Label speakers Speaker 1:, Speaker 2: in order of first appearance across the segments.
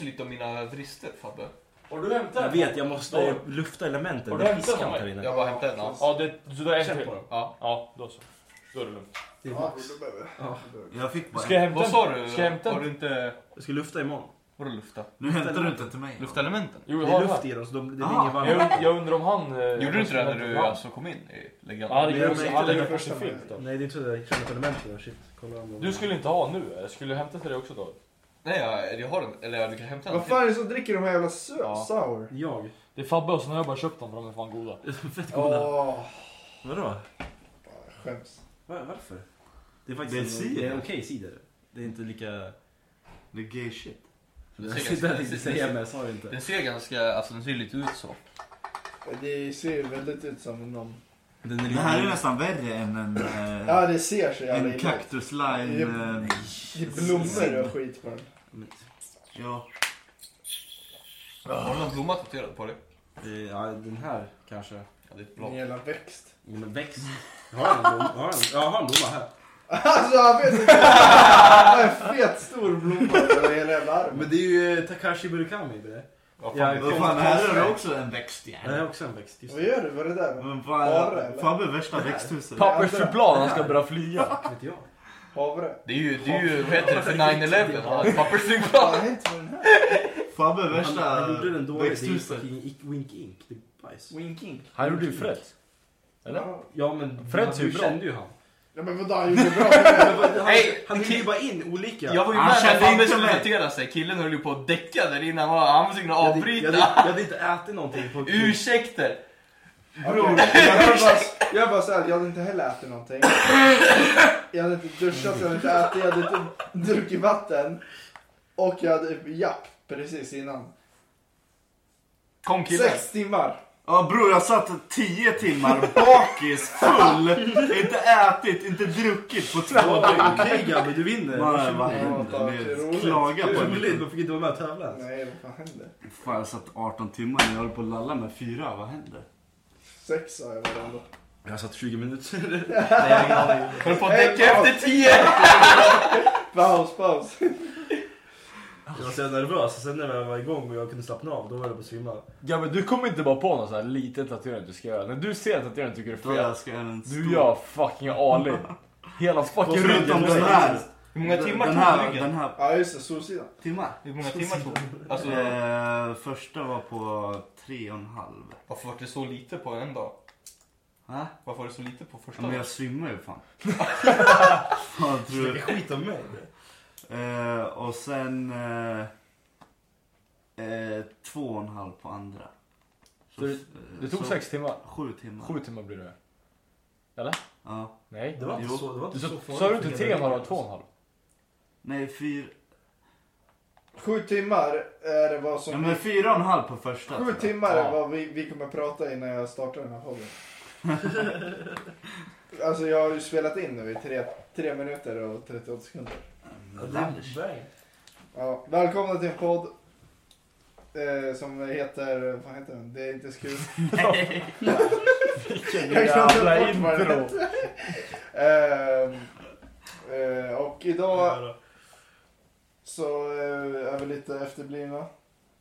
Speaker 1: mina vrister Fabbe.
Speaker 2: Har du hämtat
Speaker 3: Jag
Speaker 2: den?
Speaker 3: vet, jag måste lufta elementen.
Speaker 2: Har
Speaker 3: Det
Speaker 2: du
Speaker 3: är
Speaker 2: hämtat
Speaker 3: iskallt här
Speaker 2: dem?
Speaker 3: inne.
Speaker 1: Jag bara hämtade en. Ja.
Speaker 2: Ja, det, så du har en till.
Speaker 1: Ja.
Speaker 2: Ja, då så. Då är det lugnt.
Speaker 3: Det är
Speaker 4: Ja,
Speaker 3: dags.
Speaker 4: det behöver
Speaker 3: Ja.
Speaker 4: jag.
Speaker 5: Jag fick bara...
Speaker 2: Ska jag hämta
Speaker 1: Vad
Speaker 2: en-
Speaker 1: sa du?
Speaker 2: Ska jag hämta
Speaker 1: Har
Speaker 2: en-
Speaker 1: du inte...
Speaker 3: Jag ska lufta imorgon.
Speaker 1: Vadå lufta?
Speaker 5: Nu hämtar du inte till mig.
Speaker 1: Luftelementen?
Speaker 2: Jo,
Speaker 3: Det
Speaker 2: jag
Speaker 3: är
Speaker 2: har
Speaker 3: luft
Speaker 2: den.
Speaker 3: i dem så de, det blir
Speaker 5: Ah.
Speaker 3: inget varmt.
Speaker 2: Jag, und- jag undrar om han... eh,
Speaker 1: Gjorde du inte det när du
Speaker 2: han-
Speaker 1: alltså, kom in i
Speaker 2: Ja,
Speaker 1: legenden?
Speaker 2: det
Speaker 3: Nej,
Speaker 2: gjorde
Speaker 3: men
Speaker 2: jag.
Speaker 3: inte
Speaker 2: Han
Speaker 3: den
Speaker 2: lägger
Speaker 4: här
Speaker 2: först i
Speaker 4: första
Speaker 2: filt då.
Speaker 3: Nej, det är inte det. Jag känner på elementen. där. Shit, kolla om de-
Speaker 2: Du skulle inte ha nu. eh. Jag skulle hämta till dig också då.
Speaker 1: Nej, jag, jag har en. Eller ja, du kan hämta en.
Speaker 4: Vad fan är det som dricker de här jävla sö-
Speaker 2: Ja.
Speaker 4: sour?
Speaker 3: Jag?
Speaker 2: Det är Fabbe och sen har jag bara köpt dem för de är fan goda.
Speaker 3: Fett goda.
Speaker 4: Åh,
Speaker 3: Vadå?
Speaker 4: skäms.
Speaker 3: Va- Varför? Det är
Speaker 5: Det är
Speaker 3: faktiskt
Speaker 5: cider.
Speaker 3: det är okej cider. Det är inte lika...
Speaker 5: Det är gay shit.
Speaker 3: Det
Speaker 1: Det ser
Speaker 3: där tänkte jag
Speaker 1: ganska-
Speaker 3: inte säga men jag sa det inte.
Speaker 1: Den ser ganska... Alltså den ser lite ut så.
Speaker 4: Det ser ju väldigt ut som någon...
Speaker 3: Den är
Speaker 5: Det här är
Speaker 3: lite-
Speaker 5: nästan värre än en... eh,
Speaker 4: Ja, det ser så jävla
Speaker 5: en
Speaker 4: illa ut.
Speaker 5: cactus lime... eh,
Speaker 4: Det är blommor och skit på den.
Speaker 5: ja.
Speaker 1: Har du någon blomma tatuerad på dig?
Speaker 3: Eh, Ja, den här kanske.
Speaker 1: Ja, det är ett
Speaker 4: En
Speaker 1: blad.
Speaker 4: jävla växt.
Speaker 3: Jo, men växt. Jag har en blomma. Har jag- Jag har en blomma här.
Speaker 4: Alltså han vet inte. Han har en fet stor blomma över hela jävla armen.
Speaker 3: Men det är ju eh, Takashi Murakami. Det.
Speaker 1: Vad
Speaker 3: Ja,
Speaker 1: fan?
Speaker 5: Vad fan, här är det också en växt
Speaker 3: det här
Speaker 5: igen.
Speaker 3: är också en växt. Just
Speaker 4: Vad gör du? Vad är det där?
Speaker 5: Men
Speaker 4: Havre, eller?
Speaker 5: fan, Fabbe är värsta växthuset.
Speaker 2: Papperschoklad, han ska börja flyga.
Speaker 3: det. Vet jag.
Speaker 4: Havre?
Speaker 1: Det är ju, det är ju vad heter det för 9-11? va? Ett Pappersflygplan.
Speaker 4: Vad har hänt med den här?
Speaker 5: Fabbe är
Speaker 3: Han,
Speaker 5: värsta
Speaker 3: han gjorde den dåligt. Det är ju
Speaker 5: växthuset.
Speaker 3: fucking ik- Wink Ink. Det är bajs.
Speaker 4: Winking.
Speaker 2: Han gjorde ju Freds. Eller?
Speaker 4: Ja
Speaker 3: Ja men
Speaker 2: Freds är ju
Speaker 3: du
Speaker 2: bra.
Speaker 3: kände ju han.
Speaker 4: men vadå han gjorde bra?
Speaker 3: Han,
Speaker 1: Hej!
Speaker 3: han hyllde ju bara in olika.
Speaker 1: Jag var ju
Speaker 5: Han
Speaker 1: med när
Speaker 5: kände
Speaker 1: Fabbe
Speaker 5: inte
Speaker 1: skulle typ
Speaker 5: mig.
Speaker 1: tatuera sig. Killen höll ju på att däcka där innan. Han var- han var tvungen
Speaker 3: Jag
Speaker 1: att
Speaker 3: hade-
Speaker 1: avbryta.
Speaker 3: Jag hade, jag hade inte ätit någonting på...
Speaker 1: Ursäkter!
Speaker 4: Bror, jag bara, jag bara såhär, jag hade inte heller ätit någonting. Jag hade inte duschat, jag hade inte ätit, jag hade inte druckit vatten. Och jag hade, japp, precis innan.
Speaker 1: Kom killen.
Speaker 4: Sex timmar.
Speaker 5: Ja bror jag satt 10 timmar bakis, full, inte ätit, inte druckit på två dygn.
Speaker 3: Okej grabbar, du vinner.
Speaker 5: Vad vad
Speaker 3: Varsågod.
Speaker 5: händer? Ni
Speaker 4: roligt.
Speaker 5: Klaga på en
Speaker 3: Roligt,
Speaker 5: liten...
Speaker 3: man fick inte vara med och tävla.
Speaker 4: Nej, vad fan hände?
Speaker 5: Fan jag satt 18 timmar jag håller på att lalla med fyra, vad händer?
Speaker 4: Sex sa jag väl ändå.
Speaker 3: Jag satt 20 minuter. Nej, jag har ingen aning.
Speaker 1: Höll på att däcka efter tio!
Speaker 4: Paus, paus.
Speaker 3: jag var så jävla nervös och sen när jag var igång och jag kunde slappna av då var jag på att svimma.
Speaker 2: Ja men du kommer inte bara på någon sån här liten tatuering du ska göra. När du ser en tatuering du tycker det
Speaker 5: Då
Speaker 2: är fel.
Speaker 5: jag ska göra en stor...
Speaker 2: Du gör fucking Ali. Hela fucking ryggen.
Speaker 5: Förutom den här.
Speaker 1: Hur många timmar
Speaker 5: den
Speaker 1: tog
Speaker 5: här,
Speaker 1: ryggen?
Speaker 5: den här
Speaker 4: Ja just det, Solsidan.
Speaker 5: timmar.
Speaker 1: Hur många timmar tog Alltså,
Speaker 5: Eh, första var på tre och en halv.
Speaker 1: varför var det så lite på en dag?
Speaker 5: Va?
Speaker 1: Varför var det så lite på första
Speaker 5: Ja, men
Speaker 1: dagen?
Speaker 5: jag svimmar ju fan. fan tror du?
Speaker 3: Snacka skit om mig.
Speaker 5: Eh, och sen eh, eh, två och en halv på andra.
Speaker 2: Så det- Det tog
Speaker 5: så
Speaker 2: sex timmar.
Speaker 5: Sju timmar.
Speaker 2: Sju timmar blir det.
Speaker 5: Ja.
Speaker 2: Nej.
Speaker 3: Det var inte
Speaker 5: Jo.
Speaker 3: så, det var inte
Speaker 2: Du
Speaker 3: så
Speaker 2: sa,
Speaker 3: farligt.
Speaker 2: sa du inte tre och en halv och två och en halv?
Speaker 5: Nej, fyra.
Speaker 4: Sju timmar är vad som...
Speaker 5: Ja, men alltså. fyra och en halv på första.
Speaker 4: Sju
Speaker 5: tror jag.
Speaker 4: timmar
Speaker 2: Ja.
Speaker 4: är vad vi, vi kommer prata innan jag startar den här podden. alltså jag har ju spelat in nu i tre, tre minuter och 38 sekunder.
Speaker 3: Ja, det
Speaker 5: Lär
Speaker 3: är
Speaker 5: sig.
Speaker 3: bang.
Speaker 4: Ja, välkomna till en podd eh, som heter, vad heter den? Det är inte skul. Jag glömde
Speaker 2: Jävla
Speaker 4: bort vad den
Speaker 2: intro.
Speaker 4: Ehm, eh, och
Speaker 3: Ja,
Speaker 4: idag
Speaker 3: då.
Speaker 4: så eh, är vi lite efterblivna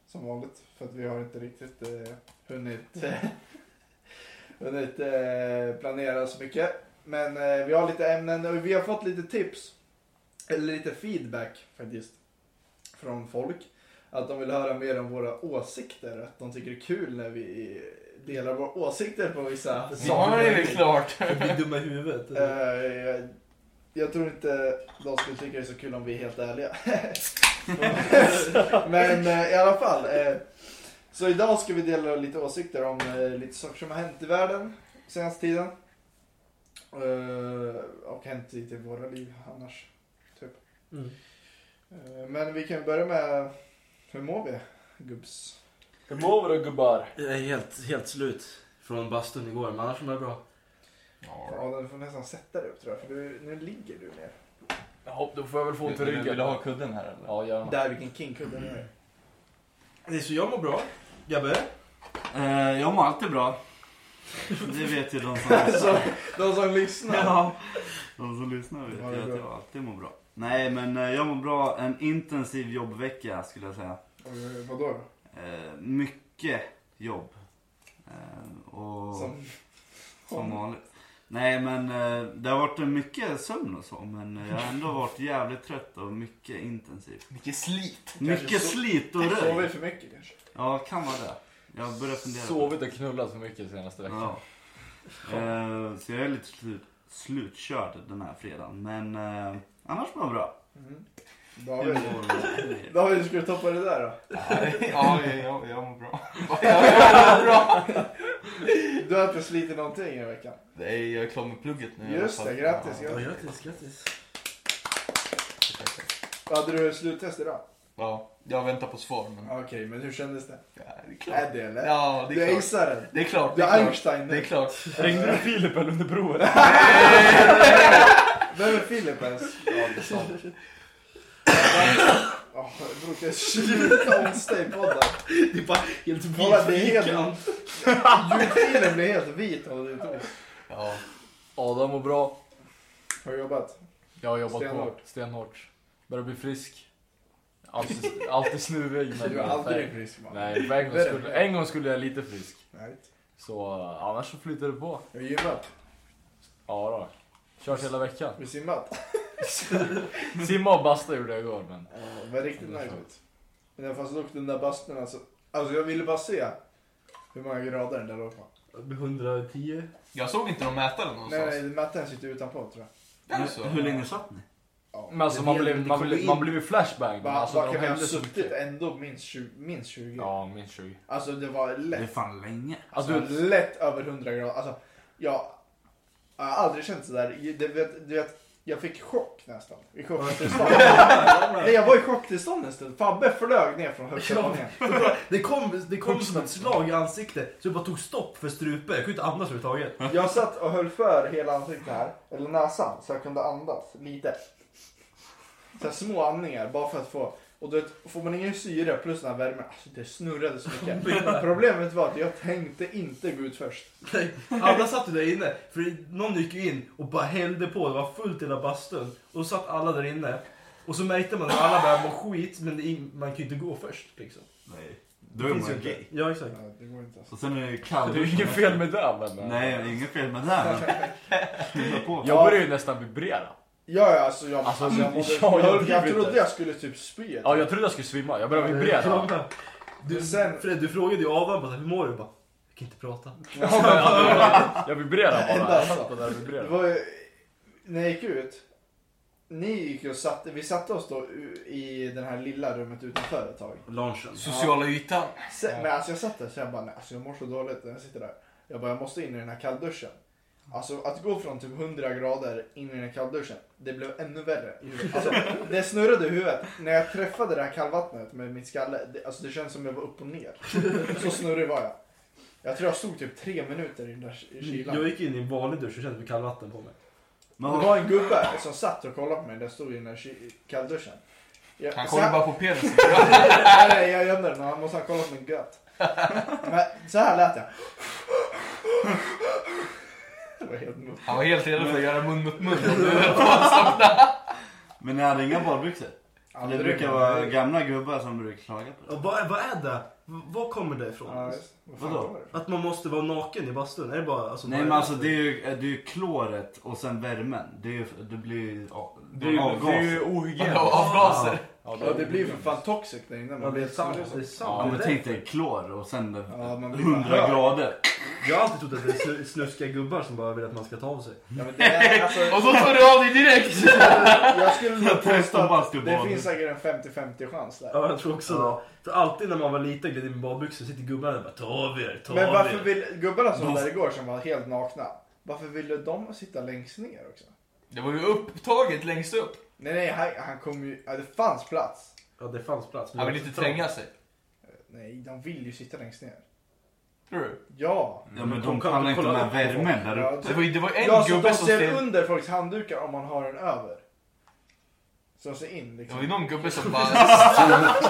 Speaker 4: som vanligt för att vi har inte riktigt eh, hunnit, eh, hunnit eh, planera så mycket. Men eh, vi har lite ämnen och vi har fått lite tips. Eller lite feedback faktiskt. Från folk. Att de vill höra mer om våra åsikter. Att de tycker det är kul när vi delar våra åsikter på vissa
Speaker 3: Precis.
Speaker 1: Ja, men det är väl klart.
Speaker 3: Jag blir dumma i huvudet.
Speaker 4: Eh, jag, jag tror inte de skulle tycka det är så kul om vi är helt ärliga. Men eh, i alla fall. eh, så idag ska vi dela lite åsikter om eh, lite saker som har hänt i världen senaste tiden. Eh, och hänt i typ våra liv annars.
Speaker 3: Mm.
Speaker 4: Eh, men vi kan börja med, hur mår vi gubbs?
Speaker 2: Hur mår vi då gubbar?
Speaker 3: Jag är helt, helt slut från bastun igår men annars mår jag bra.
Speaker 4: Ja, du får nästan sätta dig upp tror jag, för du, nu ligger du ner.
Speaker 2: Jaha, då får jag väl få ont i
Speaker 1: Vill- Vill
Speaker 2: ryggen.
Speaker 1: du ha kudden här eller?
Speaker 2: Ja, gärna.
Speaker 4: Där vilken kingkudde du är.
Speaker 3: Det är så jag mår bra. Gabbe?
Speaker 5: Eh, jag mår alltid bra. Det vet ju de som lyssnar.
Speaker 4: Så, de som lyssnar.
Speaker 5: ja. De som lyssnar vet
Speaker 4: Ja, det
Speaker 5: ju
Speaker 4: är
Speaker 5: att
Speaker 4: bra.
Speaker 5: jag alltid mår bra. Nej, men eh, jag mår bra. En intensiv jobbvecka skulle jag säga.
Speaker 4: Och, vadå då?
Speaker 5: Eh, mycket jobb. Eh, och som,
Speaker 4: Som,
Speaker 5: vanligt. Nej men eh, det har varit mycket sömn och så men jag har ändå varit jävligt trött och mycket intensivt.
Speaker 1: Mycket slit.
Speaker 5: Mycket
Speaker 4: så-
Speaker 5: slit och
Speaker 4: Sover vi
Speaker 5: röj.
Speaker 4: för mycket kanske?
Speaker 5: Ja kan vara det. Jag börjar fundera. på det.
Speaker 2: Sovit och knullat för mycket senaste veckan.
Speaker 5: Ja. Eh, så jag är lite slut, slutkörd den här fredagen. Men eh, annars mår jag bra.
Speaker 4: Mhm.
Speaker 5: Jag
Speaker 4: David.
Speaker 5: mår...
Speaker 4: David, ska du toppa det där då?
Speaker 1: Ja, jag, jag, jag mår bra. jag mår bra.
Speaker 4: Du har inte slitit någonting i veckan.
Speaker 1: Nej, jag är klar med plugget nu. i alla
Speaker 4: Just
Speaker 1: fall.
Speaker 4: det, grattis,
Speaker 1: Ja.
Speaker 3: Ja, grattis, grattis.
Speaker 4: Hade du sluttest idag?
Speaker 1: Ja, jag väntar på svar men...
Speaker 4: Okej, men hur kändes det?
Speaker 1: Ja, det är klart.
Speaker 4: Är det eller?
Speaker 1: Ja, det
Speaker 4: du
Speaker 1: är klart.
Speaker 4: acear den.
Speaker 1: Det är klart.
Speaker 4: Du
Speaker 1: Det
Speaker 4: är
Speaker 1: är klart.
Speaker 4: Einstein
Speaker 1: Det är
Speaker 4: nu.
Speaker 1: klart.
Speaker 2: Ringde du Filip eller under broet?
Speaker 4: Vem är Filip ens?
Speaker 1: Ja, det är sant.
Speaker 4: Oh, jag brukar sluta onsta i podden.
Speaker 3: Det är bara helt
Speaker 4: Kolla, det är helt... Ljudfilen blir helt vit av det inte
Speaker 1: Ja.
Speaker 2: Adam mår bra.
Speaker 4: Har du jobbat?
Speaker 2: Jag har jobbat
Speaker 4: Stenhårt.
Speaker 2: på stenhårt. Börjar bli frisk. Alltid, alltid snuvig. men-
Speaker 4: Du är aldrig en frisk man.
Speaker 2: Nej, för en gång,
Speaker 4: Det är det.
Speaker 2: skulle, en gång skulle jag lite frisk.
Speaker 4: Nej.
Speaker 2: Så eh, annars så flyter det på.
Speaker 4: Har du gymmat?
Speaker 2: Ja då. Kört hela veckan.
Speaker 4: Har du simmat?
Speaker 2: Simma och basta gjorde jag igår men.
Speaker 4: Ja, det var Eh, riktigt nice ut. Men jag fast dock den där bastun alltså. Alltså jag ville bara se hur många grader den där låg på.
Speaker 3: 110.
Speaker 1: Jag såg inte någon mätare
Speaker 4: Nej,
Speaker 1: någonstans.
Speaker 4: nej, mätaren sitter utanpå tror jag.
Speaker 1: Det är så.
Speaker 5: Hur länge satt ni?
Speaker 4: Ja.
Speaker 2: Men alltså
Speaker 4: Det
Speaker 2: man
Speaker 4: är-
Speaker 2: blev,
Speaker 4: det
Speaker 2: man
Speaker 4: kommer
Speaker 2: blev,
Speaker 4: in-
Speaker 2: man blev ju flashbang. Men
Speaker 4: Vad
Speaker 2: alltså,
Speaker 4: vad
Speaker 2: de
Speaker 4: kan vi ha
Speaker 2: hände så
Speaker 4: suttit?
Speaker 2: mycket.
Speaker 4: Ändå minst 20. Minst 20.
Speaker 2: Ja, minst 20.
Speaker 4: Alltså det var
Speaker 5: Det är
Speaker 4: lätt.
Speaker 5: fan länge.
Speaker 4: Alltså,
Speaker 2: Alltså,
Speaker 4: lätt över 100 grader. Alltså, jag, jag har aldrig känt sådär. Du vet, du vet, jag fick chock nästan. I chocktillstånd. Nej, jag var i chocktillstånd en stund. Fabbe flög ner från högsta
Speaker 3: Ja.
Speaker 4: våningen.
Speaker 3: Det kom, det kom som ett slag i ansiktet så det bara tog stopp för strupen. Jag kunde inte andas överhuvudtaget.
Speaker 4: Jag satt och höll för hela ansiktet här, eller näsan, så jag kunde andas lite. Så här små andningar bara för att få. Och du vet, får man ingen syre plus den här värmen, alltså det snurrade så mycket. Problemet var att jag tänkte inte gå ut först.
Speaker 3: Nej, Alla satt ju där inne, för det- någon gick ju in och bara hällde på. Det var fullt i hela bastun. Och då satt alla där inne. Och så märkte man att alla började må skit, men det, är- man kan ju inte gå först. Liksom.
Speaker 5: Nej. Då är
Speaker 3: Finns ju
Speaker 5: man
Speaker 3: inte.
Speaker 5: gay.
Speaker 3: Ja, exakt.
Speaker 4: Ja, det går inte alltså.
Speaker 5: Och sen är det
Speaker 2: Det är ju
Speaker 5: kallduschen.
Speaker 2: inget fel med det men.
Speaker 5: Nej, inget fel med det. här, men- Skynda på.
Speaker 2: Jag började ju nästan vibrera.
Speaker 4: Ja, ja, alltså jag,
Speaker 2: Alltså,
Speaker 4: alltså, jag, mådde,
Speaker 2: ja, jag
Speaker 4: jag, jag,
Speaker 2: driver
Speaker 4: trodde
Speaker 2: inte.
Speaker 4: jag skulle typ spy.
Speaker 2: Ja, jag trodde jag skulle svimma. Jag började vibrera.
Speaker 3: Du,
Speaker 4: Men sen-
Speaker 3: Fred, du frågade ju Avan bara, hur mår du? Jag bara, jag kan inte prata.
Speaker 2: Ja, men alltså, Jag vibrerar bara.
Speaker 4: Ända.
Speaker 2: Jag satt bara där och
Speaker 4: Det
Speaker 2: vibrerade.
Speaker 4: var ju, när jag gick ut, ni gick ju och satte, vi satte oss då u- i det här lilla rummet utanför ett tag.
Speaker 5: Lunchen.
Speaker 1: Sociala ytan.
Speaker 4: Sen, Men alltså jag satt där så jag bara, nej, alltså jag mår så dåligt när jag sitter där. Jag bara, jag måste in i den här kallduschen. Alltså att gå från typ 100 grader in i den här kallduschen, det blev ännu värre. i huvudet. Alltså, det snurrade i huvudet. När jag träffade det här kallvattnet med min skalle, det, alltså det kändes som jag var upp och ner. Så snurrig var jag. Jag tror jag stod typ tre minuter i den där
Speaker 3: Mm,
Speaker 4: k- kylan.
Speaker 3: Jag gick in i en vanlig dusch och kände med kallvatten på mig.
Speaker 5: Men
Speaker 4: Det
Speaker 5: har,
Speaker 4: var en gubbe som satt och kollade på mig när jag stod i den här ky- kallduschen. Jag,
Speaker 1: Han
Speaker 4: så
Speaker 1: kollar
Speaker 4: här-
Speaker 1: bara på penisen.
Speaker 4: nej, nej, jag gömde den. Han måste ha kollat på min gött. Men så här lät jag. Det var helt muff.
Speaker 1: Han var helt redo för att göra mun mot mun.
Speaker 5: men ni hade inga badbyxor? Det brukar vara gamla gubbar som brukar klaga på det.
Speaker 3: Och vad, vad är det? V- Vad kommer det ifrån?
Speaker 4: Ja, visst. Vad fan
Speaker 5: Vadå?
Speaker 4: var det?
Speaker 3: Att man måste vara naken i bastun? Är det bara... Alltså,
Speaker 5: Nej
Speaker 3: bara-
Speaker 5: men alltså det är ju, det är ju kloret och sen värmen. Det, är ju, det blir ju ja,
Speaker 2: Det är ju, det är ju
Speaker 5: avgaser.
Speaker 2: ohygieniskt.
Speaker 1: Avgaser.
Speaker 4: Ja, det blir för fan toxic där inne.
Speaker 3: Ja,
Speaker 4: Man
Speaker 3: det
Speaker 4: blir
Speaker 3: är sant.
Speaker 4: snurrig så.
Speaker 3: Det är sant.
Speaker 5: Ja
Speaker 3: det
Speaker 5: men
Speaker 3: är
Speaker 5: tänk
Speaker 3: därför.
Speaker 5: dig klor och sen
Speaker 4: Ja, man blir
Speaker 5: 100
Speaker 4: fan-
Speaker 5: grader.
Speaker 3: Jag har alltid trott att det är snu- snuskiga gubbar som bara vill att man ska ta av sig.
Speaker 4: Ja, men det är, alltså,
Speaker 1: Och så tar du av dig direkt.
Speaker 4: jag skulle nog påstå
Speaker 5: Testar
Speaker 4: att
Speaker 5: bastubaden.
Speaker 4: det finns säkert en 50-50 chans där.
Speaker 3: Ja, jag tror också
Speaker 5: Ja.
Speaker 3: det. För alltid när man var liten gled in i badbyxor sitter gubbarna och bara ta av er, ta
Speaker 4: Men
Speaker 3: av
Speaker 4: varför
Speaker 3: er.
Speaker 4: vill gubbarna som var där igår som var helt nakna, varför ville de sitta längst ner också?
Speaker 1: Det var ju upptaget längst upp.
Speaker 4: Nej, nej, han, han kom ju, ja, det fanns plats.
Speaker 3: Ja, det fanns plats. men
Speaker 1: Han
Speaker 3: det
Speaker 1: vill
Speaker 3: var
Speaker 1: inte
Speaker 3: trångt.
Speaker 1: tränga sig.
Speaker 4: Nej, de vill ju sitta längst ner.
Speaker 1: Tror du?
Speaker 4: Ja.
Speaker 5: Ja men
Speaker 3: Kom,
Speaker 5: de
Speaker 3: kom,
Speaker 5: pallar inte
Speaker 3: kolla
Speaker 5: med
Speaker 3: upp.
Speaker 5: värmen där uppe.
Speaker 4: ja,
Speaker 1: Det var ju det var ju en
Speaker 4: Ja, så
Speaker 1: gubbe
Speaker 4: de
Speaker 1: som
Speaker 4: ser
Speaker 1: steg...
Speaker 4: under folks handdukar om man har en över. Så de ser in
Speaker 1: Det var ju
Speaker 4: liksom.
Speaker 1: någon gubbe som bara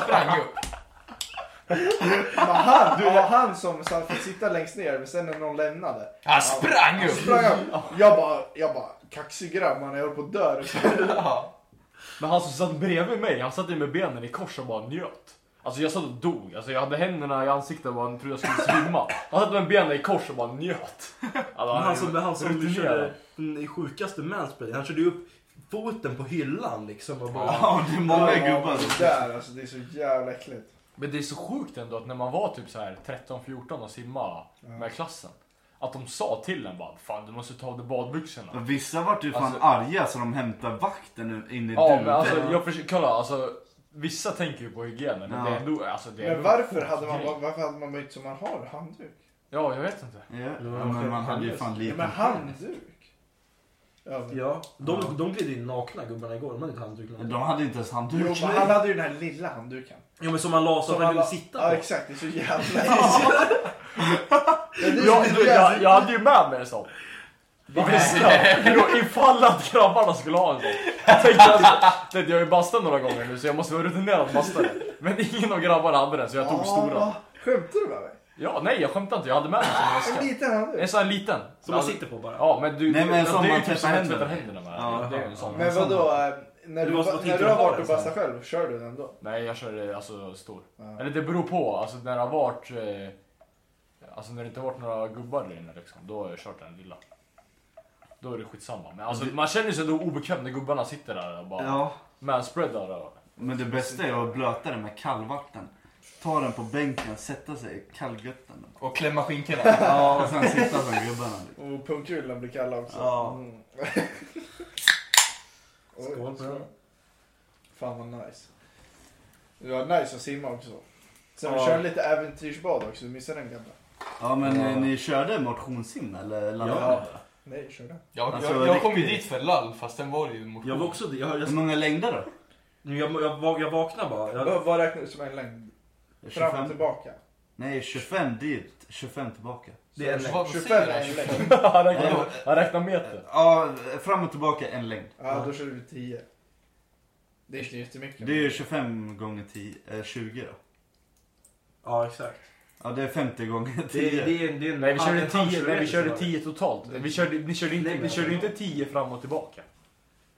Speaker 1: sprang upp.
Speaker 4: Men han, det var han som sa fick sitta längst ner, men sen när någon lämnade.
Speaker 1: Han sprang
Speaker 4: Så
Speaker 1: upp!
Speaker 4: sprang jag, jag bara, jag bara, kaxig grabb man, jag höll på att dö.
Speaker 1: Ja.
Speaker 2: Men han som satt bredvid mig, han satt ju med benen i kors och bara njöt. Alltså jag satt och dog. Alltså jag hade händerna i ansiktet och bara trodde jag skulle svimma. Han satt med benen i kors och bara njöt. Alltså,
Speaker 3: Men
Speaker 2: är
Speaker 3: han som, han som
Speaker 2: rutinerad.
Speaker 3: körde den sjukaste mansplaining, han körde ju upp foten på hyllan liksom och bara...
Speaker 5: Ja, det är många gubbar.
Speaker 4: det där alltså, det är så jävla äckligt.
Speaker 2: Men det är så sjukt ändå att när man var typ så här 13-14 och simma med klassen. Att de sa till en bara fan du måste ta av dig badbyxorna.
Speaker 5: Och Vissa vart ju fan
Speaker 2: Alltså-
Speaker 5: arga så de hämtade vakten in i
Speaker 2: Ja
Speaker 5: duvet.
Speaker 2: men alltså jag försöker, kolla alltså. Vissa tänker ju på hygienen men
Speaker 5: Ja.
Speaker 2: det är ändå, alltså det är
Speaker 4: Men
Speaker 2: ändå-
Speaker 4: varför hade man, varför hade man bytt som man har? Handduk?
Speaker 2: Ja jag vet inte.
Speaker 5: Ja, ja, men man hade ju fan
Speaker 4: Ja,
Speaker 5: liten...
Speaker 4: men handduk? Ja, men,
Speaker 3: Ja, de, de gled in nakna gubbarna igår, de hade inte handduk längre.
Speaker 5: De hade inte ens
Speaker 4: jo, men
Speaker 5: handduk.
Speaker 4: han hade ju den här lilla handduken.
Speaker 3: Ja men som man la så att
Speaker 4: Som
Speaker 3: man kunde
Speaker 4: alla-
Speaker 3: sitta
Speaker 4: Ja
Speaker 3: på.
Speaker 4: exakt, det är så jävla ja, det är så
Speaker 2: Jag,
Speaker 4: jävla-
Speaker 2: du, jag, jag hade ju med mig en sån. I bästa. Då, ifall att grabbarna skulle ha en sån. Jag tänkte alltså, tänkte, jag har ju bastat några gånger nu så jag måste vara rutinerad bastare. Men ingen av grabbarna hade den så jag tog
Speaker 4: Ah,
Speaker 2: stora.
Speaker 4: Skämtar du med mig?
Speaker 2: Ja, nej jag skämtar inte. Jag hade med mig en sån i väskan.
Speaker 4: En liten handduk?
Speaker 2: En sån här liten. Alltså,
Speaker 3: Som man sitter på bara.
Speaker 2: Ja men du,
Speaker 5: Nej, men en
Speaker 2: det,
Speaker 5: sån
Speaker 2: det är
Speaker 5: man
Speaker 2: ju typ som
Speaker 5: tvättar
Speaker 2: man tvättar
Speaker 5: händerna.
Speaker 2: händerna med.
Speaker 5: Ja,
Speaker 2: det är ju en sån.
Speaker 4: Men vadå, eh, när
Speaker 3: Du
Speaker 4: du,
Speaker 3: måste-
Speaker 4: ba-
Speaker 3: tänker
Speaker 4: när
Speaker 3: du
Speaker 4: du har
Speaker 3: ha
Speaker 4: varit
Speaker 3: den
Speaker 4: och
Speaker 3: så här?
Speaker 4: bastat själv, kör du den då?
Speaker 2: Nej jag kör alltså stor.
Speaker 4: Ja.
Speaker 2: Eller det beror på. Alltså när det har varit... Eh, alltså när det inte har varit några gubbar där inne liksom. Då har jag kört den lilla. Då är det skitsamma. Men alltså man känner sig då obekväm när gubbarna sitter där och bara
Speaker 5: Ja,
Speaker 2: manspreadar. Och...
Speaker 5: men det bästa är att blöta den med kallvatten. Ta den på bänken, sätta sig i kallgötten.
Speaker 1: Och klämma skinkorna.
Speaker 5: Ja, och sen sitta som gubbarna.
Speaker 4: Och pungkulan blir kalla också.
Speaker 5: Ja.
Speaker 4: Mm. Oj,
Speaker 3: Skål på det.
Speaker 4: Fan vad nice. Det var nice att simma också. Sen
Speaker 3: Ja.
Speaker 4: vi körde lite äventyrsbad också, du missade den gamla.
Speaker 5: Ja, men
Speaker 2: Ja.
Speaker 5: eh, ni körde motionssim eller?
Speaker 3: Ja.
Speaker 5: Ja.
Speaker 4: Nej, kör den.
Speaker 1: Jag,
Speaker 5: Alltså,
Speaker 1: jag, jag kom ju
Speaker 5: riktigt.
Speaker 1: dit för lall fast den var ju en motion.
Speaker 3: Jag var också jag, jag,
Speaker 5: Hur många längder då?
Speaker 3: jag, jag, jag, jag vaknade bara. Jag,
Speaker 4: Vad- Vad räknar du som en längd? Fram och tillbaka.
Speaker 5: Nej, 25 dit, 25 tillbaka.
Speaker 3: det är en
Speaker 1: Så
Speaker 3: längd.
Speaker 1: vad säger
Speaker 4: 25
Speaker 1: det?
Speaker 4: är en längd.
Speaker 2: han, räknar, han räknar meter.
Speaker 5: Ja, fram och tillbaka en längd.
Speaker 4: Ja, då körde vi 10. Det är inte jättemycket.
Speaker 5: Det är ju 25 gånger 10, eh, 20 då.
Speaker 3: Ja exakt.
Speaker 5: Ja, det är 50 gånger 10.
Speaker 3: Det, är- det, är- det är en
Speaker 2: Nej vi körde
Speaker 3: en halv
Speaker 2: 10, nej, vi
Speaker 3: kilometer
Speaker 2: körde
Speaker 3: som
Speaker 2: 10 totalt. Vi körde, ni körde inte,
Speaker 3: Nej,
Speaker 2: ni
Speaker 3: men-
Speaker 2: körde inte 10 fram och tillbaka.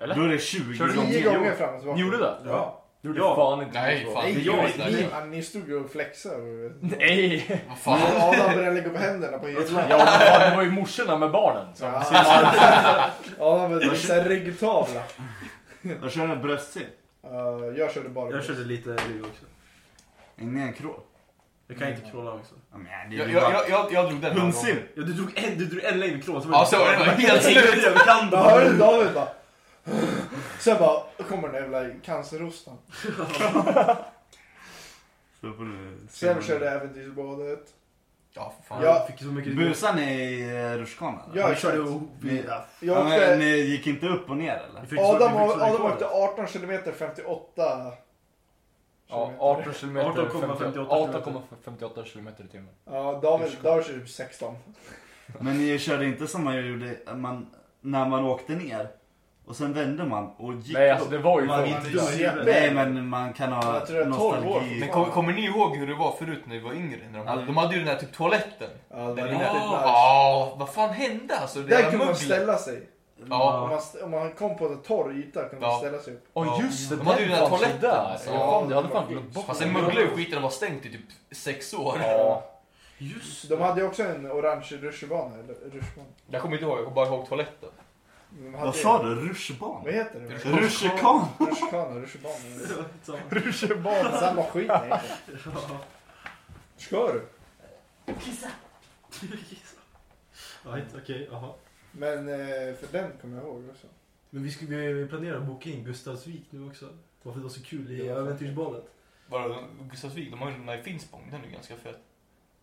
Speaker 2: Eller?
Speaker 5: Då är det 20
Speaker 2: Kör du
Speaker 5: gånger.
Speaker 4: 10
Speaker 2: tio.
Speaker 4: gånger fram och tillbaka.
Speaker 2: Ni gjorde det?
Speaker 4: Ja.
Speaker 2: Det gjorde
Speaker 3: Ja.
Speaker 2: fan inte
Speaker 1: Nej,
Speaker 2: så.
Speaker 1: fan.
Speaker 4: Nej,
Speaker 1: det
Speaker 3: jag-
Speaker 1: gjorde
Speaker 3: jag-
Speaker 1: inte.
Speaker 4: ni, ni stod ju och flexade. och-
Speaker 2: Nej!
Speaker 1: Vad fan.
Speaker 4: Men Adam började lägga på händerna på hyllan.
Speaker 2: Ja men fan, det var ju morsorna med barnen. Så.
Speaker 4: Ja. Adam hade en sån här ryggtavla.
Speaker 5: Jag kör en bröstsim.
Speaker 4: Uh, jag körde bara
Speaker 3: Jag körde lite du också.
Speaker 5: Ingen crawl.
Speaker 3: Jag kan inte crawla också.
Speaker 5: Ja, men det är
Speaker 1: Jag,
Speaker 5: ju
Speaker 1: jag,
Speaker 5: bara...
Speaker 1: jag, jag, jag drog den.
Speaker 5: Hundsim!
Speaker 3: Ja, du drog en, du drog en längd crawl.
Speaker 1: Ja, så var det. Det var helt
Speaker 3: slut. Jag kan
Speaker 4: Då hörde du David bara... Sen bara, kommer den där jävla cancerrostan.
Speaker 5: Så får du-
Speaker 4: Sen körde jag äventyrsbadet.
Speaker 1: Ja, för fan.
Speaker 4: Ja.
Speaker 3: Jag fick så mycket...
Speaker 5: Busade ni i eh, rutschkanan? eller?
Speaker 4: Ja,
Speaker 3: Vi körde
Speaker 4: exakt.
Speaker 3: ihop. Vi
Speaker 4: Jag
Speaker 5: Ja, men
Speaker 4: åkte,
Speaker 5: ni gick inte upp och ner eller?
Speaker 3: vi fick så- vi
Speaker 4: Adam,
Speaker 3: fick så
Speaker 4: Adam
Speaker 3: rekord.
Speaker 4: åkte 18 kilometer 58
Speaker 2: Ja,
Speaker 4: kilometer.
Speaker 2: 18 kilometer,
Speaker 3: 18,58
Speaker 2: 18,58 kilometer i timmen.
Speaker 4: Ja, David, David körde 16.
Speaker 5: Men ni körde inte som man gjorde man, när man åkte ner och sen vände man och gick
Speaker 2: Nej alltså
Speaker 5: upp?
Speaker 2: det var ju
Speaker 5: Man
Speaker 2: fan-
Speaker 5: är inte dum
Speaker 4: i huvudet.
Speaker 5: Nej men man kan ha
Speaker 4: Jag tror jag är 12 år.
Speaker 5: nostalgi.
Speaker 1: Men kom, kommer ni ihåg hur det var förut när vi var yngre? När de, hade, de hade ju den här typ toaletten.
Speaker 4: Ja, det var
Speaker 1: Den
Speaker 4: riktigt
Speaker 1: lilla-
Speaker 4: nice.
Speaker 1: Ja, vad fan hände alltså? Det
Speaker 4: Där
Speaker 1: jävla
Speaker 4: kunde man
Speaker 1: möglet.
Speaker 4: ställa sig.
Speaker 1: Ja.
Speaker 4: Om man, st- om man kom på en torr yta kunde
Speaker 1: Ja.
Speaker 4: man ställa sig upp.
Speaker 2: Åh
Speaker 1: Ja.
Speaker 2: just det,
Speaker 1: De hade ju den här
Speaker 2: fanns
Speaker 1: toaletten,
Speaker 2: där.
Speaker 1: alltså.
Speaker 2: Jag, fan, jag hade
Speaker 4: Ja,
Speaker 2: fan glömt bort
Speaker 1: Fast
Speaker 2: den.
Speaker 1: sen möglade ju skiten, den var stängt i typ sex år.
Speaker 2: Ja.
Speaker 3: Just
Speaker 4: De hade ju också en orange rutschbana. Eller rutschbana.
Speaker 1: Jag kommer inte ihåg, jag kommer bara ihåg toaletten.
Speaker 4: De hade
Speaker 5: Vad
Speaker 4: ju-
Speaker 5: sa du?
Speaker 4: Vad
Speaker 5: Rutschbana?
Speaker 4: heter det?
Speaker 5: Rutschkan?
Speaker 4: Rutschkana, rutschbana.
Speaker 3: Så.
Speaker 4: Samma skit egentligen.
Speaker 3: Ja.
Speaker 4: Ska du?
Speaker 3: Right, okej, jaha.
Speaker 4: Men eh, för den kommer jag ihåg också.
Speaker 3: Men vi, ska, vi, vi planerar att boka in Gustavsvik nu också. Varför det var så kul i
Speaker 4: Ja.
Speaker 3: Äventyrsbadet.
Speaker 1: Bara Gustavsvik, de har ju den där i Finspång, den är ju ganska fet.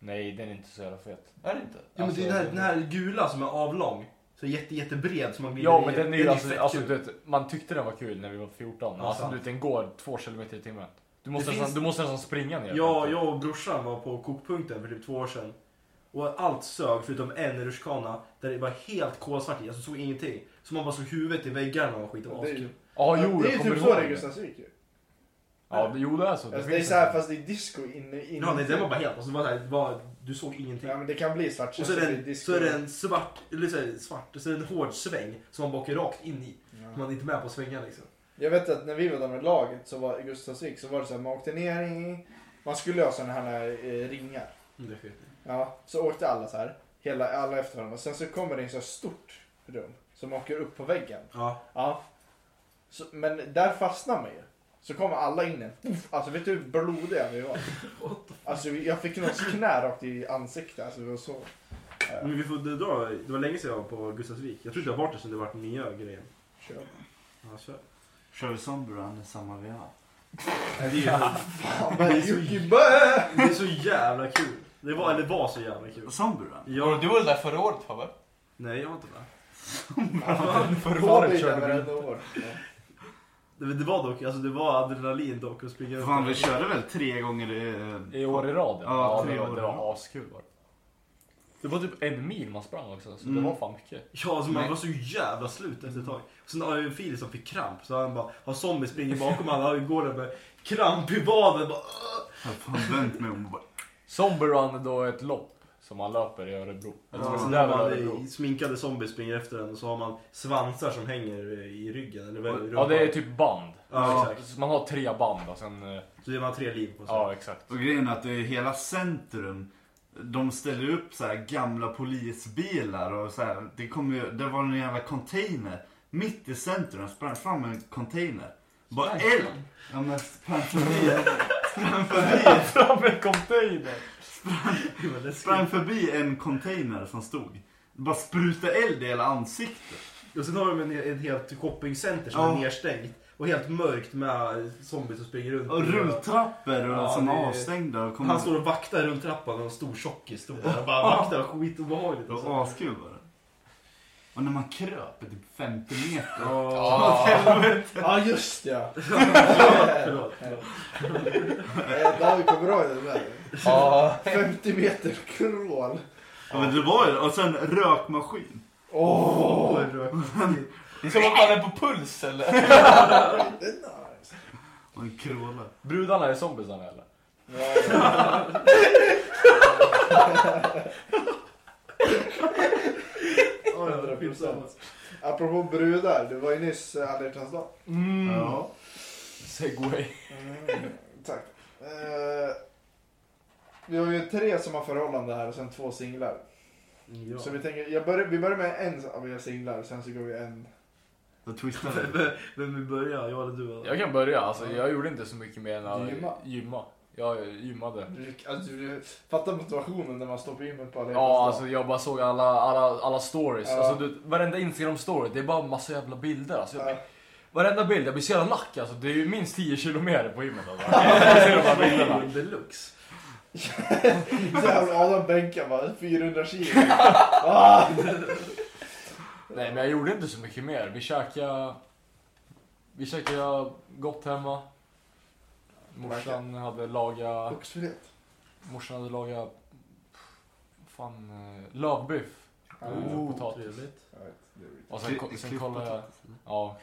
Speaker 2: Nej den är inte så jävla fet. Alltså,
Speaker 1: Är det inte?
Speaker 3: Ja, men det är den här, den här gula som är avlång. Så jätte, jättebred som man glider
Speaker 2: Ja
Speaker 3: i.
Speaker 2: men den är ju
Speaker 3: fett
Speaker 2: alltså, alltså
Speaker 3: kul.
Speaker 2: du vet, man tyckte den var kul när vi var 14.
Speaker 3: Ja,
Speaker 2: Alltså
Speaker 3: sant.
Speaker 2: du vet den går 2 kilometer i timmen. Du måste,
Speaker 3: Det
Speaker 2: nästan,
Speaker 3: finns-
Speaker 2: du måste nästan springa ner.
Speaker 3: Ja, jag och brorsan var på kokpunkten för typ två år sedan. Och allt sög förutom en rutschkana där det var helt kolsvart i. Alltså såg ingenting. Så man bara såg huvudet i väggarna och skit. Det var
Speaker 4: Det är
Speaker 3: askul.
Speaker 4: ju-
Speaker 2: Ja jo,
Speaker 4: det är
Speaker 2: jag
Speaker 4: ju
Speaker 2: kommer
Speaker 4: typ så
Speaker 2: ihåg
Speaker 4: det är i
Speaker 2: det.
Speaker 4: Gustavsvik ju.
Speaker 2: Ja det- jo det är så.
Speaker 4: Alltså, det är
Speaker 2: finns
Speaker 4: så här,
Speaker 2: en-
Speaker 4: fast det är disco inne. inne
Speaker 3: Ja, nej, den var bara helt. Alltså, det var så här, det var, du såg ingenting.
Speaker 4: Ja men det kan bli svart
Speaker 3: Och så
Speaker 4: tjänst,
Speaker 3: är,
Speaker 4: det
Speaker 3: den,
Speaker 4: disco.
Speaker 3: så är den svart, eller så är det svart, och så är det en hård sväng som man bara åker rakt in i.
Speaker 4: Ja.
Speaker 3: Man är inte med på svängar liksom.
Speaker 4: Jag vet att när vi var där med laget så var i Gustavsvik så var det så här, man åkte ner i Man skulle ha sådana här eh, ringar.
Speaker 3: Det skiter jag i.
Speaker 4: Ja, så åkte alla så här. Hela, alla efter varandra. Sen så kommer det in så här stort rum som åker upp på väggen.
Speaker 3: Ja.
Speaker 4: Ja. Så, men där fastnar man ju. Så kommer alla in. en- Uff, Alltså vet du hur blodiga vi var? Alltså jag fick någons knä rakt i ansiktet. Alltså det var så.
Speaker 3: Men vi får dra, det var länge sedan jag var på Gustavsvik. Jag tror inte jag har varit där sedan det vart nya grejen.
Speaker 4: Kör.
Speaker 3: Ja, kör.
Speaker 5: Kör vi Zombieland i samma veva?
Speaker 3: Det är, ju,
Speaker 4: Fan vad Jocke
Speaker 3: det är så jävla kul. Det var, eller var så jävla kul.
Speaker 5: Zombieland?
Speaker 1: Ja,
Speaker 3: Jag,
Speaker 1: Du var väl där förra året Fabbe?
Speaker 3: nej, jag var inte där.
Speaker 2: Förra året körde vi.
Speaker 4: varenda år.
Speaker 3: Det, det var dock, alltså det var adrenalin dock att springa
Speaker 5: Fan, vi
Speaker 3: runt.
Speaker 5: körde väl tre gånger eh, i...
Speaker 2: I år i rad
Speaker 5: Ja, tre
Speaker 2: det, var,
Speaker 5: år
Speaker 2: det
Speaker 5: i rad.
Speaker 2: var askul var det. Det var typ en mil man sprang också, så
Speaker 5: Mm.
Speaker 2: det var fan mycket.
Speaker 3: Ja, alltså man
Speaker 5: Nej.
Speaker 3: var så jävla slut efter ett tag. Sen har jag en Filip som fick kramp, så han bara har zombie springer bakom han han går där med kramp i vaden. bara, "Åh!"
Speaker 5: Jag har fan vänt mig om och bara...
Speaker 2: Zombie Run då är ett lopp som man löper i Örebro. Jag tror
Speaker 3: Så
Speaker 2: det
Speaker 3: där
Speaker 2: där var
Speaker 3: man
Speaker 2: Örebro.
Speaker 3: är- sminkade zombie springer efter den och så har man svansar som hänger i ryggen. Eller vad
Speaker 2: Ja det är
Speaker 3: rumpan.
Speaker 2: typ band.
Speaker 3: Ja, exakt.
Speaker 2: Så Man har tre band och sen... eh,
Speaker 3: Så det är man tre liv på. Så.
Speaker 2: Ja exakt.
Speaker 5: Och grejen är att det är hela centrum. De ställer upp så här gamla polisbilar och så här. Det, kom ju, det var en jävla container. Mitt i centrum sprang fram en container. Bara eld! Ja men sprang förbi, sprang, förbi,
Speaker 2: Fram med container!
Speaker 3: Men det
Speaker 5: sprang förbi en container som stod. Bara spruta eld i hela ansiktet.
Speaker 3: Och sen har de en, en helt shoppingcenter som
Speaker 5: Ja.
Speaker 3: är nedstängt. Och helt mörkt med zombies som springer runt.
Speaker 5: Och rulltrappor och
Speaker 3: Ja,
Speaker 5: som är
Speaker 3: det-
Speaker 5: avstängda. Och kom
Speaker 3: Han står och vaktar rulltrappan och en stor tjockis står där och bara vaktar. Skitobehagligt.
Speaker 5: Det var askul var det. Och när man kröp i typ 50 meter.
Speaker 1: Ja.
Speaker 4: Ja just ja.
Speaker 3: Förlåt. förlåt.
Speaker 4: Eh, David kommer du ihåg det där?
Speaker 1: Ja.
Speaker 4: 50 meter crawl.
Speaker 5: Ja, men det var ju Och sen rökmaskin.
Speaker 4: Åh!
Speaker 3: Oj, rökigt.
Speaker 1: Som att man är på puls eller?
Speaker 4: det är nice.
Speaker 5: Och en kråla.
Speaker 2: Brudarna är zombisarna eller?
Speaker 4: Ja, ja.
Speaker 3: Ja, ja,
Speaker 4: 100%. Apropå brudar, det var ju nyss eh, alla hjärtans dag.
Speaker 5: Ja.
Speaker 2: Segway.
Speaker 4: Mm, tack. Eh, vi har ju tre som har förhållande här och sen två singlar. Så vi tänker, jag börjar, vi börjar med en av er singlar, sen så går vi en.
Speaker 5: Då twistade
Speaker 3: Vem-
Speaker 5: vi.
Speaker 3: vem- Vem vill börja? Jag eller du? eller?
Speaker 2: Jag kan börja, alltså jag gjorde inte så mycket mer än att
Speaker 4: Gymma.
Speaker 2: gymma. Jag gymmade.
Speaker 4: Du, alltså, du fattar motivationen när man står på gymmet på alla
Speaker 2: Ja, alltså jag bara såg alla, alla, alla stories.
Speaker 4: Ja.
Speaker 2: Alltså, du, varenda Instagram-story, det är bara massa jävla bilder. Alltså, jag,
Speaker 4: Ja.
Speaker 2: Varenda bild, jag blir så jävla lack alltså. Det är ju minst 10 kilometer på gymmet alltså. Jag ser de här bilderna.
Speaker 3: Deluxe.
Speaker 4: Så här Adam bänkar bara 400 kilo. Ah!
Speaker 2: Nej men jag gjorde inte så mycket mer. Vi käkade... Vi käkade gott hemma. Morsan hade lagat...
Speaker 4: Oxfilét.
Speaker 2: Morsan hade lagat... Fan... eh, Lövbiff.
Speaker 4: Ja,
Speaker 2: Oh, potatis.
Speaker 3: Trevligt.
Speaker 4: det är roligt.
Speaker 2: Och sen, ko- sen kollade jag... Ja.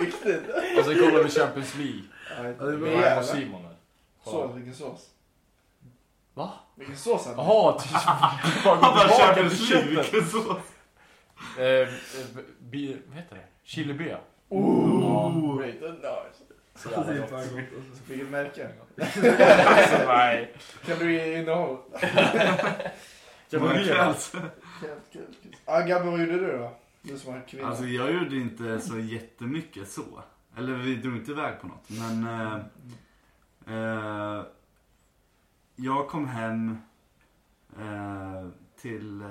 Speaker 4: Viktigt.
Speaker 2: Och sen kollade vi Champions League.
Speaker 4: Ja,
Speaker 3: det
Speaker 4: det
Speaker 3: var-
Speaker 4: var
Speaker 2: Med jag och
Speaker 4: jävla.
Speaker 2: Simon. där. Kolla.
Speaker 4: Sås, vilken sås.
Speaker 2: Va?
Speaker 4: Vilken sås han
Speaker 2: Jaha, typ... Fan,
Speaker 5: Han bara
Speaker 2: tillbaka
Speaker 5: körde en
Speaker 2: till köttet.
Speaker 5: sluk så.
Speaker 2: Eh, eh, bi- vad heter det? Chili B.
Speaker 4: Oh, great, nice.
Speaker 2: Så jävla gott.
Speaker 4: Vilket märke.
Speaker 2: Alltså, nej.
Speaker 4: Kan du ge innehåll?
Speaker 2: Kalorierna.
Speaker 4: Helt kul. Ja, Gabbe, vad gjorde du då? Du som var kvinna.
Speaker 5: Alltså jag gjorde inte så jättemycket så. Eller vi drog inte iväg på något. Men... Eh, eh, jag kom hem eh, till eh,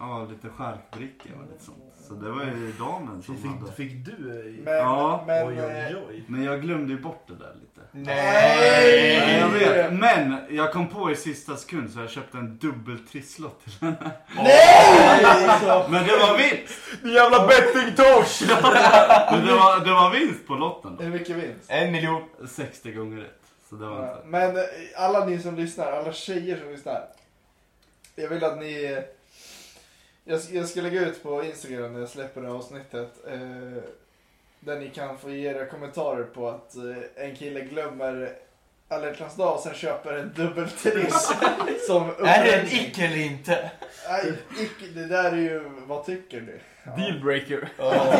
Speaker 5: ja, lite charkbricka och lite sånt. Så det var ju damen som hade.
Speaker 3: Fick, fick du? eh,
Speaker 4: men,
Speaker 5: ja,
Speaker 4: men...
Speaker 3: oj,
Speaker 4: eh,
Speaker 3: oj, oj.
Speaker 5: Men jag glömde ju bort det där lite.
Speaker 1: Nej!
Speaker 5: Ja, Jag vet, men jag kom på i sista sekund så jag köpte en dubbeltrisslott till henne.
Speaker 4: Alltså,
Speaker 5: Men det var vinst!
Speaker 2: Din jävla bettingtorsk!
Speaker 5: Men det var, det var vinst på lotten
Speaker 4: Hur mycket vinst?
Speaker 1: En miljon.
Speaker 5: då. 60 gånger rätt. Så det var inte...
Speaker 4: Men eh, alla ni som lyssnar, alla tjejer som lyssnar. Jag vill att ni... eh, Jag, ska- jag ska lägga ut på Instagram när jag släpper det här avsnittet. Eh, där ni kan få ge era kommentarer på att eh, en kille glömmer alla hjärtans dag och sen köper en dubbeltriss. som
Speaker 1: Är det en
Speaker 4: uppräkning.
Speaker 1: ick eller inte?
Speaker 4: Nej, icke. Det där är ju... Vad tycker ni?
Speaker 2: Dealbreaker.
Speaker 4: Ja,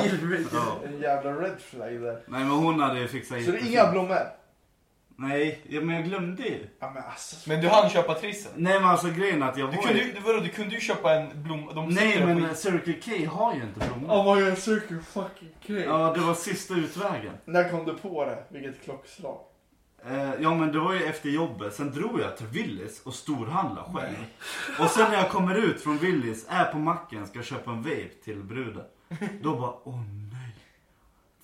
Speaker 5: Ja.
Speaker 4: en jävla red flag där.
Speaker 5: Nej men hon hade ju fixat
Speaker 4: Så det är
Speaker 5: jättefint.
Speaker 4: inga blommor?
Speaker 5: Nej, ja, men jag glömde ju.
Speaker 4: Ja men alltså.
Speaker 1: Men du hann köpa trissen.
Speaker 5: Nej men alltså grejen är att jag
Speaker 1: Du
Speaker 5: var
Speaker 1: kunde,
Speaker 5: ju...
Speaker 1: ju- vadå, du kunde ju köpa en blomma. De
Speaker 5: Nej
Speaker 1: säljer på-
Speaker 5: men alltså, Circle K har ju inte blommor.
Speaker 3: Oh my god, circle fucking cake.
Speaker 5: Ja, det var sista utvägen.
Speaker 4: När kom du på det? Vilket klockslag.
Speaker 5: Eh, ja men det var ju efter jobbet, sen drog jag till Willys och storhandlade själv. Och sen när jag kommer ut från Willys, är på macken, ska köpa en vape till bruden. Då bara, åh nej.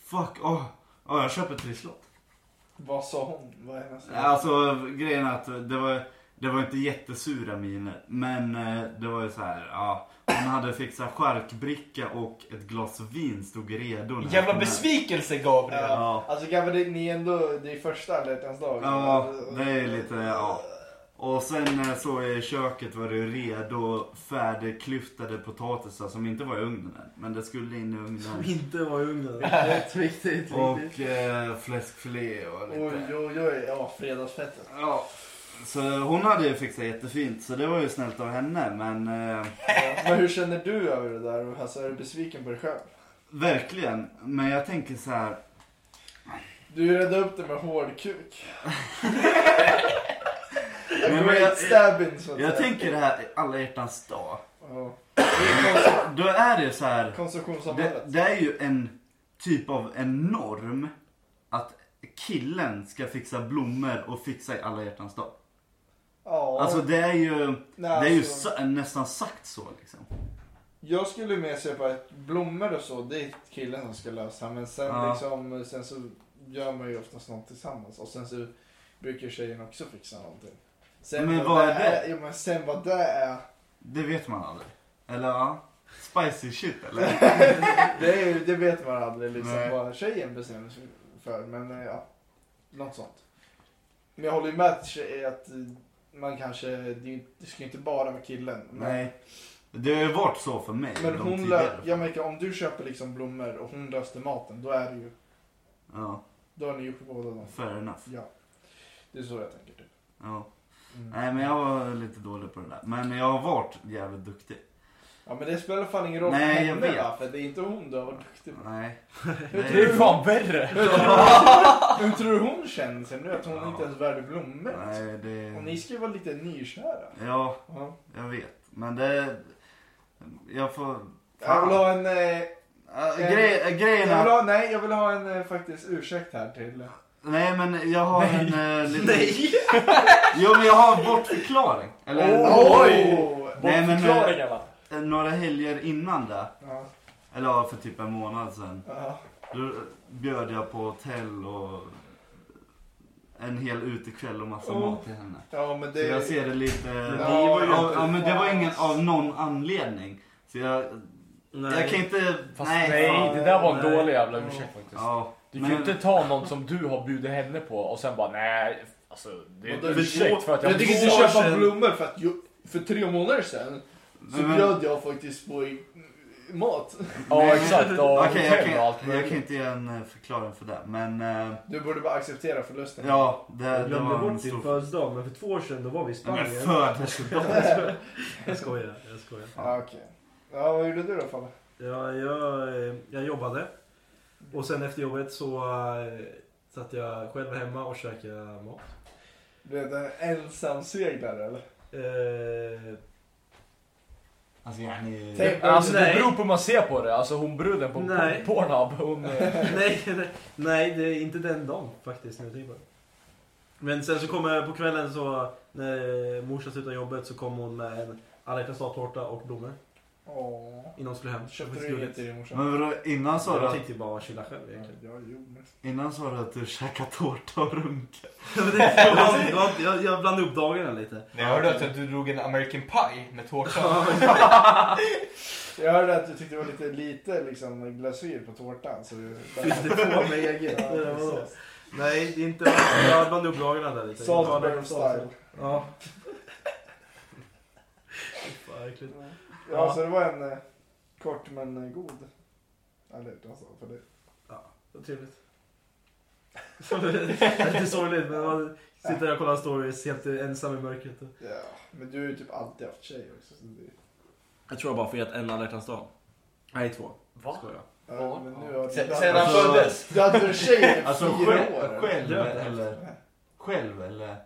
Speaker 5: Fuck, åh. Ja, jag köper trisslott.
Speaker 4: Vad sa hon? Vad är hennes
Speaker 5: Alltså grejen är att det var, det var inte jättesura miner. Men eh, det var ju så här, ja. Hon hade fixat charkbricka och ett glas vin stod redo. när jag kom
Speaker 1: Jävla
Speaker 5: hem.
Speaker 1: besvikelse Gabriel.
Speaker 4: Ja.
Speaker 5: Ja.
Speaker 4: Alltså grabbar, det- ni är ändå, det är första alla hjärtans dag.
Speaker 5: Ja, det är lite, ja. Och sen eh, såg jag i köket var det ju redo färdigklyftade potatisar som inte var i ugnen än. Men det skulle in i
Speaker 3: Som
Speaker 5: ugnen.
Speaker 3: inte var i ugnen.
Speaker 4: Rätt viktigt, viktigt.
Speaker 5: Och eh, fläskfilé och lite.
Speaker 4: Oj, oj, oj. Ja, fredagsfettet.
Speaker 5: Ja. Så hon hade ju fixat jättefint så det var ju snällt av henne men eh,
Speaker 4: Ja, Men hur känner du över det där? Alltså, är du besviken på dig själv?
Speaker 5: verkligen. Men jag tänker så här.
Speaker 4: Du räddade upp det med hård kuk. A
Speaker 5: men
Speaker 4: great
Speaker 5: jag-
Speaker 4: stabbing, så att
Speaker 5: Jag
Speaker 4: säga.
Speaker 5: tänker det här alla hjärtans dag.
Speaker 4: Ja.
Speaker 5: Då är det så här. Det,
Speaker 4: Konsumtionssamhället.
Speaker 5: det är ju en typ av en norm att killen ska fixa blommor och fixa i alla hjärtans dag.
Speaker 4: Ja.
Speaker 5: Alltså det är ju,
Speaker 4: nej,
Speaker 5: det är ju
Speaker 4: alltså,
Speaker 5: sa- nästan sagt så liksom.
Speaker 4: Jag skulle mer se på att blommor och så, det är killen som ska lösa. Men sen,
Speaker 5: Ja.
Speaker 4: liksom, sen så gör man ju oftast något tillsammans. Och sen så brukar tjejen också fixa någonting. Sen
Speaker 5: Men vad är det?
Speaker 4: Ja, men sen vad det är.
Speaker 5: Det vet man aldrig. Eller ja, spicy shit eller?
Speaker 4: Det, är, ju- det vet man aldrig liksom
Speaker 5: Nej.
Speaker 4: vad tjejen bestämmer sig för. Men eh, ja, något sånt. Men jag håller ju med att, tjej- att eh, man kanske, det, är ju- det ska ju inte bara vara killen. Men,
Speaker 5: Nej. Det har ju varit så för mig.
Speaker 4: men
Speaker 5: de
Speaker 4: hon lö-
Speaker 5: tidigare.
Speaker 4: jag märker om du köper liksom blommor och hon löste maten, då är det ju,
Speaker 5: Ja,
Speaker 4: då har ni gjort båda dem.
Speaker 5: fair enough.
Speaker 4: Ja. Det är så jag tänker typ.
Speaker 5: Ja.
Speaker 4: Mm.
Speaker 5: Nej men jag var lite dålig på det där. Men jag har varit jävligt duktig.
Speaker 4: Ja men det spelar fan ingen roll för
Speaker 5: Nej, jag
Speaker 4: henne,
Speaker 5: vet.
Speaker 4: va? För det är inte hon du har varit duktig på.
Speaker 5: Nej.
Speaker 2: Det är
Speaker 5: Nej.
Speaker 2: fan värre.
Speaker 4: Hur tror hon- hur tror du hon känner sig nu? Att hon
Speaker 5: Ja.
Speaker 4: inte ens är värd blommor?
Speaker 5: Nej
Speaker 4: Och ni
Speaker 5: det...
Speaker 4: ska ju vara lite nykära.
Speaker 5: Ja.
Speaker 4: Ja.
Speaker 5: Jag vet, men det... Jag får...
Speaker 4: Jag vill
Speaker 5: Fan.
Speaker 4: ha en... Eh,
Speaker 5: Äh, grej, äh, grejen
Speaker 4: jag vill
Speaker 5: är...
Speaker 4: ha, nej, jag vill ha en eh, faktiskt ursäkt här till...
Speaker 5: Nej men jag har en... Äh, liten...
Speaker 3: Nej!
Speaker 5: Jo men jag har en bortförklaring. Eller,
Speaker 4: Oj!
Speaker 5: Nej, men,
Speaker 2: Bortförklaringarna.
Speaker 5: eh, några helger innan det.
Speaker 4: Ja,
Speaker 5: Eller ja, för typ en månad sedan.
Speaker 4: ja.
Speaker 5: Då bjöd jag på hotell och... En hel utekväll och massa
Speaker 4: Oh.
Speaker 5: mat till henne.
Speaker 4: ja, men
Speaker 5: Så
Speaker 4: det...
Speaker 5: jag ser det lite...
Speaker 4: Ja,
Speaker 5: Ja,
Speaker 4: ju
Speaker 5: ja,
Speaker 4: inte-
Speaker 5: ja, men det var ingen av någon anledning. Så jag...
Speaker 3: Nej.
Speaker 5: Jag kan inte...
Speaker 2: Fast nej,
Speaker 5: nej. fan.
Speaker 2: det där var en
Speaker 3: nej.
Speaker 2: dålig jävla ursäkt faktiskt.
Speaker 5: Ja,
Speaker 2: Du kan ju
Speaker 5: men-
Speaker 2: inte ta någon som du har bjudit henne på och sen bara nej, alltså det är
Speaker 4: Men
Speaker 2: en
Speaker 4: då är det
Speaker 2: ursäkt
Speaker 4: två-
Speaker 2: för att
Speaker 4: Jag
Speaker 2: jag
Speaker 4: tycker inte
Speaker 3: två år
Speaker 4: köpa
Speaker 3: sedan-
Speaker 4: blommor för att ju, för tre månader sedan så
Speaker 5: Men-
Speaker 4: bjöd jag faktiskt på i, mat.
Speaker 2: Ja
Speaker 5: Nej.
Speaker 2: exakt, och
Speaker 5: Okej, jag,
Speaker 2: hotell och allt
Speaker 5: kan- jag kan
Speaker 2: möjligt.
Speaker 5: inte ge en eh, förklaring för det. Men eh,
Speaker 4: Du borde bara acceptera förlusten.
Speaker 5: ja, det,
Speaker 3: Jag
Speaker 5: det
Speaker 3: glömde
Speaker 5: var en
Speaker 3: bort din
Speaker 5: stor...
Speaker 3: födelsedag, men för två år sedan då var vi i
Speaker 5: Nej, Men
Speaker 3: Spanien.
Speaker 5: födelsedag.
Speaker 3: Jag skojar, jag skojar.
Speaker 4: Ja, okej. Ja, vad gjorde du då Fabbe?
Speaker 3: Ja, jag, eh, jag jobbade. Och sen efter jobbet så eh, satt jag själv hemma och käkade mat.
Speaker 4: Blev det en ensamseglare eller?
Speaker 3: Eh,
Speaker 5: Alltså yani...
Speaker 4: Tänk-
Speaker 2: Alltså det
Speaker 3: Nej.
Speaker 2: beror på hur man ser på det. Alltså hon bruden på
Speaker 3: Nej.
Speaker 2: på Pornhub, hon... eh,
Speaker 3: nej, nej, nej, det är inte den dagen faktiskt. När jag tänker på det. Men sen så kom jag på kvällen så när morsan slutade jobbet så kom hon med en alla hjärtans dag-tårta och blommor
Speaker 4: Åh.
Speaker 3: innan hon skulle hem.
Speaker 4: Köpte
Speaker 3: Det var
Speaker 4: du inget
Speaker 3: gulligt.
Speaker 4: till din morsa?
Speaker 5: Men vadå, innan sa du
Speaker 3: Jag
Speaker 5: att,
Speaker 3: tänkte ju bara chilla själv
Speaker 4: Ja,
Speaker 3: egentligen.
Speaker 4: jag gjorde det.
Speaker 5: innan sa du att du käkar tårta och runka.
Speaker 3: Ja, men det- det var- det var inte- Jag, jag blandade upp dagarna lite.
Speaker 1: Nej, jag hörde att du drog en American Pie med tårta.
Speaker 4: Jag hörde att du tyckte det var lite lite liksom, glasyr på tårtan. Så du
Speaker 3: Fyllde på med egen.
Speaker 4: Ja, precis.
Speaker 3: Nej, det är inte Jag blandade upp lagarna där lite.
Speaker 4: Salisbury style.
Speaker 3: Ja. Fan, äckligt.
Speaker 4: Mm. Ja, så det var en eh, kort men eh, god. Eller alltså, för det.
Speaker 3: Vad trevligt. det är lite sorgligt men man sitter där och kollar stories helt ensam i mörkret.
Speaker 4: Ja, men du har ju typ alltid haft tjej också. Så det,
Speaker 3: Jag tror jag bara får gett en alla dag. Nej, två.
Speaker 2: Va?
Speaker 3: Skojar.
Speaker 4: ja,
Speaker 1: Ja.
Speaker 4: men nu har du...
Speaker 1: Sen sen han
Speaker 5: Alltså-
Speaker 1: föddes.
Speaker 4: Du hade en tjej i
Speaker 5: Alltså
Speaker 4: fyra år.
Speaker 5: själv, själv
Speaker 3: Ja.
Speaker 5: eller? själv eller?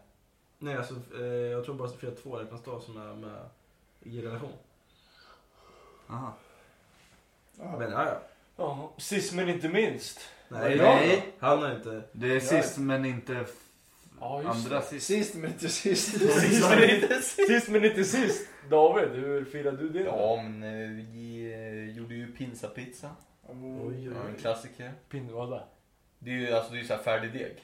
Speaker 3: Nej, alltså eh, jag tror bara Sofia 2 räknas då som är med i relation.
Speaker 5: Aha.
Speaker 4: Ja.
Speaker 3: Men ja, ja.
Speaker 2: Ja, sist men inte minst.
Speaker 3: Nej,
Speaker 5: Vad är
Speaker 3: nej. Han är inte...
Speaker 5: Det är sist men inte f-
Speaker 2: Ja, just
Speaker 5: andra
Speaker 2: det.
Speaker 5: sist.
Speaker 4: Sist men inte sist.
Speaker 2: Sist men, inte, sist men inte sist. David, hur firar du det?
Speaker 1: Ja, men eh, vi eh, gjorde ju pinsapizza.
Speaker 3: Oj,
Speaker 1: Det är En
Speaker 3: oj.
Speaker 1: klassiker.
Speaker 2: Pinnvada.
Speaker 1: Det är ju alltså, det är så här färdig deg.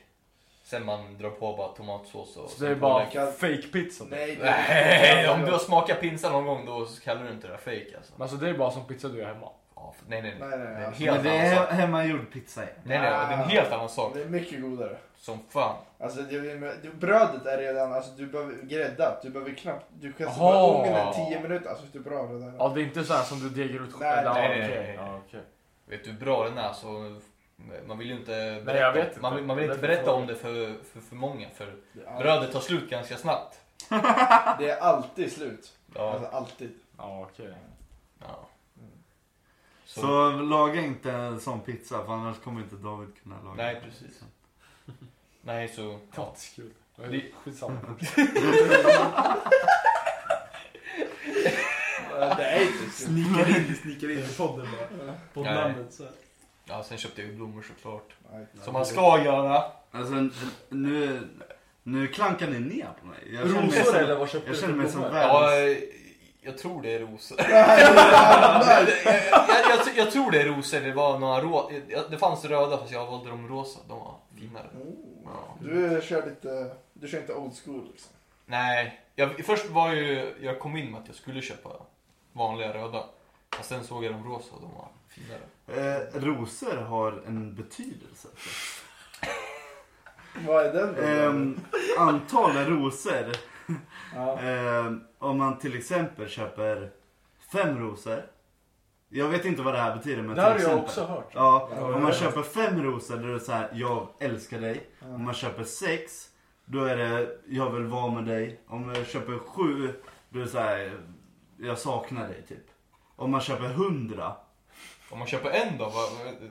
Speaker 1: Sen man drar på bara tomatsås och...
Speaker 2: Så det är bara
Speaker 4: påverkar-
Speaker 2: fake pizza. typ. Men
Speaker 4: Nej, det-
Speaker 1: Nej, om du har smakat pinsa någon gång då så kallar du inte det fake alltså.
Speaker 2: alltså det är bara som pizza du gör hemma.
Speaker 1: Ja, för, nej, nej, nej.
Speaker 4: Nej,
Speaker 1: Det
Speaker 4: nej,
Speaker 1: är en
Speaker 4: alltså,
Speaker 1: helt
Speaker 5: Men det
Speaker 1: annan
Speaker 5: är
Speaker 1: sak.
Speaker 5: hemmagjord pizza. ja.
Speaker 1: Nej, nej, det är en helt annan sak.
Speaker 4: Det är mycket godare.
Speaker 1: Som fan.
Speaker 4: Alltså, det, det, brödet är redan, alltså du behöver gräddat, du behöver knappt, du kan sätta
Speaker 2: Aha.
Speaker 4: ugnen i 10 minuter, alltså det är bra det där.
Speaker 2: Ja, det är inte så här som du degar ut
Speaker 4: Nej,
Speaker 2: eller,
Speaker 1: nej,
Speaker 2: ja,
Speaker 1: nej,
Speaker 2: okej.
Speaker 1: nej.
Speaker 2: Ja, okej.
Speaker 1: Vet du hur bra den är så... Man vill ju inte berätta,
Speaker 2: Nej, jag vet inte.
Speaker 1: Man, vill, man vill inte
Speaker 2: Därför
Speaker 1: berätta
Speaker 2: frågar
Speaker 1: om det för, för, för många för
Speaker 4: Ja,
Speaker 1: brödet tar slut ganska snabbt.
Speaker 4: Det är alltid slut. Alltså
Speaker 1: Ja.
Speaker 4: alltid.
Speaker 2: Ja, okej.
Speaker 1: ja. Så,
Speaker 5: Så laga inte en sån pizza för annars kommer inte David kunna laga
Speaker 1: Nej,
Speaker 5: den.
Speaker 1: precis. Nej, så... Ja.
Speaker 2: Tatskul.
Speaker 1: Det-
Speaker 2: Skitsamma.
Speaker 4: Eh, Det är inte slut.
Speaker 3: Sniker in, sniker in i podden bara. Poddnamnet så. här.
Speaker 1: ja, sen köpte jag ju blommor såklart.
Speaker 4: Nej.
Speaker 1: Som man ska göra.
Speaker 5: Alltså nu, nu klankar ni ner på mig. Jag känner mig
Speaker 2: Rosor
Speaker 5: som,
Speaker 2: eller vad köpte
Speaker 5: jag
Speaker 2: du
Speaker 5: känner mig som
Speaker 2: blommor?
Speaker 1: Ja, eh,
Speaker 5: världens...
Speaker 1: jag tror det är rosor.
Speaker 4: Nej,
Speaker 1: jag, jag, jag, jag tror det är rosor, det var några rå... jag- Det fanns röda fast jag valde de rosa, de var finare.
Speaker 4: Oh.
Speaker 1: Ja.
Speaker 4: Du kör lite, du kör inte old school liksom.
Speaker 1: Nej, jag, först var ju, jag kom in med att jag skulle köpa vanliga röda. Men sen såg jag de rosa och de var finare.
Speaker 5: Eh, rosor har en betydelse.
Speaker 4: Vad är den då?
Speaker 5: Ehm, antal rosor.
Speaker 4: ja.
Speaker 5: Ehm, om man till exempel köper fem rosor. Jag vet inte vad det här betyder men
Speaker 2: Det
Speaker 5: till
Speaker 2: här har
Speaker 5: exempel.
Speaker 2: jag också hört.
Speaker 5: Ja,
Speaker 4: Ja,
Speaker 5: om
Speaker 4: ja,
Speaker 5: man
Speaker 4: ja.
Speaker 5: köper fem rosor då är det så här, jag älskar dig.
Speaker 4: Ja.
Speaker 5: Om man köper sex, då är det, jag vill vara med dig. Om man köper sju, då är det så här, jag saknar dig typ. Om man köper hundra,
Speaker 1: Om man köper en då? Vad,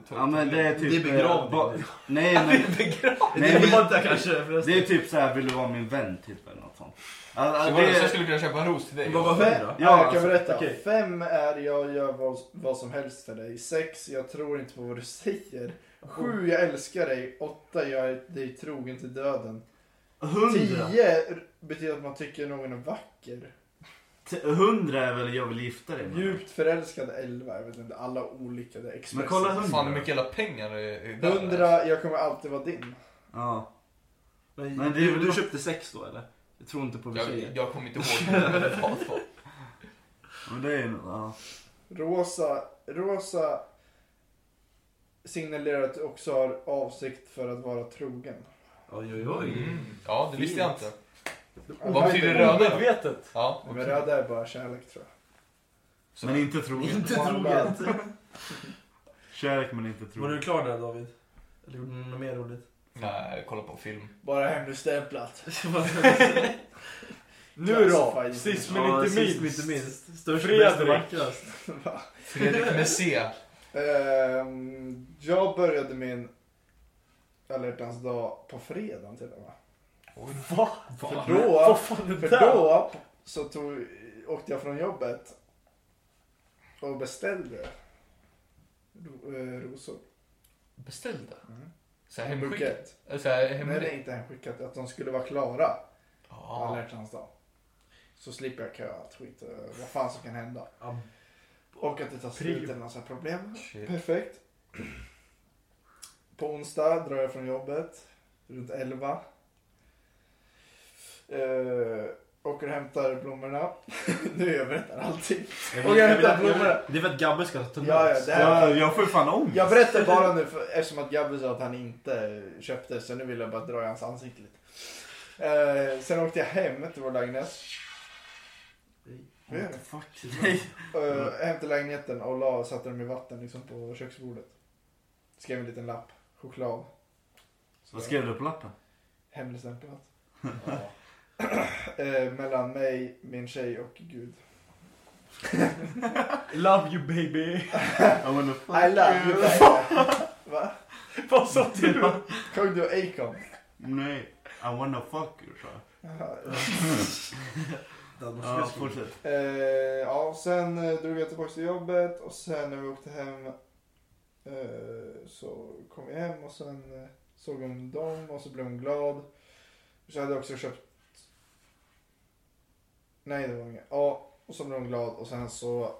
Speaker 5: ja men det är typ...
Speaker 3: Det är begravning.
Speaker 5: eh, ba- Nej men,
Speaker 3: det
Speaker 5: nej,
Speaker 3: är
Speaker 5: men
Speaker 3: inte kanske
Speaker 5: det är
Speaker 3: förresten.
Speaker 5: typ så här, vill du vara min vän typ eller något sånt. Alltså,
Speaker 1: Så var
Speaker 5: det-
Speaker 1: det så jag skulle kunna köpa en ros till dig?
Speaker 3: Vad var
Speaker 4: Fem,
Speaker 3: hundra?
Speaker 5: Ja,
Speaker 4: jag kan
Speaker 5: alltså,
Speaker 4: berätta.
Speaker 3: okej.
Speaker 4: Fem är jag gör vad, vad som helst för dig. Sex, jag tror inte på vad du säger. Sju, jag älskar dig. Åtta, jag är dig trogen till döden.
Speaker 5: Hundra?
Speaker 4: Tio r- betyder att man tycker någon är vacker.
Speaker 5: T- Hundra är väl jag vill gifta dig med?
Speaker 4: Djupt förälskad, elva. Jag vet inte, alla olika. Det är express.
Speaker 5: Men kolla hundra.
Speaker 1: Fan hur mycket jävla pengar det är där.
Speaker 4: Hundra, jag kommer alltid vara din.
Speaker 5: Ja.
Speaker 3: Men,
Speaker 5: Men det är
Speaker 3: du,
Speaker 5: väl-
Speaker 3: du köpte sex då eller? Jag tror inte på vad
Speaker 1: Jag,
Speaker 3: du säger.
Speaker 1: jag kommer inte ihåg hur det var.
Speaker 5: Men det är ju, ja.
Speaker 4: Rosa, rosa signalerar att du också har avsikt för att vara trogen.
Speaker 3: Oj, oj, oj.
Speaker 1: Mm. Ja, det visste jag inte. Vad
Speaker 4: Alltså,
Speaker 1: betyder
Speaker 4: det?
Speaker 1: röda då?
Speaker 2: Omedvetet.
Speaker 1: Ja.
Speaker 4: Men röda är bara kärlek tror jag.
Speaker 1: Så.
Speaker 5: Men inte trogen.
Speaker 3: Inte troget.
Speaker 5: Kärlek men inte
Speaker 3: Var du
Speaker 5: trogen.
Speaker 3: klar där David? Eller gjorde du något mer roligt?
Speaker 1: Nej, kolla på film.
Speaker 4: Bara hemligstämplat.
Speaker 2: Nu då,
Speaker 4: Classified.
Speaker 2: sist men
Speaker 3: Ja,
Speaker 2: inte
Speaker 3: sist men
Speaker 2: minst.
Speaker 3: inte minst. Störst,
Speaker 2: Fredrik.
Speaker 3: bäst och vackrast.
Speaker 1: Fredrik Messé.
Speaker 4: Ehm, jag började min alla hjärtans dag på fredagen till och med.
Speaker 2: Va?
Speaker 4: För
Speaker 2: Vad
Speaker 4: då,
Speaker 2: fan är det
Speaker 4: för
Speaker 2: där?
Speaker 4: då så tog, åkte jag från jobbet och beställde ro- eh, rosor.
Speaker 1: Beställda?
Speaker 4: Mm.
Speaker 1: Så här hemskickat?
Speaker 4: Buket.
Speaker 1: Eller Så här
Speaker 4: Nej, det
Speaker 1: hemligt?
Speaker 4: är inte hemskickat. Att de skulle vara klara
Speaker 1: Ja.
Speaker 4: alla hjärtans dag. Så slipper jag köa och skit eh, vad fan som kan hända.
Speaker 3: Ja.
Speaker 4: Och att det tar slut
Speaker 2: Prio.
Speaker 4: eller något sånt här problem.
Speaker 1: Shit.
Speaker 4: Perfekt. På onsdag drar jag från jobbet runt 11. Eh, åker och hämtar blommorna. nu överrättar allting.
Speaker 3: Jag
Speaker 4: Och jag
Speaker 3: jag
Speaker 4: hämtar
Speaker 3: jag
Speaker 4: blommorna.
Speaker 3: det är för att Gabbe ska ta
Speaker 4: Ja, ja, det här,
Speaker 5: Ja, jag får fan ångest.
Speaker 4: jag berättar bara nu för, eftersom att Gabby sa att han inte köpte så nu vill jag bara dra i hans ansikte lite. Eh, sen åkte jag hem till vår lägenhet.
Speaker 5: What the fuck? Nej.
Speaker 4: Uh, hämtade lägenheten och la och satte dem i vatten liksom, på köksbordet. Skrev en liten lapp. Choklad. Så
Speaker 5: Vad skrev du på lappen?
Speaker 4: Hemligstämplat. Eh, mellan mig, min tjej och Gud.
Speaker 2: Love you baby.
Speaker 5: I wanna fuck
Speaker 4: I love you.
Speaker 5: you.
Speaker 4: Va?
Speaker 2: Vad sa du?
Speaker 4: Sjöng du Acon?
Speaker 5: Nej. I wanna fuck you, sa jag. Ja, fortsätt.
Speaker 4: Eh, ja, sen eh, drog jag tillbaka till jobbet och sen när vi åkte hem eh, så kom jag hem och sen eh, såg hon dem och så blev hon glad. Så hade jag också köpt... Nej, det var inget. Ja, och så blev hon glad och sen så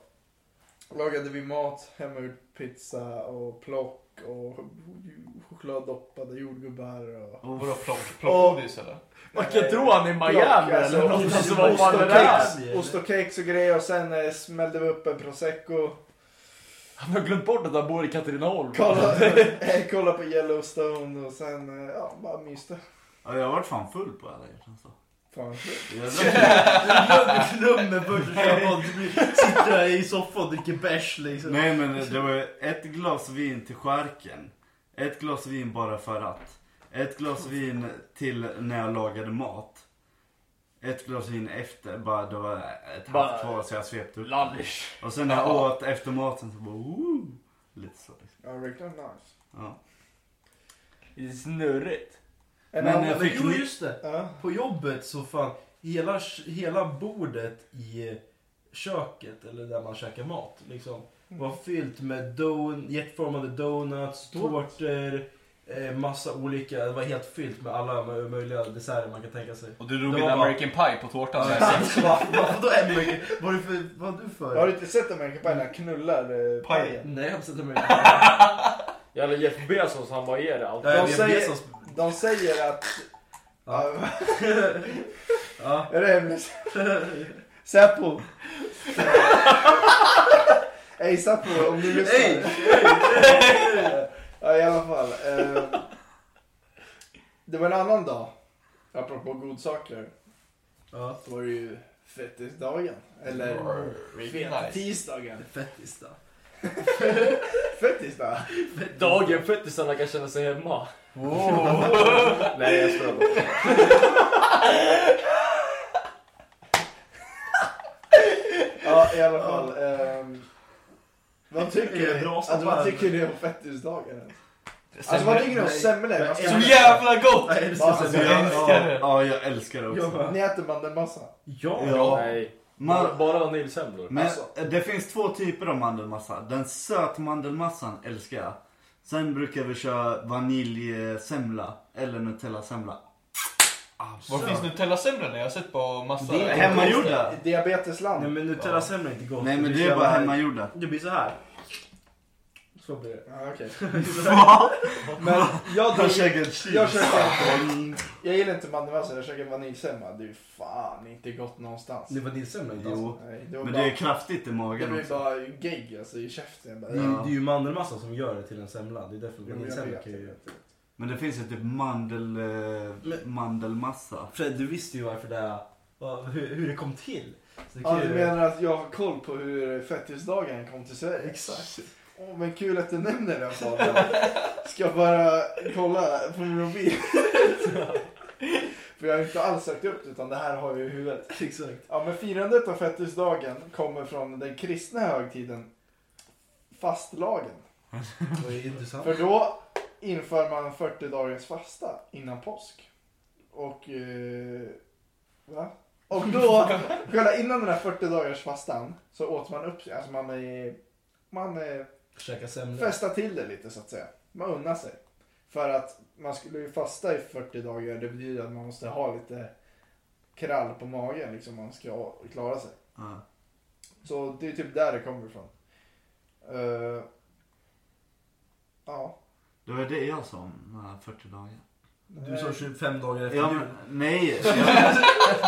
Speaker 4: lagade vi mat, hemmagjord pizza och plock och ch- chokladdoppade jordgubbar och...
Speaker 1: Vadå plock, plockgodis eller?
Speaker 2: Man kan tro han är i Miami
Speaker 4: Plock, alltså,
Speaker 2: eller något.
Speaker 4: ost-
Speaker 2: Alltså vad fan är det här?
Speaker 4: ost och kex- Ost och kex och grejer och sen eh, smällde vi upp en prosecco.
Speaker 2: Han har glömt bort att han bor i Katrineholm.
Speaker 4: Kolla, eh, kolla på Yellowstone och sen eh, ja, bara myste.
Speaker 5: Ja, jag har varit fan full på alla er. Alltså.
Speaker 4: Fan.
Speaker 5: Jag drack-
Speaker 3: Glömmer först Sitter i soffan och dricker bärs liksom.
Speaker 5: Nej men det var ju ett glas vin till skärken. Ett glas vin bara för att. Ett glas vin till när jag lagade mat. Ett glas vin efter, bara det var ett
Speaker 2: Bara-
Speaker 5: halvt kvar så jag svepte upp.
Speaker 2: Lallish.
Speaker 5: Och sen när jag åt efter maten så bara woo, Lite så liksom.
Speaker 4: Ja, verkligen nice.
Speaker 5: Ja.
Speaker 2: Det är snurrigt.
Speaker 4: En
Speaker 5: Men,
Speaker 4: annan,
Speaker 5: eh,
Speaker 3: Men jo, just det.
Speaker 4: ja,
Speaker 3: På jobbet så fan, hela, hela bordet i köket, eller där man käkar mat, liksom,
Speaker 4: Mm.
Speaker 3: var fyllt med don, jätteformade donuts, tårtor, eh, massa olika, det var helt fyllt med alla mö- möjliga desserter man kan tänka sig.
Speaker 1: Och du drog
Speaker 3: Det
Speaker 1: en
Speaker 3: var bara-
Speaker 1: American pie på tårtan
Speaker 3: Vad
Speaker 1: där.
Speaker 3: Vadå Emily? Vad är du för- vad är du
Speaker 4: har
Speaker 3: för?
Speaker 4: du inte sett American Pie när han knullar eh, pajen?
Speaker 3: Nej, jag har inte sett mig.
Speaker 2: Jävla Jeff Bezos han bara ger det allt.
Speaker 4: De
Speaker 3: Jag
Speaker 4: säger-
Speaker 3: säger...
Speaker 4: De säger att...
Speaker 3: Ja.
Speaker 4: Ja,
Speaker 3: Ja.
Speaker 4: är det hemligt? Säpo! Hej Säpo, om du lyssnar.
Speaker 3: Hej!
Speaker 4: ja, i alla fall. eh, det var en annan dag, apropå godsaker.
Speaker 3: Ja.
Speaker 4: Då var det ju fettisdagen. Eller
Speaker 1: Riktigt nice.
Speaker 4: fettisdagen.
Speaker 3: Fettis då.
Speaker 4: Fettisdag?
Speaker 2: Dagen fettisarna kan känna sig hemma.
Speaker 5: Nej jag skojar bara.
Speaker 4: Ja, i alla fall. ehm, vad
Speaker 3: Är
Speaker 4: tycker
Speaker 3: det
Speaker 4: ni?
Speaker 3: bra som
Speaker 4: Alltså,
Speaker 3: du är?
Speaker 4: vad tycker ni om fettisdagen? Alltså
Speaker 1: Semlor.
Speaker 4: vad tycker ni om
Speaker 3: Nej.
Speaker 4: semlor?
Speaker 3: Nej.
Speaker 4: Alltså,
Speaker 1: Så jävla gott!
Speaker 3: Nej, det
Speaker 4: Vad
Speaker 3: ser
Speaker 4: säger
Speaker 3: så
Speaker 5: Jag,
Speaker 1: Jag
Speaker 3: jävla-
Speaker 1: älskar
Speaker 5: ja,
Speaker 1: det.
Speaker 5: ja, jag älskar det också.
Speaker 3: Ja.
Speaker 4: Ni äter mandelmassa?
Speaker 3: Ja.
Speaker 5: Ja.
Speaker 2: Nej.
Speaker 5: Man,
Speaker 2: Bara vaniljsemlor.
Speaker 5: men
Speaker 4: Alltså.
Speaker 5: det finns två typer av mandelmassa. Den söt mandelmassan älskar jag. Sen brukar vi köra vaniljsemla eller nutellasemla. Ah,
Speaker 1: Var
Speaker 5: så-
Speaker 1: finns Nutella-semlorna? Jag har sett på massa...
Speaker 3: Det är
Speaker 5: Hemmagjorda?
Speaker 4: Diabetesland?
Speaker 3: Nej men Nutella-semla är inte gott.
Speaker 5: Nej men
Speaker 3: blir
Speaker 5: det
Speaker 3: så
Speaker 5: är bara
Speaker 3: jävla-
Speaker 5: hemmagjorda.
Speaker 3: Det blir så här. Så blir det.
Speaker 4: Ja, okej.
Speaker 5: Va?
Speaker 4: Men jag
Speaker 5: Jag
Speaker 4: drog...
Speaker 5: käkar ett chips.
Speaker 4: Jag käkar Jag gillar inte mandelmassa, jag käkar vaniljsemla. Det är ju fan inte gott någonstans.
Speaker 3: Det var dillsemla inte
Speaker 5: Jo.
Speaker 3: alltså.
Speaker 4: Nej, det var
Speaker 5: Men
Speaker 4: bara...
Speaker 5: det är kraftigt i
Speaker 4: Det
Speaker 5: magen
Speaker 4: blir
Speaker 5: också.
Speaker 4: bara gegg alltså i käften. Jag bara,
Speaker 3: Det är, ju-
Speaker 5: Ja.
Speaker 3: det är ju mandelmassa som gör det till en semla. Mm. Det är därför
Speaker 4: Jo, jag
Speaker 3: vaniljsemla
Speaker 4: vet,
Speaker 3: kan
Speaker 4: jag
Speaker 3: ju...
Speaker 4: vet.
Speaker 5: Men det finns ju typ mandel, eh,
Speaker 3: Men-
Speaker 5: mandelmassa.
Speaker 3: Fred, du visste ju varför det... är- vad- Hur, hur det kom till. Så det
Speaker 4: Ja,
Speaker 3: kan ju-
Speaker 4: du menar att jag har koll på hur fettisdagen kom till Sverige?
Speaker 3: Exakt.
Speaker 4: Åh, men kul att du nämner den Fabian. Ska bara kolla på min mobil. För jag har inte alls sökt upp det, utan det här har jag i huvudet.
Speaker 3: Exakt.
Speaker 4: Ja, men firandet av fettisdagen kommer från den kristna högtiden fastlagen.
Speaker 3: Det var ju intressant.
Speaker 4: För då inför man 40 dagars fasta innan påsk. Och... Eh, va? Och då, kolla innan den här 40 dagars fastan så åt man upp sig. Alltså man, eh, man eh,
Speaker 3: Käka semla.
Speaker 4: festade till det lite så att säga. Man unnar sig. För att man skulle ju fasta i 40 dagar. Det betyder att man måste ha lite krall på magen liksom om man ska klara sig.
Speaker 5: Ja.
Speaker 4: Så det är typ där det kommer ifrån. Eh, ja.
Speaker 5: Det var det jag sa om de här 40 dagar.
Speaker 3: Du sa 25 dagar efter
Speaker 5: Ja,
Speaker 3: jul.
Speaker 5: men, nej, jag,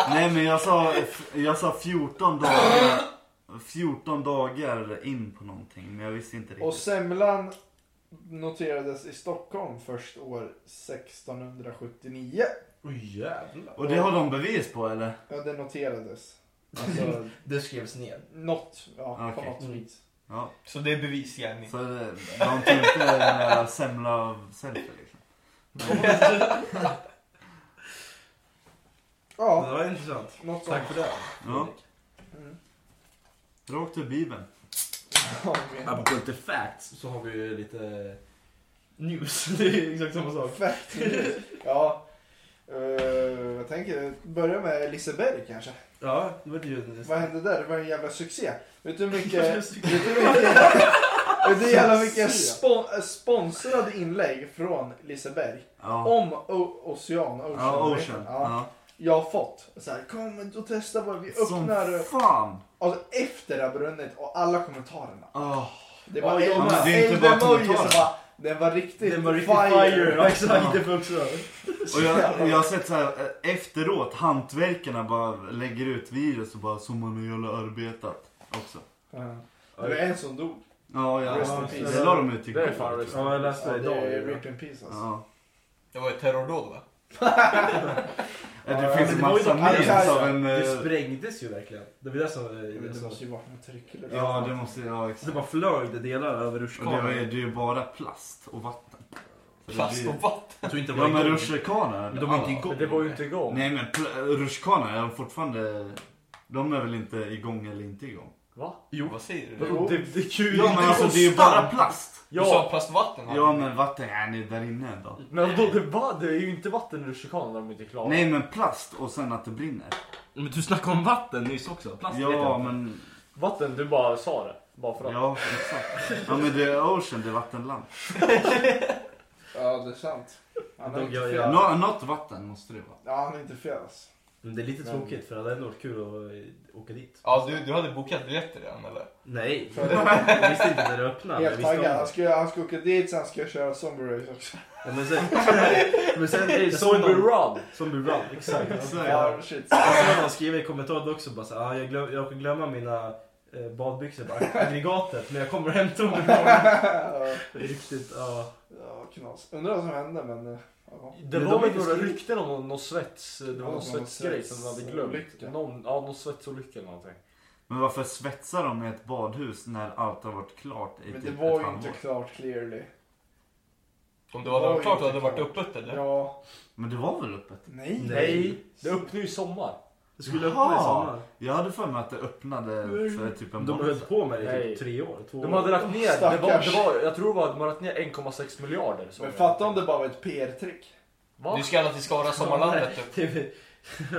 Speaker 5: nej men jag sa, jag sa 14 dagar 14 dagar in på någonting men jag visste inte riktigt.
Speaker 4: Och semlan noterades i Stockholm först år 1679.
Speaker 3: Oj jävlar.
Speaker 5: Och det har de bevis på eller?
Speaker 4: Ja, det noterades. Alltså,
Speaker 3: Det skrevs ner.
Speaker 4: något, ja, på
Speaker 5: Okej.
Speaker 4: något vis.
Speaker 5: Ja.
Speaker 1: Så det är bevisgärning.
Speaker 5: Så det- de tog inte den där semla av selfie liksom. Men,
Speaker 4: Ja,
Speaker 3: Det var intressant.
Speaker 4: något sånt.
Speaker 3: Tack för det.
Speaker 5: ja,
Speaker 3: Fredrik.
Speaker 4: Mm.
Speaker 5: rakt ur bibeln.
Speaker 4: Ja, men-
Speaker 3: Apropå lite facts så har vi ju lite news. Det är exakt samma sak.
Speaker 4: Fett. Ja. Eh, jag tänker börja med Liseberg kanske.
Speaker 3: Ja, det var det
Speaker 4: Vad hände där? Det var en jävla succé. Vet du hur mycket... vet du hur mycket... vet du hur jävla mycket spon, eh, sponsrade inlägg från Liseberg?
Speaker 5: Ja.
Speaker 4: Om o- Ocean. Ocean.
Speaker 5: Ja,
Speaker 4: vad heter
Speaker 5: Ocean.
Speaker 4: den? Ja.
Speaker 5: Ja.
Speaker 4: Jag har fått så här, kom och testa vad vi
Speaker 5: Som
Speaker 4: öppnar.
Speaker 5: fan!
Speaker 4: Alltså efter det har brunnit och alla kommentarerna.
Speaker 5: Oh.
Speaker 4: Det
Speaker 3: Ja,
Speaker 4: var
Speaker 3: jag
Speaker 4: eld-
Speaker 3: med.
Speaker 5: Det är inte bara
Speaker 4: eldemojis som
Speaker 5: kommentarer.
Speaker 4: bara, den var riktigt,
Speaker 3: Den var riktigt fire. Ja,
Speaker 5: Ja.
Speaker 3: exakt. Det var också.
Speaker 5: Och jag, jag har sett så här eh, efteråt, hantverkarna bara lägger ut videos och bara som man har jävla arbetat också.
Speaker 4: Ja. Det var en som dog.
Speaker 5: Ja, jag,
Speaker 4: Rest in
Speaker 5: det,
Speaker 4: peace.
Speaker 5: la de ut
Speaker 2: Det
Speaker 5: igår.
Speaker 2: är fan rest in
Speaker 3: Ja, jag läste
Speaker 4: Ja,
Speaker 3: det
Speaker 4: det
Speaker 3: Alltså, idag.
Speaker 4: är
Speaker 3: ju.
Speaker 4: rip in peace alltså.
Speaker 5: Ja.
Speaker 1: Det var ett terrordåd va?
Speaker 5: Eh,
Speaker 4: Ja,
Speaker 5: Det
Speaker 4: men
Speaker 5: finns en
Speaker 4: det var ju
Speaker 5: massa
Speaker 4: de-
Speaker 5: memes
Speaker 4: Alexander,
Speaker 5: av en... eh,
Speaker 3: Det sprängdes ju verkligen. Det var det som...
Speaker 4: Jag
Speaker 3: Det,
Speaker 4: vet, Det typ
Speaker 3: som
Speaker 4: måste ju vara något tryck eller
Speaker 5: Ja, det måste jag...
Speaker 3: det bara flög det delar över
Speaker 5: Och det, var, ju-
Speaker 3: rutschkanan.
Speaker 5: det är ju bara plast och vatten. Så det
Speaker 1: Fast
Speaker 5: blir-
Speaker 1: och vatten.
Speaker 3: Jag tror inte det
Speaker 5: Ja
Speaker 3: var
Speaker 5: men
Speaker 3: igång.
Speaker 5: rutschkanor.
Speaker 3: Men de är inte igång.
Speaker 2: Men det var ju inte igång.
Speaker 5: Nej men pl- rutschkanor är de fortfarande... De är väl inte igång eller inte igång?
Speaker 2: Va?
Speaker 3: Jo.
Speaker 1: Vad säger du?
Speaker 4: Jo.
Speaker 2: Vadå, Det, det är kul.
Speaker 5: Ja men alltså det är ju bara plast.
Speaker 1: Du sa
Speaker 2: Ja,
Speaker 1: plastvatten va?
Speaker 5: Ja men vatten är ni där inne ändå.
Speaker 2: men då det, var, det är ju inte vatten i rutschkanan när de inte är klara.
Speaker 5: Nej men plast och sen att det brinner.
Speaker 3: Men du snackade om vatten nyss också. Plast vet jag
Speaker 5: Ja
Speaker 3: inte.
Speaker 5: men...
Speaker 2: Vatten, du bara sa det. Bara för att.
Speaker 5: Ja exakt. Ja men det är ocean, det är vattenland.
Speaker 4: Ja, det är sant. Han har
Speaker 3: De
Speaker 4: inte
Speaker 3: gör
Speaker 4: fel.
Speaker 3: ju-
Speaker 5: Nå- något vatten måste det vara.
Speaker 4: Ja, han har inte fel alltså.
Speaker 3: Men Mm, det är lite
Speaker 4: Men-
Speaker 3: tråkigt för det hade ändå varit kul att eh, åka dit.
Speaker 1: Ja, du, du hade bokat biljetter redan eller?
Speaker 3: Nej, jag visste inte när det öppnade. men jag
Speaker 4: Helt
Speaker 3: visste om
Speaker 4: taggad. Han
Speaker 3: det.
Speaker 4: ska, han ska åka dit, sen ska jag köra Zombie Race också.
Speaker 3: Ja, Men sen... Men sen jag såg
Speaker 2: Zombie
Speaker 3: någon...
Speaker 2: run!
Speaker 3: Zombie run. Exakt.
Speaker 5: Exakt.
Speaker 4: Ja, shit.
Speaker 3: Jag såg någon skriva i kommentaren också bara såhär, ah, jag, glöm, jag kommer glömma mina eh, badbyxor på aggregatet men jag kommer och hämta dem imorgon.
Speaker 4: Ja,
Speaker 3: Det är Riktigt, ja.
Speaker 4: ja, knas. Undrar vad som hände, men... eh, Ja.
Speaker 2: Det
Speaker 3: Men
Speaker 2: var
Speaker 3: de har
Speaker 2: väl
Speaker 3: inte
Speaker 2: några
Speaker 3: skrivit-
Speaker 2: rykten om någon, någon svets... Det var
Speaker 4: Ja,
Speaker 2: någon
Speaker 4: någon
Speaker 2: svetsgrej som de hade glömt.
Speaker 4: svetsolycka.
Speaker 2: Någon, ja, någon svetsolycka eller någonting.
Speaker 5: Men varför svetsar de i ett badhus när allt har varit klart i
Speaker 4: Men det
Speaker 5: typ
Speaker 4: var
Speaker 5: ett
Speaker 4: ju
Speaker 5: halvår?
Speaker 4: inte klart clearly.
Speaker 1: Om det
Speaker 4: Det var
Speaker 1: var
Speaker 4: ju
Speaker 1: klart hade
Speaker 4: inte
Speaker 1: det varit
Speaker 4: klart.
Speaker 1: öppet eller?
Speaker 4: Ja,
Speaker 5: Men det var väl öppet?
Speaker 4: nej.
Speaker 2: Nej, det öppnar ju i sommar.
Speaker 3: Det skulle
Speaker 5: Jaha.
Speaker 3: öppna i sommar.
Speaker 5: Jag hade för mig att det öppnade
Speaker 4: Mm.
Speaker 5: för typ en
Speaker 3: De höll
Speaker 5: månad
Speaker 3: på med det i
Speaker 2: Nej.
Speaker 3: typ tre år, två
Speaker 2: De
Speaker 3: år.
Speaker 2: hade lagt ner, det var,
Speaker 4: Stackars.
Speaker 2: det var, jag tror det var att de hade lagt ner 1,6 miljarder. såg
Speaker 4: Men
Speaker 2: jag.
Speaker 4: fatta om det bara var ett PR-trick.
Speaker 2: Va?
Speaker 1: Du ska alla till Skara Sommarlandet typ.
Speaker 3: Det-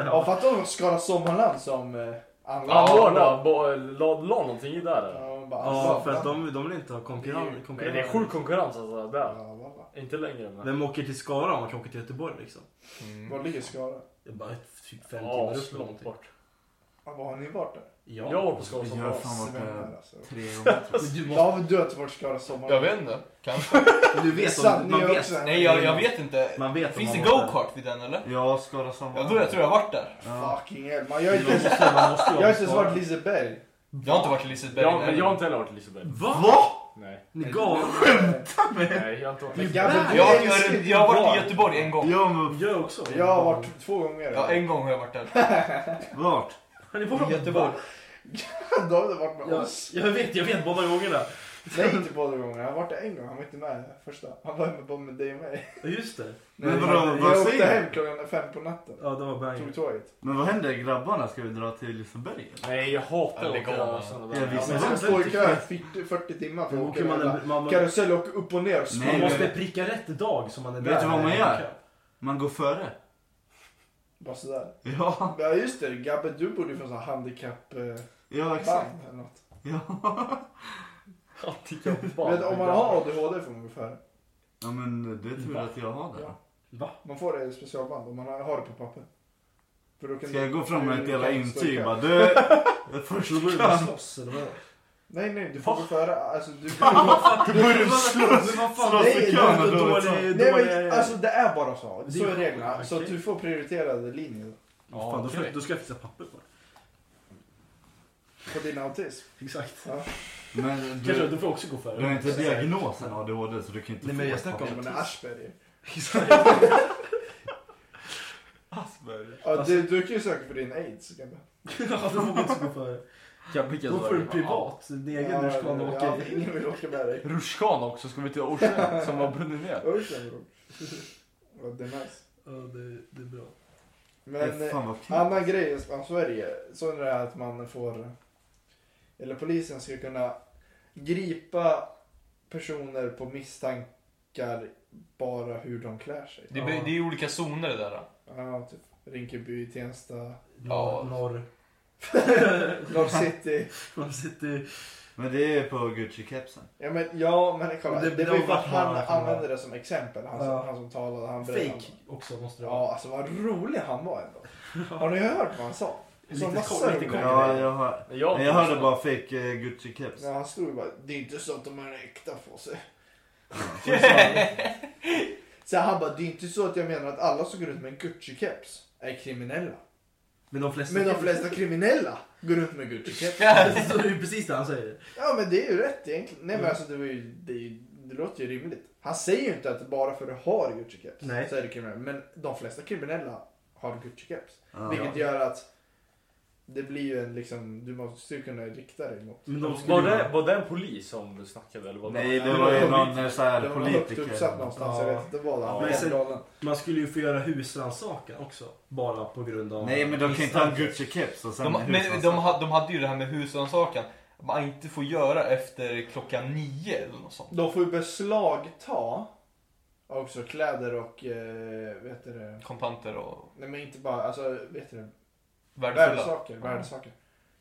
Speaker 4: Ja, fatta om de skara Sommarland som eh,
Speaker 2: Anordna, ja, la, la någonting i där eller?
Speaker 4: Ja, bara,
Speaker 3: Ja,
Speaker 4: alltså,
Speaker 3: för att de, de vill inte ha konkurren-
Speaker 4: Nej,
Speaker 2: Nej,
Speaker 3: konkurrens.
Speaker 2: det är sjuk konkurrens alltså där.
Speaker 4: Ja, vad va.
Speaker 2: Inte längre men.
Speaker 3: Vem åker till Skara om man kan åka till Göteborg liksom?
Speaker 1: Mm.
Speaker 4: Var ligger Skara?
Speaker 3: Det är bara ett- typ fem timmar
Speaker 2: Ja,
Speaker 3: upp
Speaker 2: så långt
Speaker 3: någonting.
Speaker 2: bort.
Speaker 4: Ja, vad har ni varit där?
Speaker 3: Ja.
Speaker 2: Jag var på Skara
Speaker 5: Jag har
Speaker 2: Sommarland.
Speaker 5: fan varit
Speaker 4: Svenne,
Speaker 5: där
Speaker 4: alltså.
Speaker 5: tre gånger tror
Speaker 3: Men Du, måste,
Speaker 4: Ja, men du har inte varit Skara Sommarland.
Speaker 1: Jag vet inte. Kanske.
Speaker 3: du
Speaker 4: Det är
Speaker 3: vet
Speaker 4: sant,
Speaker 3: om,
Speaker 4: ni
Speaker 3: man
Speaker 4: har
Speaker 3: vet.
Speaker 4: också den här
Speaker 1: Nej, jag,
Speaker 4: grejen.
Speaker 1: jag vet inte.
Speaker 3: Man vet om
Speaker 1: Finns det
Speaker 3: man har varit
Speaker 1: go-kart vid den eller?
Speaker 5: jag. Jag Skara
Speaker 1: Jag
Speaker 5: Sommarland.
Speaker 1: tror jag, tror jag har varit där.
Speaker 5: Ja.
Speaker 4: Fucking hell. Man, jag har inte ens,
Speaker 3: där. Man måste ju
Speaker 4: jag har inte ens
Speaker 3: ha
Speaker 4: varit Liseberg.
Speaker 1: Jag har inte varit i Liseberg
Speaker 2: Ja, men
Speaker 1: än.
Speaker 2: jag har inte heller varit i Liseberg.
Speaker 3: Va?
Speaker 2: Nej.
Speaker 3: Ni gav?
Speaker 2: Nej, jag har inte varit i
Speaker 1: jag,
Speaker 4: Jag
Speaker 1: har- jag, jag har varit i Göteborg en gång.
Speaker 5: Ja men
Speaker 3: Jag också.
Speaker 4: Jag har varit två gånger.
Speaker 1: Ja, en gång har jag varit där.
Speaker 5: vart?
Speaker 3: Har ni varit i
Speaker 1: Göteborg.
Speaker 4: Då har du varit med
Speaker 3: Jag,
Speaker 4: oss.
Speaker 3: jag vet, jag vet båda gångerna.
Speaker 4: Nej, inte båda gångerna. Han var där en gång. Han var inte med första. Han var med bara med dig och mig.
Speaker 3: Ja, Just det.
Speaker 5: Men
Speaker 4: Nej,
Speaker 5: vadå,
Speaker 4: jag-
Speaker 5: vad
Speaker 4: Jag åkte
Speaker 5: säger du?
Speaker 4: hem klockan fem på natten.
Speaker 3: Ja, det var bang.
Speaker 4: Tog tåget.
Speaker 5: Men vad händer grabbarna? Ska vi dra till Liseberg eller?
Speaker 2: Nej, jag hatar
Speaker 1: Ja,
Speaker 2: att
Speaker 1: lägg
Speaker 2: åka
Speaker 1: av.
Speaker 2: sådana
Speaker 5: Jag
Speaker 2: där.
Speaker 5: visste
Speaker 4: Man
Speaker 5: det.
Speaker 4: ska stå i kö 40, 40 timmar för
Speaker 3: Då
Speaker 4: att åka
Speaker 3: åker man,
Speaker 4: man
Speaker 3: en, man, man,
Speaker 4: karusell och åka upp och ner. Så
Speaker 5: Nej,
Speaker 3: man
Speaker 4: man måste
Speaker 3: måste pricka rätt dag som man är
Speaker 5: Vet
Speaker 3: där.
Speaker 5: du vad man gör? Man går före.
Speaker 4: bara sådär.
Speaker 5: Ja,
Speaker 4: Ja just det, Gabbe du borde ju få sån här eh, handikappband
Speaker 5: ja exakt.
Speaker 4: eller något.
Speaker 5: Ja.
Speaker 4: Men om man har ADHD får man gå före.
Speaker 5: ja men det är tur att jag har det.
Speaker 4: Ja.
Speaker 3: Va?
Speaker 4: Man får det i specialband om man har har det på papper. För då kan
Speaker 5: Ska jag
Speaker 4: du-
Speaker 5: gå fram med ett
Speaker 4: du
Speaker 5: jävla
Speaker 4: kan stå i kö.
Speaker 5: intyg bara du. Först
Speaker 3: Då börjar man slåss eller vadå?
Speaker 4: Nej nej, du får gå före. Alltså du kan
Speaker 3: Men vad fan,
Speaker 5: slåss i
Speaker 3: nej,
Speaker 5: kön
Speaker 3: det är
Speaker 5: och dåligt
Speaker 3: dålig-
Speaker 5: tal.
Speaker 4: Nej
Speaker 3: dålig-
Speaker 4: men alltså det är bara så.
Speaker 3: Det är
Speaker 4: Så är
Speaker 3: sjukt.
Speaker 4: reglerna. Så att
Speaker 3: Okej.
Speaker 4: du får prioriterade linjer
Speaker 3: Fan, då,
Speaker 2: okej.
Speaker 3: ska, då ska jag fixa papper på det.
Speaker 4: på din autism.
Speaker 3: Exakt.
Speaker 5: Men
Speaker 3: Kanske,
Speaker 5: du,
Speaker 3: du får också gå
Speaker 5: du har
Speaker 3: före.
Speaker 5: inte diagnosen ADHD så du kan inte
Speaker 3: Nej, men
Speaker 5: få
Speaker 3: jag
Speaker 5: ett
Speaker 3: snackar
Speaker 5: papper.
Speaker 3: om-
Speaker 4: Om man är Asperger.
Speaker 3: Exakt.
Speaker 4: Ja,
Speaker 5: Alltså-
Speaker 4: du, du kan ju söka för din aids Gabbe.
Speaker 3: Ja, då får man också gå före. Då får du privat, din egen
Speaker 4: Ja,
Speaker 3: rutschkana och
Speaker 4: ja,
Speaker 3: åka i.
Speaker 4: Ingen vill åka med dig.
Speaker 2: Rutschkana också, ska vi till Orsa som har brunnit ner?
Speaker 4: Usch vad roligt. Ja, Det är nice.
Speaker 3: Ja, det, det är bra.
Speaker 4: Men
Speaker 5: Eh,
Speaker 4: eh,
Speaker 5: Fan vad
Speaker 3: Typ.
Speaker 5: kul.
Speaker 4: annan grej i Sp- Sverige, så är det här att man får, eller polisen ska kunna gripa personer på misstankar bara hur de klär sig.
Speaker 1: Det, är- det är olika zoner det där.
Speaker 4: Ja, typ Rinkeby, Tensta,
Speaker 1: Ja.
Speaker 3: Norr, norr,
Speaker 4: North City.
Speaker 3: norr city.
Speaker 5: Men det är på Gucci-kepsen.
Speaker 4: Ja men, ja, men kolla,
Speaker 3: Det-
Speaker 4: det,
Speaker 3: det
Speaker 4: var ju
Speaker 3: var
Speaker 4: för att
Speaker 3: fan
Speaker 4: han
Speaker 3: verkligen
Speaker 4: använde det som exempel.
Speaker 3: Ja.
Speaker 4: Han, som, han som talade. Han berättade.
Speaker 3: Fake också måste det vara.
Speaker 4: Ja, alltså vad rolig han var ändå. Har ni hört vad han sa? Han sa
Speaker 3: Lite
Speaker 4: massa
Speaker 3: kort- lite
Speaker 4: roliga
Speaker 3: kort.
Speaker 4: grejer.
Speaker 5: Ja, jag, hör,
Speaker 2: Men
Speaker 5: jag hörde bara fake eh, Gucci-keps.
Speaker 4: Nej, han stod ju bara, det är inte så att de är äkta på sig. så han bara, det är inte så att jag menar att alla som går ut med en Gucci-keps är kriminella.
Speaker 3: Men de flesta...
Speaker 4: Men de flesta kriminella går runt med Gucci-keps.
Speaker 3: Så det är ju precis det han säger.
Speaker 4: Ja men det är ju rätt egentligen. Nej men alltså det, var ju, det, är ju, det låter ju rimligt. Han säger ju inte att bara för att du har
Speaker 3: Nej.
Speaker 4: Gucci-keps så är du kriminell. Men de flesta kriminella har Gucci-keps.
Speaker 5: Ja.
Speaker 4: Vilket gör att det blir ju en liksom, du måste ju kunna rikta dig mot.
Speaker 3: Men de
Speaker 2: Var
Speaker 3: skulle
Speaker 2: det, var det en polis som snackade eller vad
Speaker 5: Nej,
Speaker 2: det?
Speaker 5: det var ju någon eh, så
Speaker 4: Det
Speaker 5: här
Speaker 4: var högt uppsatt
Speaker 5: politiker.
Speaker 4: någonstans,
Speaker 3: Ja.
Speaker 4: jag vet inte vad. Han
Speaker 2: Ja.
Speaker 4: blev
Speaker 3: Men sen-
Speaker 4: galen.
Speaker 3: Man skulle ju få göra husrannsakan också. Bara på grund av...
Speaker 5: Nej, men de kan inte ha en
Speaker 3: misstanke.
Speaker 5: Gucci-keps och sen
Speaker 1: De, men de,
Speaker 5: husrannsakan.
Speaker 1: ha- de hade ju det här med husrannsakan. Man inte får göra efter klockan nio eller något sånt.
Speaker 4: De får ju beslagta också kläder och eh, vet du det?
Speaker 1: Kontanter och
Speaker 4: Nej men inte bara, alltså vet du det?
Speaker 1: värdefulla.
Speaker 4: Värdesaker, värdesaker.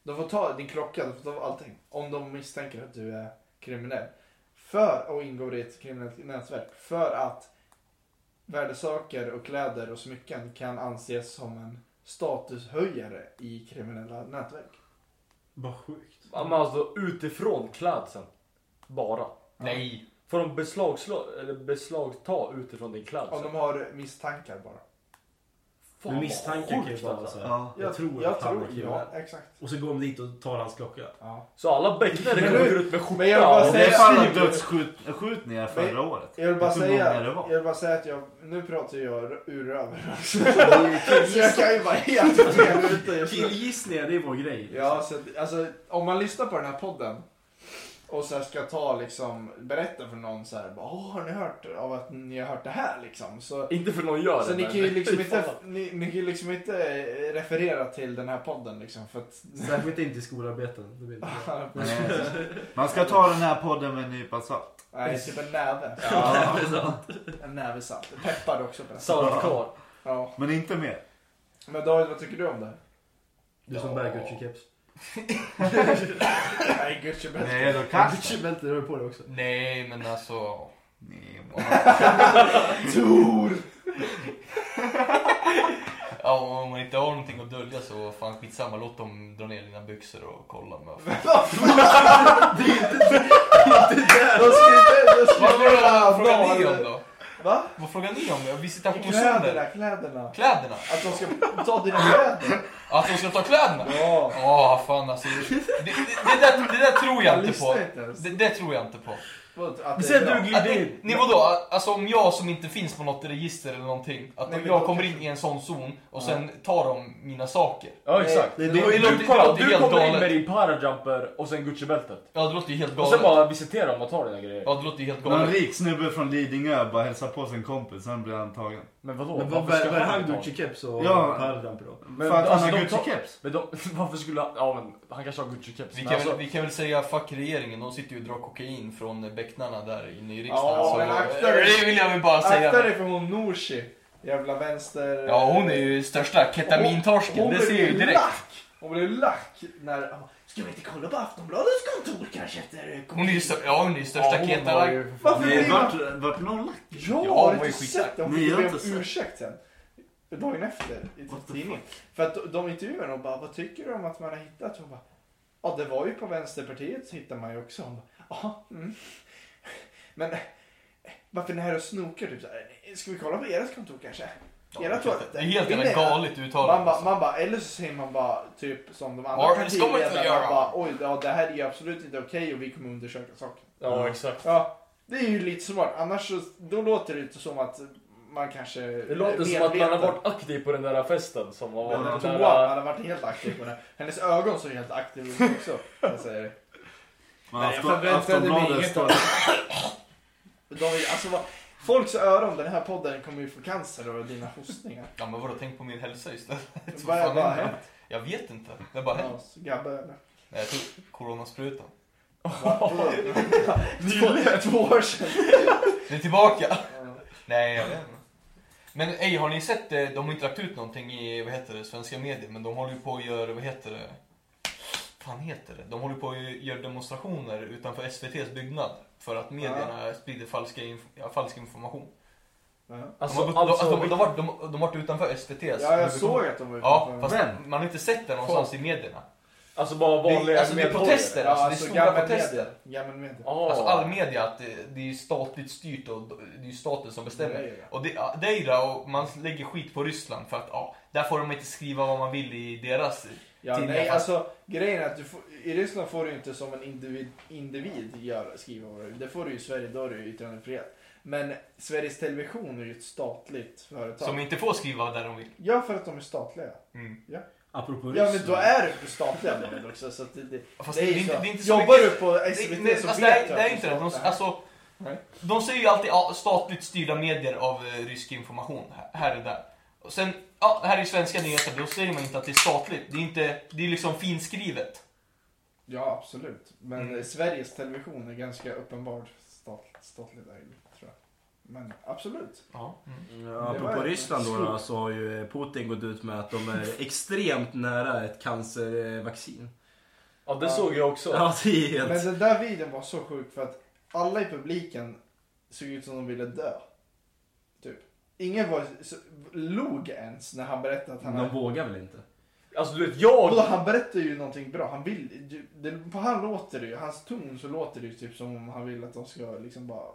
Speaker 4: De får ta din klocka, de får ta allting. Om de misstänker att du är kriminell. För att ingå i ett kriminellt nätverk. För att värdesaker och kläder och smycken kan anses som en statushöjare i kriminella nätverk.
Speaker 3: Vad sjukt.
Speaker 2: Ja, men alltså utifrån klädseln. Bara.
Speaker 1: Nej.
Speaker 2: Får de beslagslå, eller beslagta utifrån din
Speaker 4: Om
Speaker 2: klädsel?
Speaker 4: de har misstankar bara.
Speaker 2: Fan,
Speaker 3: Men
Speaker 2: vad
Speaker 3: misstankar kan ju
Speaker 2: sjukt,
Speaker 3: vara
Speaker 2: alltså.
Speaker 3: så här.
Speaker 5: Ja.
Speaker 3: Jag tror
Speaker 4: jag
Speaker 3: att han
Speaker 4: tror,
Speaker 3: är
Speaker 4: Ja,
Speaker 3: kriminell.
Speaker 4: exakt.
Speaker 3: Och så går de dit och tar hans klocka.
Speaker 4: Ja.
Speaker 2: Så alla bäcknare
Speaker 4: Men
Speaker 2: kommer
Speaker 4: nu-
Speaker 2: ut med skjorta?
Speaker 4: men jag vill bara
Speaker 2: och-
Speaker 5: Det är fan
Speaker 4: säger-
Speaker 5: dödsskjutningar förra året.
Speaker 4: Jag vill bara
Speaker 5: Vet du hur många
Speaker 4: säga,
Speaker 5: det var?
Speaker 4: jag vill bara säga att jag, nu pratar jag r- ur röven. Så jag kan ju vara helt fel ute just nu.
Speaker 3: Killgissningar, det är vår grej.
Speaker 4: Ja, så, att- alltså, om man lyssnar på den här podden och så här ska ta liksom, berätta för någon så här, bara, Åh, har ni hört av att ni har hört det här liksom? Så,
Speaker 2: Inte för någon gör
Speaker 4: så
Speaker 2: det.
Speaker 4: ni
Speaker 2: men-
Speaker 4: kan ju liksom
Speaker 2: Fy
Speaker 4: inte,
Speaker 2: fan.
Speaker 4: ni, ni kan ju liksom inte eh, referera till den här podden liksom för att...
Speaker 3: Särskilt inte i skolarbeten. Det blir inte bra.
Speaker 5: Nej. eh, Man ska ta den här podden med en nypa salt.
Speaker 4: Nej, typ en näve.
Speaker 5: Ja.
Speaker 4: En näve salt. Peppar också förresten.
Speaker 2: Salt kvar.
Speaker 4: Ja.
Speaker 5: Men inte mer.
Speaker 4: Men David, vad tycker du om det?
Speaker 3: Du som bär Gucci-keps.
Speaker 4: Nej, Gucci bättre.
Speaker 5: Nej, då kanske.
Speaker 3: Gucci-bälte, du har ju på dig också.
Speaker 1: Nej, men alltså.
Speaker 5: Nej, men-
Speaker 4: Tor!
Speaker 1: Ja, om man inte har någonting att dölja så fan skitsamma. Låt dem dra ner dina byxor och kolla. Men vad fan.
Speaker 4: De ska inte... De
Speaker 1: Vad
Speaker 4: ska
Speaker 1: frågar- frågar ni om
Speaker 4: David.
Speaker 1: då?
Speaker 4: Va?
Speaker 1: Vad frågar ni om? Visitationsnummer?
Speaker 4: Kläderna, kläderna.
Speaker 1: Kläderna?
Speaker 4: Att de ska ta dina kläder.
Speaker 1: Att de ska ta kläderna?
Speaker 4: Ja.
Speaker 1: Ja, fan alltså. Det, det, det, där, det där tror jag inte på.
Speaker 4: lyssnar inte ens.
Speaker 1: Det, det tror jag inte på.
Speaker 4: Att det är
Speaker 3: Men sen
Speaker 4: bra.
Speaker 3: du
Speaker 1: Att
Speaker 3: glider
Speaker 1: ni,
Speaker 3: in.
Speaker 1: ni vadå? Alltså om jag som inte finns på något register eller någonting. Att
Speaker 4: Nej, men
Speaker 1: jag
Speaker 4: då-
Speaker 1: kommer in i en sån zon och sen tar de mina saker.
Speaker 2: Ja exakt.
Speaker 3: Nej,
Speaker 2: Nej,
Speaker 3: då
Speaker 2: du,
Speaker 3: är det-
Speaker 1: det
Speaker 2: du, kolla,
Speaker 1: låter
Speaker 2: du
Speaker 1: helt
Speaker 2: kommer in
Speaker 1: galet.
Speaker 2: med din parajumper och sen Gucci-bältet.
Speaker 1: Ja det låter ju helt
Speaker 2: Och sen
Speaker 1: galet.
Speaker 2: bara visiterar de och tar dina grejer.
Speaker 1: Ja det låter ju helt
Speaker 5: Någon
Speaker 1: galet.
Speaker 5: rik snubbe från Lidingö bara hälsar på sin kompis, sen blir han tagen.
Speaker 2: Men vadå?
Speaker 3: Men vad
Speaker 2: Varför ska
Speaker 3: bär bär han
Speaker 2: betala?
Speaker 3: Gucci-keps och
Speaker 5: Ja.
Speaker 3: parramper då?
Speaker 2: Men
Speaker 5: För att han
Speaker 2: alltså,
Speaker 5: har
Speaker 2: de tar-
Speaker 5: Gucci-keps.
Speaker 2: Men de, varför skulle han... Ja men han kanske har Gucci-keps.
Speaker 1: Vi
Speaker 2: Men
Speaker 1: kan,
Speaker 2: alltså,
Speaker 1: väl, vi kan väl säga fuck regeringen, de sitter ju och drar kokain från bäcknarna där inne i riksdagen.
Speaker 4: Ja,
Speaker 1: så,
Speaker 4: men akta dig.
Speaker 1: det vill jag väl bara säga.
Speaker 4: Akta dig för hon Norsi. Jävla vänster...
Speaker 1: Ja hon är ju största ketamintorsken,
Speaker 4: Hon
Speaker 1: det
Speaker 4: blev
Speaker 1: ser jag ju direkt.
Speaker 4: Lack. Hon blev lack när... Ska vi inte kolla på Aftonbladets kontor kanske? Efter...
Speaker 1: Hon är ju stör, ja, hon är ju största
Speaker 2: hon var
Speaker 1: ketalag.
Speaker 2: ju för fan-
Speaker 4: Varför
Speaker 5: Nej,
Speaker 4: blir man...
Speaker 5: vart, vart någon lack?
Speaker 4: Jag
Speaker 1: Ja,
Speaker 4: har
Speaker 1: hon var ju
Speaker 4: inte
Speaker 1: skitlack.
Speaker 4: sett det. Hon
Speaker 5: Nej, jag
Speaker 4: fick
Speaker 5: har
Speaker 4: be
Speaker 5: inte
Speaker 4: om
Speaker 5: sett.
Speaker 4: ursäkt sen. Dagen efter i
Speaker 5: What the
Speaker 4: tidningen. För att de- de intervjuade hon bara, vad tycker du om att man har hittat? Hon bara, ja det var ju på Vänsterpartiet så hittar man ju också. Hon bara, ja. Mm. Men eh, varför är ni här och snokar? Typ så här, ska vi kolla på ert kontor kanske? Era toaletter.
Speaker 1: Det är helt jävla
Speaker 4: Vill ni?
Speaker 1: galet uttalat.
Speaker 4: Man bara,
Speaker 1: alltså.
Speaker 4: man bara, eller så säger man bara typ som de andra
Speaker 1: Ja, det ska man inte göra.
Speaker 4: Man bara, oj, ja, det här är ju absolut inte okej och vi kommer undersöka saken.
Speaker 2: Ja exakt.
Speaker 4: Ja, det är ju lite smart. Annars så, då låter det inte som att man kanske...
Speaker 2: Det låter som att man har varit aktiv på den där festen som har
Speaker 4: Ja,
Speaker 2: varit den
Speaker 4: Toa
Speaker 2: där...
Speaker 4: hade varit helt aktiv på det. Hennes ögon såg helt aktiva ut också. Jag säger det.
Speaker 5: Men
Speaker 4: Nej, jag
Speaker 5: Afton-
Speaker 4: förväntade mig
Speaker 5: Aftonbladet
Speaker 4: inget
Speaker 5: står-
Speaker 4: De, är- alltså, vad, folks öron, den här podden kommer ju få cancer av dina hostningar.
Speaker 1: Ja men vadå, tänk på min hälsa istället. Vad
Speaker 4: Vad är
Speaker 1: fan
Speaker 4: det
Speaker 1: händer?
Speaker 4: hänt?
Speaker 1: Jag vet inte. Det bara händer.
Speaker 4: Ja, så Gabbe eller?
Speaker 1: Nej, jag tog coronasprutan.
Speaker 4: Två, två år sedan.
Speaker 1: Det är tillbaka. Nej, jag vet inte. Men ej, har ni sett det? De har inte lagt ut någonting i, vad heter det, svenska medier. Men de håller ju på och gör, vad heter det? fan heter det? De håller på och gör demonstrationer utanför SVT's byggnad. För att medierna sprider falska inf- ja, falsk information.
Speaker 4: Ja.
Speaker 1: de, har gått, de, alltså, de, har varit- de, de, de har varit utanför SVT's.
Speaker 4: Ja, jag såg att de var
Speaker 1: Ja,
Speaker 4: utanför.
Speaker 1: fast
Speaker 5: Vem?
Speaker 1: man har inte sett det någonstans i medierna.
Speaker 2: alltså bara
Speaker 1: Det,
Speaker 2: vanliga
Speaker 1: alltså, det är
Speaker 2: medborgare.
Speaker 1: protester, alltså, det är stora
Speaker 4: gammal
Speaker 1: protester.
Speaker 4: media. Gammal media.
Speaker 2: Ja.
Speaker 1: Alltså all media, att det, det är statligt styrt och det är staten som bestämmer.
Speaker 4: Det är det.
Speaker 1: Och det, ja, det är ju det, och man lägger skit på Ryssland för att ja, där får de inte skriva vad man vill i deras...
Speaker 4: Ja,
Speaker 1: Tidningar,
Speaker 4: nej,
Speaker 1: fast-
Speaker 4: alltså, grejen är att du får, i Ryssland får du inte som en individ, individ göra, skriva vad du vill. Det får du ju i Sverige, då har du ju yttrandefrihet. Men Sveriges Television är ju ett statligt företag.
Speaker 1: Som inte får skriva där de vill.
Speaker 4: Ja, för att de är statliga.
Speaker 1: Mm.
Speaker 5: Apropå
Speaker 4: Ja, men då är du statliga med också. Så att det, det,
Speaker 1: Fast
Speaker 4: det är ju
Speaker 1: inte,
Speaker 4: så.
Speaker 1: det är inte så
Speaker 4: Jobbar
Speaker 1: mycket-
Speaker 4: du på
Speaker 1: det,
Speaker 4: SVT så
Speaker 1: nej,
Speaker 4: vet
Speaker 1: alltså,
Speaker 4: du
Speaker 1: det, är-
Speaker 4: att
Speaker 1: det är
Speaker 4: du
Speaker 1: inte det. De,
Speaker 4: statliga.
Speaker 1: alltså,
Speaker 4: Nej.
Speaker 1: de säger ju alltid ja, statligt styrda medier av eh, rysk information. Här- Här och där. Och sen, ja, här i svenska nyheter, då säger man inte att det är statligt. Det är inte, det är liksom finskrivet.
Speaker 4: Ja, absolut. Men
Speaker 1: Mm.
Speaker 4: eh, Sveriges Television är ganska uppenbart stat, statligt ägd, tror jag. Men absolut.
Speaker 1: Ja. Mm.
Speaker 3: Ja,
Speaker 4: Det var
Speaker 3: apropå
Speaker 4: det.
Speaker 3: Ryssland då, då så har ju Putin gått ut med att de är extremt nära ett cancervaccin.
Speaker 2: Ja det
Speaker 4: Ja.
Speaker 2: såg jag också.
Speaker 3: Ja, det är helt...
Speaker 4: Men den där videon var så sjuk för att alla i publiken såg ut som de ville dö. Typ. Ingen var, så, log ens när han berättade att han
Speaker 3: De vågar väl inte?
Speaker 2: Alltså du vet
Speaker 4: Vadå,
Speaker 2: jag...
Speaker 4: han berättar ju någonting bra. Han vill, du- det, på han låter det ju, hans ton så låter det ju typ som om han vill att de ska liksom bara...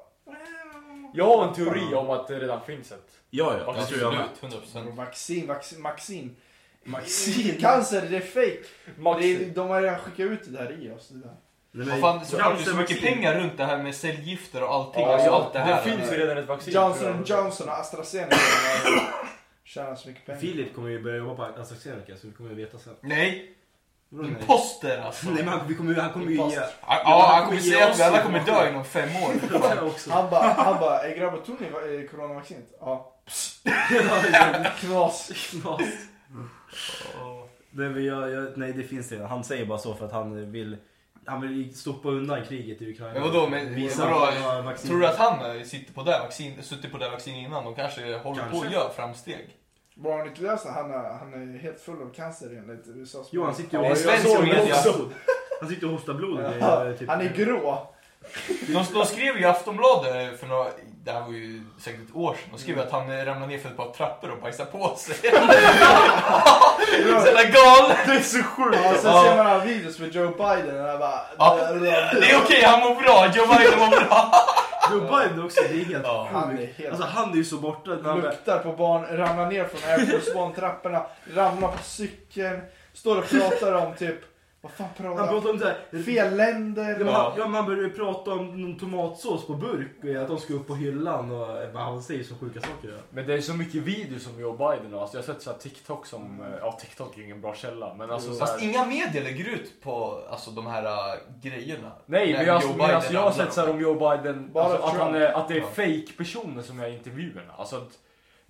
Speaker 2: Jag har en teori om att det redan finns ett.
Speaker 3: Ja, ja, det
Speaker 2: Ja,
Speaker 3: tror jag med.
Speaker 1: Absolut,
Speaker 2: Mm.
Speaker 1: 100%.
Speaker 4: Vaccin, vaccin, vaccin.
Speaker 3: Vaccin?
Speaker 4: Cancer, det är fake. Det
Speaker 2: Maxi.
Speaker 4: är, de har redan skickat ut det där i oss. Det där.
Speaker 1: Vad
Speaker 3: Nej, men-
Speaker 1: fan, så,
Speaker 3: Cancervaccin.
Speaker 1: så mycket pengar runt det här med cellgifter och allting.
Speaker 2: Ja,
Speaker 1: alltså,
Speaker 2: ja,
Speaker 1: allt det här.
Speaker 2: Det finns ju redan ett vaccin. tror
Speaker 4: Johnson
Speaker 2: jag.
Speaker 4: Johnson och AstraZeneca har tjänat så mycket pengar.
Speaker 3: Filip kommer ju börja jobba på AstraZeneca så vi kommer ju veta sen.
Speaker 1: Nej,
Speaker 3: Vadå nej?
Speaker 1: imposter alltså.
Speaker 3: Nej men han, vi kommer, ju- han kommer ju
Speaker 4: Imposter.
Speaker 3: ge...
Speaker 1: Ja,
Speaker 3: Ja,
Speaker 1: ja,
Speaker 3: han
Speaker 1: han kommer
Speaker 3: kommer ge
Speaker 1: säga att
Speaker 3: oss
Speaker 1: vi alla kommer
Speaker 3: information.
Speaker 1: dö inom fem år.
Speaker 3: också.
Speaker 4: Han bara, han bara, "Ey, grabbar tog ni eh, coronavaccinet? Ja. Knas.
Speaker 3: Knas. Nej men jag, jag, nej det finns redan. Han säger bara så för att han vill, han vill stoppa undan kriget i Ukraina.
Speaker 1: Men vadå, men-
Speaker 3: Visa
Speaker 1: vadå?
Speaker 3: att han har vaccin.
Speaker 1: Tror du att han eh, sitter på det här vaccin, suttit på det här vaccinet innan? De kanske håller på och
Speaker 3: Kanske.
Speaker 1: gör framsteg.
Speaker 4: Vad har ni inte läst? Han är, han är helt full av cancer enligt USAs
Speaker 3: Jo han sitter ju
Speaker 1: Det är
Speaker 3: och
Speaker 1: svensk
Speaker 3: jag såg det
Speaker 1: media.
Speaker 3: också. Han sitter och hostar blod. Det är, typ-
Speaker 4: Han är grå.
Speaker 1: De, de skrev ju i Aftonbladet eh, för några, det här var ju säkert ett år sedan, de skrev att han eh, ramlade ner för ett par trappor och bajsade på sig. Så jävla galen!
Speaker 3: Det är så sjukt!
Speaker 4: Ja, sen
Speaker 1: Ja.
Speaker 4: ser man alla videos med Joe Biden och han bara...
Speaker 1: Ja.
Speaker 4: "Blablabla."
Speaker 1: Det är okej, han mår bra, Joe Biden mår bra.
Speaker 3: Joe Biden också, det är helt
Speaker 1: Ja.
Speaker 4: Han är
Speaker 3: sjukt.
Speaker 4: helt-
Speaker 3: Alltså han är ju så borta. när han-
Speaker 4: Luktar på barn, ramlar ner från Air Force One-trapporna, ramlar på cykeln, står och pratar om typ... Vad fan
Speaker 3: Han
Speaker 4: pratar han
Speaker 3: pratar om såhär...
Speaker 4: om? Fel länder.
Speaker 3: Ja, men
Speaker 1: Ja.
Speaker 3: han, ja, men han började ju prata om någon tomatsås på burk och att de ska upp på hyllan och men han säger så sjuka saker. Ja.
Speaker 2: Men det är så mycket videos om Joe Biden och alltså, jag har sett så här TikTok som, eh, ja TikTok är ingen bra källa men alltså så
Speaker 1: Fast
Speaker 2: här,
Speaker 1: inga medier lägger ut på alltså, de här äh, grejerna.
Speaker 2: Nej men
Speaker 1: När
Speaker 2: jag,
Speaker 1: Joe
Speaker 2: alltså, men
Speaker 1: Biden
Speaker 2: alltså, jag har
Speaker 1: ramlar
Speaker 2: sett så här
Speaker 1: och-
Speaker 2: om Joe Biden,
Speaker 4: Bara
Speaker 2: alltså, att,
Speaker 4: Trump.
Speaker 2: han är, att det är
Speaker 1: Ja.
Speaker 2: fake personer som är i intervjuerna. Alltså, att,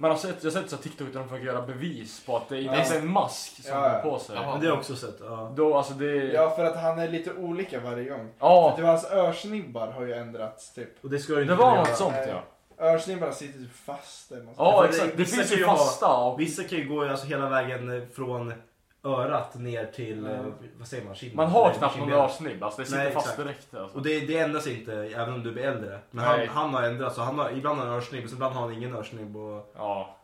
Speaker 2: man har sett, jag har sett så här TikTok där de försöker göra bevis på att det är
Speaker 4: Ja.
Speaker 2: inte en mask som
Speaker 4: Ja,
Speaker 2: han har
Speaker 4: ja.
Speaker 2: på sig.
Speaker 1: Jaha.
Speaker 3: Men det har jag också sett. Ja.
Speaker 2: Då alltså det... Ja.
Speaker 4: Ja, för att han är lite olika varje gång.
Speaker 2: ja
Speaker 4: Typ hans örsnibbar har ju ändrats typ.
Speaker 3: Och det ska du inte
Speaker 2: det var
Speaker 3: kunna
Speaker 2: något
Speaker 3: göra.
Speaker 2: sånt
Speaker 4: Nej.
Speaker 2: ja.
Speaker 4: Örsnibbarna sitter typ fast. eller något sånt.
Speaker 2: Ja
Speaker 3: för
Speaker 2: exakt, det
Speaker 3: det- vissa
Speaker 2: finns
Speaker 3: kan
Speaker 2: ju
Speaker 3: ju ha-
Speaker 2: fasta och
Speaker 3: Vissa kan ju gå alltså hela vägen eh, från örat ner till,
Speaker 4: Ja.
Speaker 3: eh, vad säger man, kinden?
Speaker 2: man har
Speaker 3: Eller
Speaker 2: knappt någon
Speaker 3: kindbenet.
Speaker 2: örsnibb. Alltså det sitter
Speaker 3: Nej,
Speaker 2: fast
Speaker 3: exakt.
Speaker 2: direkt. Alltså.
Speaker 3: Och det, det ändras inte även om du blir äldre. Men
Speaker 2: Nej.
Speaker 3: han, han har ändrat så han har, ibland har han örsnibb och så ibland har han ingen örsnibb. Och...
Speaker 2: Ja.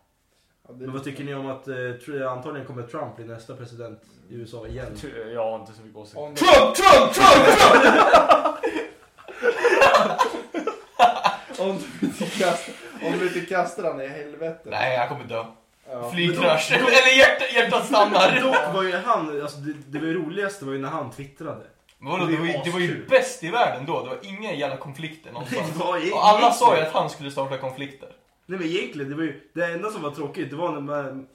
Speaker 4: Ja, det är
Speaker 3: Men vad
Speaker 4: lite-
Speaker 3: tycker ni om att eh, tr- antagligen kommer Trump bli nästa president i USA igen?
Speaker 2: Ty- Jag har inte så mycket åsikter.
Speaker 4: Om det-
Speaker 1: Trump, Trump, Trump!
Speaker 4: Om du inte kastar, om du inte kastar han i helvete.
Speaker 1: Nej, han kommer dö.
Speaker 4: Ja.
Speaker 1: Flygkrasch. Eller hjärt, hjärtat stannar.
Speaker 3: Dock var ju han, alltså det, det var ju roligaste var ju när han twittrade.
Speaker 1: Men vadå, det, var ju, det var ju bäst i världen då. Det var inga jävla konflikter någonstans.
Speaker 3: var ju-
Speaker 1: Och alla sa ju att han skulle starta konflikter.
Speaker 3: Nej men egentligen, det var ju det enda som var tråkigt det var när man,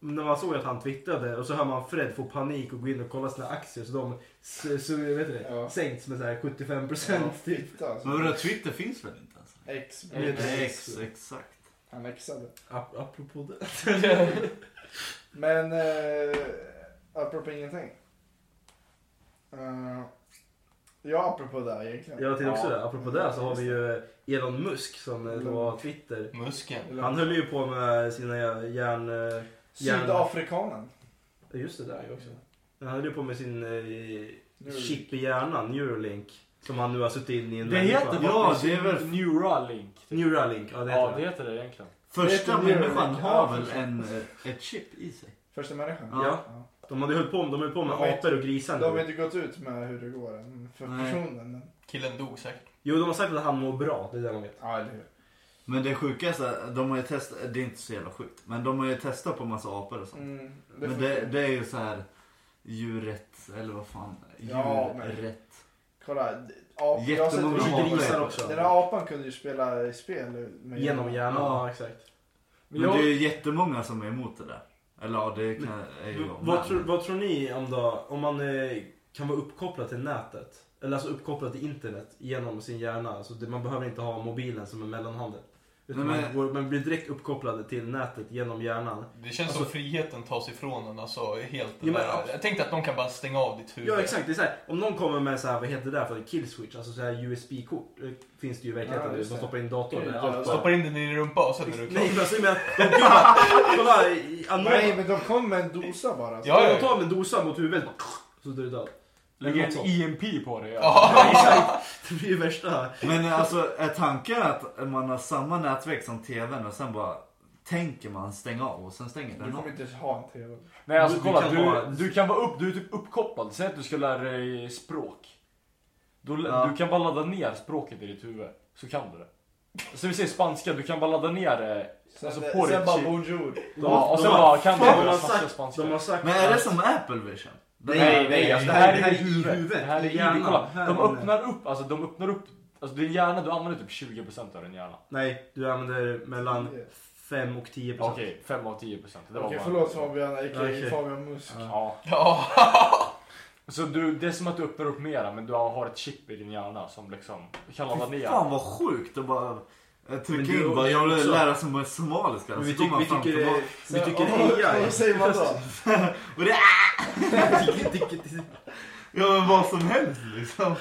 Speaker 3: när man såg att han twittrade och så hör man Fred få panik och gå in och kolla sina aktier så de s- så, vet du det,
Speaker 4: Ja.
Speaker 3: sänks med så här 75
Speaker 4: Ja,
Speaker 3: procent typ.
Speaker 4: fitta alltså.
Speaker 5: Men vadå, Twitter finns väl inte alltså?
Speaker 4: Ex.
Speaker 3: Jag vet inte.
Speaker 5: Ex, exakt.
Speaker 4: Han exade.
Speaker 3: Ap- apropå det.
Speaker 4: Men eh, apropå ingenting. Eh, Ja, apropå det här egentligen.
Speaker 3: Jag tänkte också det. Apropå det så har vi ju eh, Elon Musk som eh,
Speaker 4: Mm.
Speaker 3: var Twitter.
Speaker 1: Muskeln.
Speaker 3: Han höll ju på med sina järn... eh, järn-
Speaker 4: Sydafrikanen.
Speaker 3: Ja, Just det, där ju också. Han höll ju på med sin eh,
Speaker 4: Nu-
Speaker 3: chip i hjärnan, Neuralink. Som han nu har suttit in i en
Speaker 2: Det heter
Speaker 3: människa.
Speaker 5: Ja,
Speaker 2: faktiskt
Speaker 5: det är väl-
Speaker 2: Neuralink. typ.
Speaker 3: Neuralink, ja det heter
Speaker 2: Ja,
Speaker 3: det.
Speaker 2: det heter det egentligen.
Speaker 5: Första
Speaker 4: Det är ett
Speaker 5: människan
Speaker 4: djur.
Speaker 5: har väl en, eh, ett chip i sig?
Speaker 4: Första människan.
Speaker 3: Ja. De hade hållit på med, de höll på med
Speaker 4: De har
Speaker 3: apor och grisar
Speaker 4: De har
Speaker 3: nu.
Speaker 4: inte gått ut med hur det går än för
Speaker 5: Nej.
Speaker 4: personen. men-
Speaker 1: Killen dog säkert.
Speaker 3: Jo, de har sagt att han mår bra, det är det man vet.
Speaker 4: Ja, eller hur.
Speaker 5: Men det sjukaste, de har ju testat, det är inte så jävla sjukt, men de har ju testat på massa apor och sånt.
Speaker 4: Mm, det
Speaker 5: Men
Speaker 4: får-
Speaker 5: det, det är ju så här djurrätt, eller vad fan,
Speaker 4: Ja, men-
Speaker 5: djurrätt.
Speaker 4: Kolla, d- ap- jag har sett
Speaker 5: Jättemånga
Speaker 3: De
Speaker 5: apor.
Speaker 4: hur-
Speaker 3: grisar också.
Speaker 4: Den här apan kunde ju spela i spel med
Speaker 3: Genom hjärnan,
Speaker 5: Ja.
Speaker 3: ja exakt.
Speaker 5: Men
Speaker 2: Men
Speaker 5: det
Speaker 2: jag,
Speaker 5: är ju jättemånga som är emot det där. Eller ja, det kan, är ju jag
Speaker 3: Vad,
Speaker 5: med.
Speaker 3: tror, vad tror ni om då, om man eh, kan vara uppkopplad till nätet? Eller alltså uppkopplad till internet genom sin hjärna. Alltså det, man behöver inte ha mobilen som en mellanhand. Utan
Speaker 5: Nej,
Speaker 3: man,
Speaker 5: men-
Speaker 3: går, man blir direkt uppkopplad till nätet genom hjärnan.
Speaker 1: Det känns
Speaker 3: Alltså-
Speaker 1: som friheten tas ifrån en. Alltså, helt
Speaker 3: Ja, men
Speaker 1: där.
Speaker 3: absolut.
Speaker 1: Jag tänkte att de kan bara stänga av ditt huvud.
Speaker 3: Ja exakt, det är så här, om någon kommer med så här, vad heter det där för kill switch, alltså så här USB-kort. eh, Finns det ju i verkligheten,
Speaker 4: Ja,
Speaker 3: de
Speaker 4: just det.
Speaker 3: stoppar in datorn med
Speaker 4: Ja,
Speaker 3: allt.
Speaker 1: Stoppar in den i din rumpa och sen är du klar.
Speaker 3: Nej men alltså, jag menar, de kommer, kolla, i-
Speaker 4: Nej,
Speaker 3: anordna-
Speaker 4: men de kom med en dosa bara.
Speaker 1: Ja, ja,
Speaker 3: de
Speaker 1: ja.
Speaker 3: tar en dosa mot huvudet bara, så är du död.
Speaker 2: lägger
Speaker 3: Något
Speaker 2: en
Speaker 3: sånt.
Speaker 2: EMP E på det.
Speaker 1: Ja.
Speaker 3: Ja, exakt. Det blir ju värsta.
Speaker 5: Men alltså, är tanken att man har samma nätverk som tvn och sen bara tänker man stänga av och sen
Speaker 4: Du
Speaker 5: stänger den av?
Speaker 4: kommer inte ha en TV.
Speaker 2: Nej alltså
Speaker 3: Du- du
Speaker 2: kolla,
Speaker 3: kan
Speaker 2: du,
Speaker 3: ha-
Speaker 2: du kan vara upp, du är typ uppkopplad. Säg att du ska lära dig språk. Då, lä-
Speaker 5: Ja.
Speaker 2: Du kan bara ladda ner språket i ditt huvud, så kan du det. Så vi säger spanska, du kan bara ladda ner det.
Speaker 4: Sen,
Speaker 2: Alltså,
Speaker 4: det-
Speaker 2: på
Speaker 4: sen
Speaker 2: ditt
Speaker 4: bara
Speaker 2: chip.
Speaker 4: bonjour.
Speaker 2: Ja, och sen bara kan du
Speaker 3: fan, de har
Speaker 2: börja snacka
Speaker 3: sagt-
Speaker 2: spanska.
Speaker 3: De har sagt
Speaker 5: Men är det som Apple Vision?
Speaker 3: Nej,
Speaker 2: Nej, nej, alltså, det här är
Speaker 3: i
Speaker 2: i huvudet. Det här är i
Speaker 3: hjärnan.
Speaker 2: hjärnan. Kolla,
Speaker 3: Här
Speaker 2: de
Speaker 3: har vi det.
Speaker 2: öppnar upp, alltså de öppnar upp. Alltså din hjärna, du använder typ 20% av din hjärna.
Speaker 3: Nej, du använder mellan 5 och 10 procent.
Speaker 2: Okej, 5 av 10%. Det var
Speaker 4: Okej,
Speaker 2: bara-
Speaker 4: förlåt Fabian, aka
Speaker 3: Okej.
Speaker 4: Fabian Musk.
Speaker 2: Ja.
Speaker 1: Ja.
Speaker 2: Så du, det är som att du öppnar upp mera, men du har ett chip i din hjärna som liksom kan ladda
Speaker 5: Fy
Speaker 2: ner.
Speaker 5: Fan vad sjukt att bara eh,
Speaker 3: Men
Speaker 5: trycka
Speaker 3: du-
Speaker 5: in bara, jag vill
Speaker 3: också-
Speaker 5: lära sig med somaliska.
Speaker 3: Men
Speaker 5: Så
Speaker 3: vi, tycker,
Speaker 5: kommer
Speaker 3: vi
Speaker 5: man fram
Speaker 3: tycker,
Speaker 5: till bara-
Speaker 3: vi tycker
Speaker 4: och,
Speaker 3: AI.
Speaker 4: Vad säger man då?
Speaker 5: Och det är ja, men vad som helst liksom.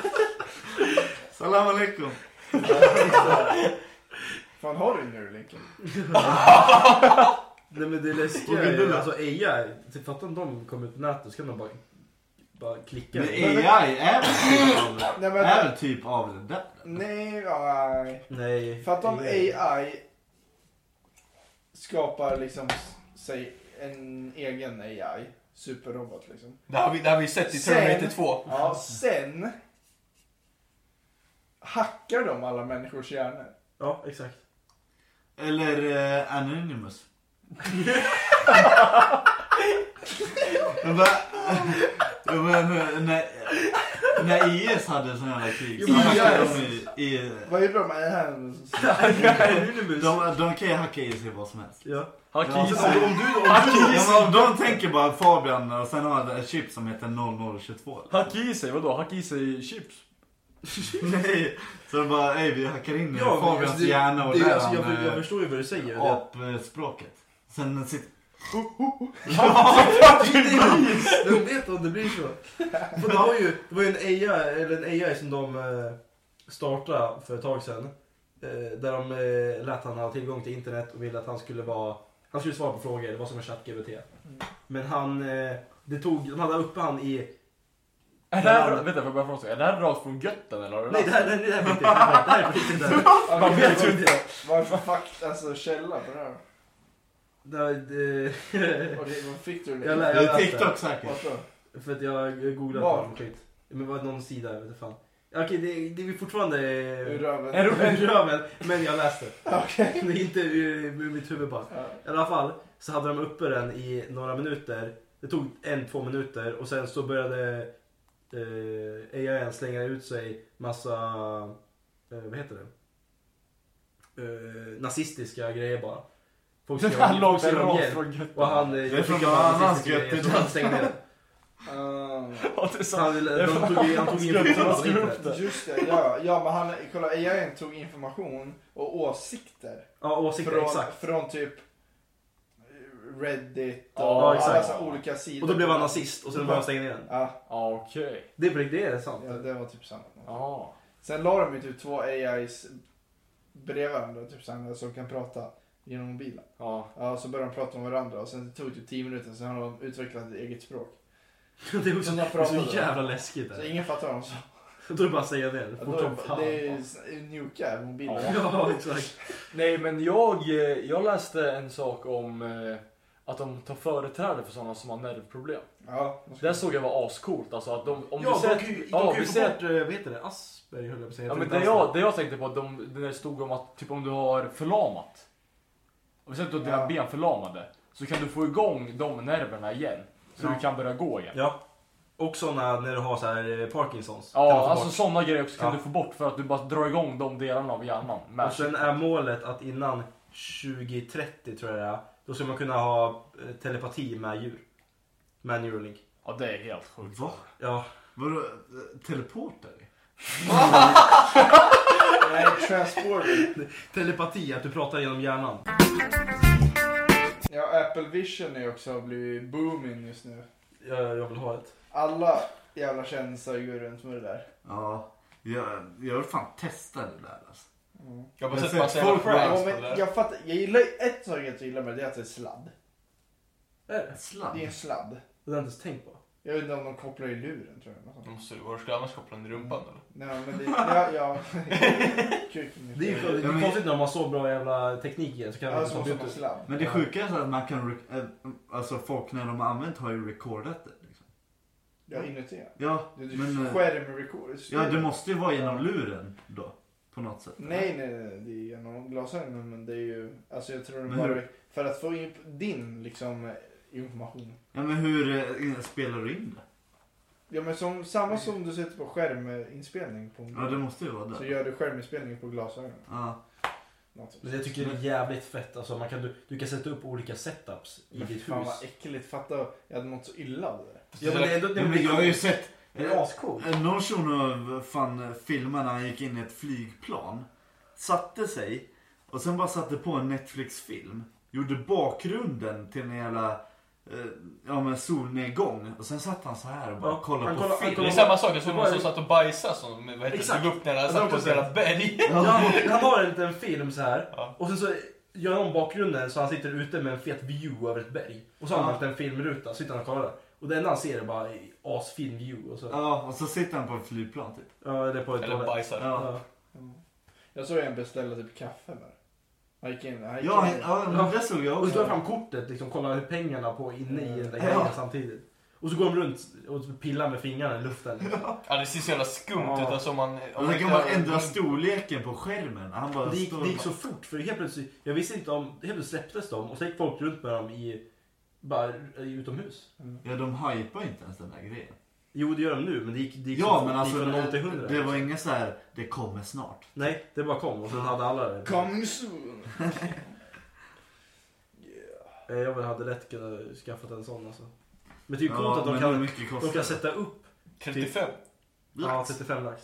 Speaker 5: Salam alaikum.
Speaker 4: Fan, har du en Neuralinken?
Speaker 3: Nej men det läskiga är ju, alltså AI. Typ, Fatta om de kommer ut på nätet så kan de bara, bara klicka.
Speaker 5: Men AI är väl typ av,
Speaker 4: Nej, men,
Speaker 5: är väl typ av det där?
Speaker 4: nej, nej.
Speaker 3: Nej.
Speaker 4: För att om AI skapar liksom, s- säg en egen AI, superrobot liksom.
Speaker 1: Det har vi, det har vi sett i
Speaker 4: Sen-
Speaker 1: Terminator 2.
Speaker 4: Ja, sen hackar de alla människors hjärnor.
Speaker 3: Ja, exakt.
Speaker 5: Eller eh, Anonymous. jag bara, jag bara, när, när IS hade sån jävla krig så
Speaker 4: Jo, men
Speaker 5: hackade
Speaker 4: IS.
Speaker 5: de i, i
Speaker 4: Vad gjorde de med det här?
Speaker 3: De-
Speaker 5: de, de kan ju hacka i sig vad som helst.
Speaker 3: Ja.
Speaker 2: Han
Speaker 5: Ja,
Speaker 2: kan gissa.
Speaker 5: men
Speaker 2: alltså, om du, om du
Speaker 5: Ja, men om de tänker bara Fabian och sen har han ett chip som heter 0022.
Speaker 2: Hacka i sig, vadå? Hacka i sig chips?
Speaker 5: Nej, så de bara ey vi hackar in i
Speaker 3: Ja, men
Speaker 5: Fabians
Speaker 3: alltså, det-
Speaker 5: hjärna och
Speaker 3: det är-
Speaker 5: lär
Speaker 3: alltså, jag,
Speaker 5: han
Speaker 3: för- jag
Speaker 5: eh,
Speaker 3: förstår ju vad du säger. Det-
Speaker 5: apspråket. Sen sitter
Speaker 3: De vet om det blir så. För det, var ju, det var ju en AI, eller en AI som de eh, startade för ett tag sedan. Eh, Där de eh, lät han ha tillgång till internet och ville att han skulle vara han skulle svara på frågor, det var som en ChatGPT.
Speaker 5: Mm.
Speaker 3: Men han, eh, det tog, de hade uppe han i...
Speaker 2: Är det här, vänta, får jag bara fråga en sak? Är det här rakt från götten eller? har du
Speaker 3: Nej det
Speaker 2: läst
Speaker 3: här, nej, det här är på riktigt, det här är på riktigt. det här är på riktigt.
Speaker 2: vet
Speaker 4: Man
Speaker 2: ju
Speaker 4: inte. Varför fuck, alltså källa på det här?
Speaker 3: Det här, det-
Speaker 4: Okej, vad fick du
Speaker 3: Jag
Speaker 4: det?
Speaker 3: lä-
Speaker 5: det
Speaker 3: jag
Speaker 5: är
Speaker 3: läste
Speaker 5: TikTok säkert.
Speaker 4: Vart då?
Speaker 3: det. För att jag googlade
Speaker 4: Var?
Speaker 3: på någon skit. Men det var någon sida, jag vet inte fan. Ja, Okej, det, det är fortfarande... eh,
Speaker 4: Ur
Speaker 2: Är
Speaker 4: röven?
Speaker 2: du-
Speaker 3: Röven, röven, men jag läste.
Speaker 4: Okej.
Speaker 3: Det är inte ur, ur mitt huvud bara.
Speaker 4: Ja.
Speaker 3: I alla fall så hade de uppe den i några minuter. Det tog en, två minuter och sen så började eh, AI slänga ut sig massa, eh, vad heter det? Eh, nazistiska grejer bara. Folk
Speaker 2: det?
Speaker 3: skrev
Speaker 2: Det här
Speaker 3: folk
Speaker 2: låg
Speaker 3: skrev om
Speaker 2: rakt
Speaker 3: hjälp.
Speaker 2: från götten.
Speaker 3: Och han eh,
Speaker 5: Det är
Speaker 3: tyckte
Speaker 5: från
Speaker 3: det var
Speaker 5: någon annans
Speaker 3: nazistiska grejer,
Speaker 5: gött.
Speaker 3: så han stängde ner den.
Speaker 4: Ah.
Speaker 2: Ja, det är
Speaker 3: Så
Speaker 2: sant.
Speaker 3: han, ville- de tog, han tog in
Speaker 2: Han skrev-
Speaker 3: information
Speaker 2: han
Speaker 3: på
Speaker 2: skrev upp
Speaker 3: internet.
Speaker 2: det.
Speaker 4: Just det, ja. ja men han, kolla AI tog information och åsikter.
Speaker 3: Ja, åsikter,
Speaker 4: från,
Speaker 3: exakt.
Speaker 4: från typ Reddit och
Speaker 2: Ja,
Speaker 4: alla
Speaker 2: exakt.
Speaker 4: så här olika sidor.
Speaker 3: Och då blev han nazist och sen började han stänga ner den.
Speaker 4: Ja,
Speaker 2: Ja, okej.
Speaker 3: Det är på riktigt, det är sant.
Speaker 4: ja, det var typ samma.
Speaker 2: Jaha.
Speaker 4: Sen la de ju typ två AIs bredvid varandra, typ så här, som kan prata genom mobilen.
Speaker 2: Ja.
Speaker 4: Ja, så började de prata med varandra och sen det tog det typ 10 minuter, sen har de utvecklat ett eget språk.
Speaker 3: Det är också
Speaker 4: Som
Speaker 3: det
Speaker 4: jag
Speaker 3: är
Speaker 4: pratade.
Speaker 3: så jävla läskigt.
Speaker 4: Så
Speaker 3: Där.
Speaker 4: ingen fattar vad de sa.
Speaker 3: Då är det bara att säga det.
Speaker 4: Ja,
Speaker 3: Fort
Speaker 4: då-
Speaker 3: som fan.
Speaker 4: Det är ju njuka mobilen.
Speaker 2: Ja.
Speaker 3: Ja, exakt.
Speaker 2: Nej, men jag, eh, jag läste en sak om eh, att de tar företräde för sådana som har nervproblem.
Speaker 4: Ja,
Speaker 2: Det såg jag var ascoolt. Alltså att de, om
Speaker 3: ja,
Speaker 2: du
Speaker 3: de
Speaker 2: ser,
Speaker 3: kan ju,
Speaker 2: ja,
Speaker 3: de kan ju
Speaker 2: vi
Speaker 3: få
Speaker 2: ser-
Speaker 3: bort, eh, vad heter det, Asperger höll jag alltså- på att säga.
Speaker 2: ja, men
Speaker 3: inte
Speaker 2: det,
Speaker 3: Asperger.
Speaker 2: jag, det jag tänkte på, de, det där stod om att typ om du har förlamat. Om vi säger att du har dina
Speaker 4: Ja.
Speaker 2: ben förlamade. Så kan du få igång de nerverna igen. Så
Speaker 3: Ja.
Speaker 2: du kan börja gå igen.
Speaker 3: Ja. Och sådana när du har så här eh, Parkinsons.
Speaker 2: Ja,
Speaker 3: Kan du få
Speaker 2: alltså
Speaker 3: bort.
Speaker 2: sådana grejer också kan
Speaker 3: Ja.
Speaker 2: du få bort för att du bara drar igång de delarna av hjärnan. Med.
Speaker 3: Och sen är målet att innan 2030 tror jag det är, då ska man kunna ha eh, telepati med djur. Med Neuralink.
Speaker 2: Ja, det är helt sjukt.
Speaker 5: Va?
Speaker 3: Ja.
Speaker 5: Vadå? eh, Teleporter?
Speaker 4: Nej, transporter.
Speaker 3: Telepati, att du pratar genom hjärnan.
Speaker 4: Ja, Apple Vision är också har blivit booming just nu.
Speaker 3: Jag, jag vill ha ett.
Speaker 4: Alla jävla kändisar går runt med det där.
Speaker 5: Ja. Jag, jag vill fan testa det där alltså.
Speaker 4: Mm.
Speaker 1: Jag har
Speaker 5: Men
Speaker 1: bara sett
Speaker 5: sen
Speaker 1: massa jävla
Speaker 5: folk-
Speaker 1: pranks
Speaker 4: Ja,
Speaker 1: på det
Speaker 4: men
Speaker 1: där.
Speaker 4: jag fattar, jag gillar ju ett sak jag inte gillar med det, det är att det är sladd.
Speaker 3: Är
Speaker 4: Det är
Speaker 5: Sladd?
Speaker 4: en sladd.
Speaker 3: Det har jag inte ens tänkt på.
Speaker 4: Jag vet inte om de kopplar i luren tror jag. eller något
Speaker 1: Då
Speaker 4: sånt.
Speaker 1: Måste du, var ska du annars koppla den i rumpan eller?
Speaker 4: Nej men det, ja, ja. Kuken
Speaker 3: Det är ju det
Speaker 5: Ja,
Speaker 3: är
Speaker 5: men-
Speaker 3: konstigt när man har så bra jävla teknik igen så kan man liksom
Speaker 4: Ja,
Speaker 3: inte
Speaker 4: så
Speaker 3: ta
Speaker 4: måste man
Speaker 3: ut
Speaker 4: ha
Speaker 3: det.
Speaker 4: sladd.
Speaker 5: Men det sjuka är så att man kan... rec- eh, Alltså folk när de har använt har ju recordat det. Liksom.
Speaker 4: Ja, inuti ja.
Speaker 5: Ja,
Speaker 4: Du, du
Speaker 5: men... eh,
Speaker 4: skärm record.
Speaker 5: Ja, det måste ju vara genom luren då. På något sätt.
Speaker 4: Nej, nej, nej, det är genom glasögonen men det är ju, alltså jag tror det
Speaker 5: Men
Speaker 4: bara,
Speaker 5: hur-
Speaker 4: för att få in din liksom information.
Speaker 5: Ja, men hur eh, spelar du in det?
Speaker 4: Ja men som, samma som du sätter på skärminspelning på
Speaker 5: Ja, det måste ju vara
Speaker 4: så
Speaker 5: det.
Speaker 4: gör du skärminspelning på glasögonen.
Speaker 5: Ja.
Speaker 4: Något sånt.
Speaker 3: Men Jag tycker det är jävligt fett. Alltså, man kan, du, du kan sätta upp olika setups i
Speaker 4: Men
Speaker 3: ditt
Speaker 4: fan
Speaker 3: hus.
Speaker 4: vad äckligt, fatta. Jag hade mått så illa av det där.
Speaker 1: Fast
Speaker 3: Ja, men
Speaker 1: Alltså, det
Speaker 3: det, är ändå- det,
Speaker 5: Ja, men jag har ju sett...
Speaker 3: det är ascoolt.
Speaker 5: Eh, Någon shuno fan filmade när han gick in i ett flygplan. Satte sig och sen bara satte på en Netflix-film. Gjorde bakgrunden till en jävla eh, ja, men solnedgång. Och sen satt han så här och bara
Speaker 3: Ja,
Speaker 5: kollade
Speaker 3: han
Speaker 5: på
Speaker 3: kollade- han
Speaker 5: film.
Speaker 1: Det är
Speaker 3: kollade-
Speaker 1: samma sak, jag såg
Speaker 3: Det var
Speaker 1: någon som
Speaker 3: ju-
Speaker 1: satt och bajsade som vad heter det,
Speaker 3: Exakt.
Speaker 1: tog upp när han
Speaker 3: Det var
Speaker 1: satt på
Speaker 3: också
Speaker 1: ett jävla berg.
Speaker 3: Ja, han, han har en liten film så här.
Speaker 1: Ja.
Speaker 3: Och sen så gör han om bakgrunden så han sitter ute med en fet view över ett berg. Och så har han
Speaker 5: Ja.
Speaker 3: haft en filmruta, så sitter han och kollar. Och det enda han ser är bara asfin view. Och så, ja.
Speaker 5: Ja, och så sitter han på ett flygplan typ.
Speaker 3: eller på ett
Speaker 1: Eller
Speaker 3: toalett.
Speaker 1: bajsade.
Speaker 5: Ja,
Speaker 3: Ja.
Speaker 4: Ja. Jag såg en beställa typ kaffe med det. Han gick in, han gick
Speaker 5: ja,
Speaker 4: in.
Speaker 5: ja men det såg jag
Speaker 3: Och så tar
Speaker 5: också.
Speaker 3: han fram kortet, liksom, kollar hur pengarna på inne i den där
Speaker 5: Ja.
Speaker 3: grejen samtidigt. Och så går de runt och pillar med fingrarna i luften.
Speaker 1: Ja, det ser så jävla skumt ut.
Speaker 3: Ja.
Speaker 1: Alltså, om man, om
Speaker 5: Och sen kan
Speaker 1: inte-
Speaker 5: man ändra storleken på skärmen. Han bara
Speaker 3: Det gick,
Speaker 5: står
Speaker 3: det gick
Speaker 5: och
Speaker 3: så fort för helt plötsligt, jag visste inte om, helt plötsligt släpptes de och så gick folk runt med dem i, bara i utomhus.
Speaker 5: bara- Ja, de hypar ju inte ens den där grejen.
Speaker 3: Jo det gör de nu men det gick, det gick så
Speaker 5: Ja,
Speaker 3: fort,
Speaker 5: men alltså
Speaker 3: det gick från 0 till liksom.
Speaker 5: det,
Speaker 3: 100.
Speaker 5: det var inga så här det kommer snart.
Speaker 3: Nej, det bara kom och sen hade alla det.
Speaker 4: Coming soon.
Speaker 3: Eh, Jag hade lätt kunnat skaffa en sån alltså. Men det är ju
Speaker 5: Ja,
Speaker 3: coolt att de
Speaker 5: men hur
Speaker 3: kan,
Speaker 5: mycket kostar
Speaker 3: de kan
Speaker 5: det?
Speaker 3: sätta upp,
Speaker 1: 35.
Speaker 3: ja
Speaker 5: Lax.
Speaker 3: 35 lax.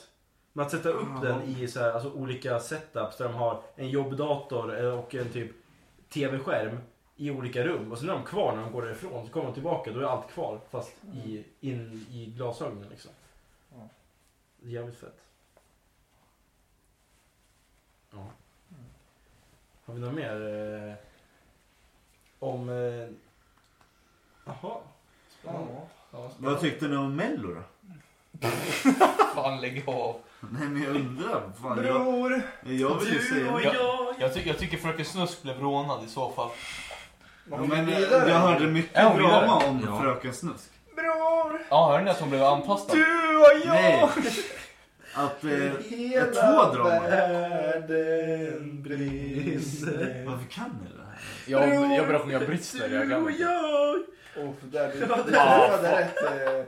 Speaker 3: Men att sätta upp
Speaker 5: Ja.
Speaker 3: den i så här, alltså, olika setups där de har en jobbdator eh, och en typ tv-skärm i olika rum och sen är de kvar när de går därifrån så kommer de tillbaka då är allt kvar fast i, in i glasögonen liksom.
Speaker 4: Ja.
Speaker 3: Det är jävligt fett. Ja. Har vi något mer eh, om... eh, Jaha. Spännande.
Speaker 4: Ja.
Speaker 3: Ja,
Speaker 5: Vad
Speaker 3: spännande.
Speaker 5: tyckte ni om mello då?
Speaker 1: Fan lägg av.
Speaker 5: Nej men jag undrar. Fan, jag,
Speaker 4: Bror!
Speaker 5: jag vill ju
Speaker 3: Du
Speaker 5: säga
Speaker 3: och
Speaker 5: det.
Speaker 3: jag.
Speaker 1: Jag, ty- jag tycker Fröken Snusk blev rånad i så fall.
Speaker 5: Ja,
Speaker 4: Man kommer
Speaker 5: men, eh,
Speaker 4: vidare.
Speaker 5: jag hörde mycket
Speaker 1: Är hon
Speaker 5: drama
Speaker 1: vidare?
Speaker 5: om
Speaker 2: Ja.
Speaker 5: Fröken Snusk.
Speaker 4: Bror!
Speaker 1: Ja, hörde ni att hon blev antastad?
Speaker 4: Du och jag!
Speaker 5: Nej! Att, eh,
Speaker 4: Hela
Speaker 5: två drama.
Speaker 4: världen brinner.
Speaker 5: varför kan ni det här?
Speaker 2: Jag, jag börjar sjunga Britzler, jag kan inte.
Speaker 3: jag.
Speaker 4: Och där du
Speaker 3: Ja, det-
Speaker 4: träffade rätt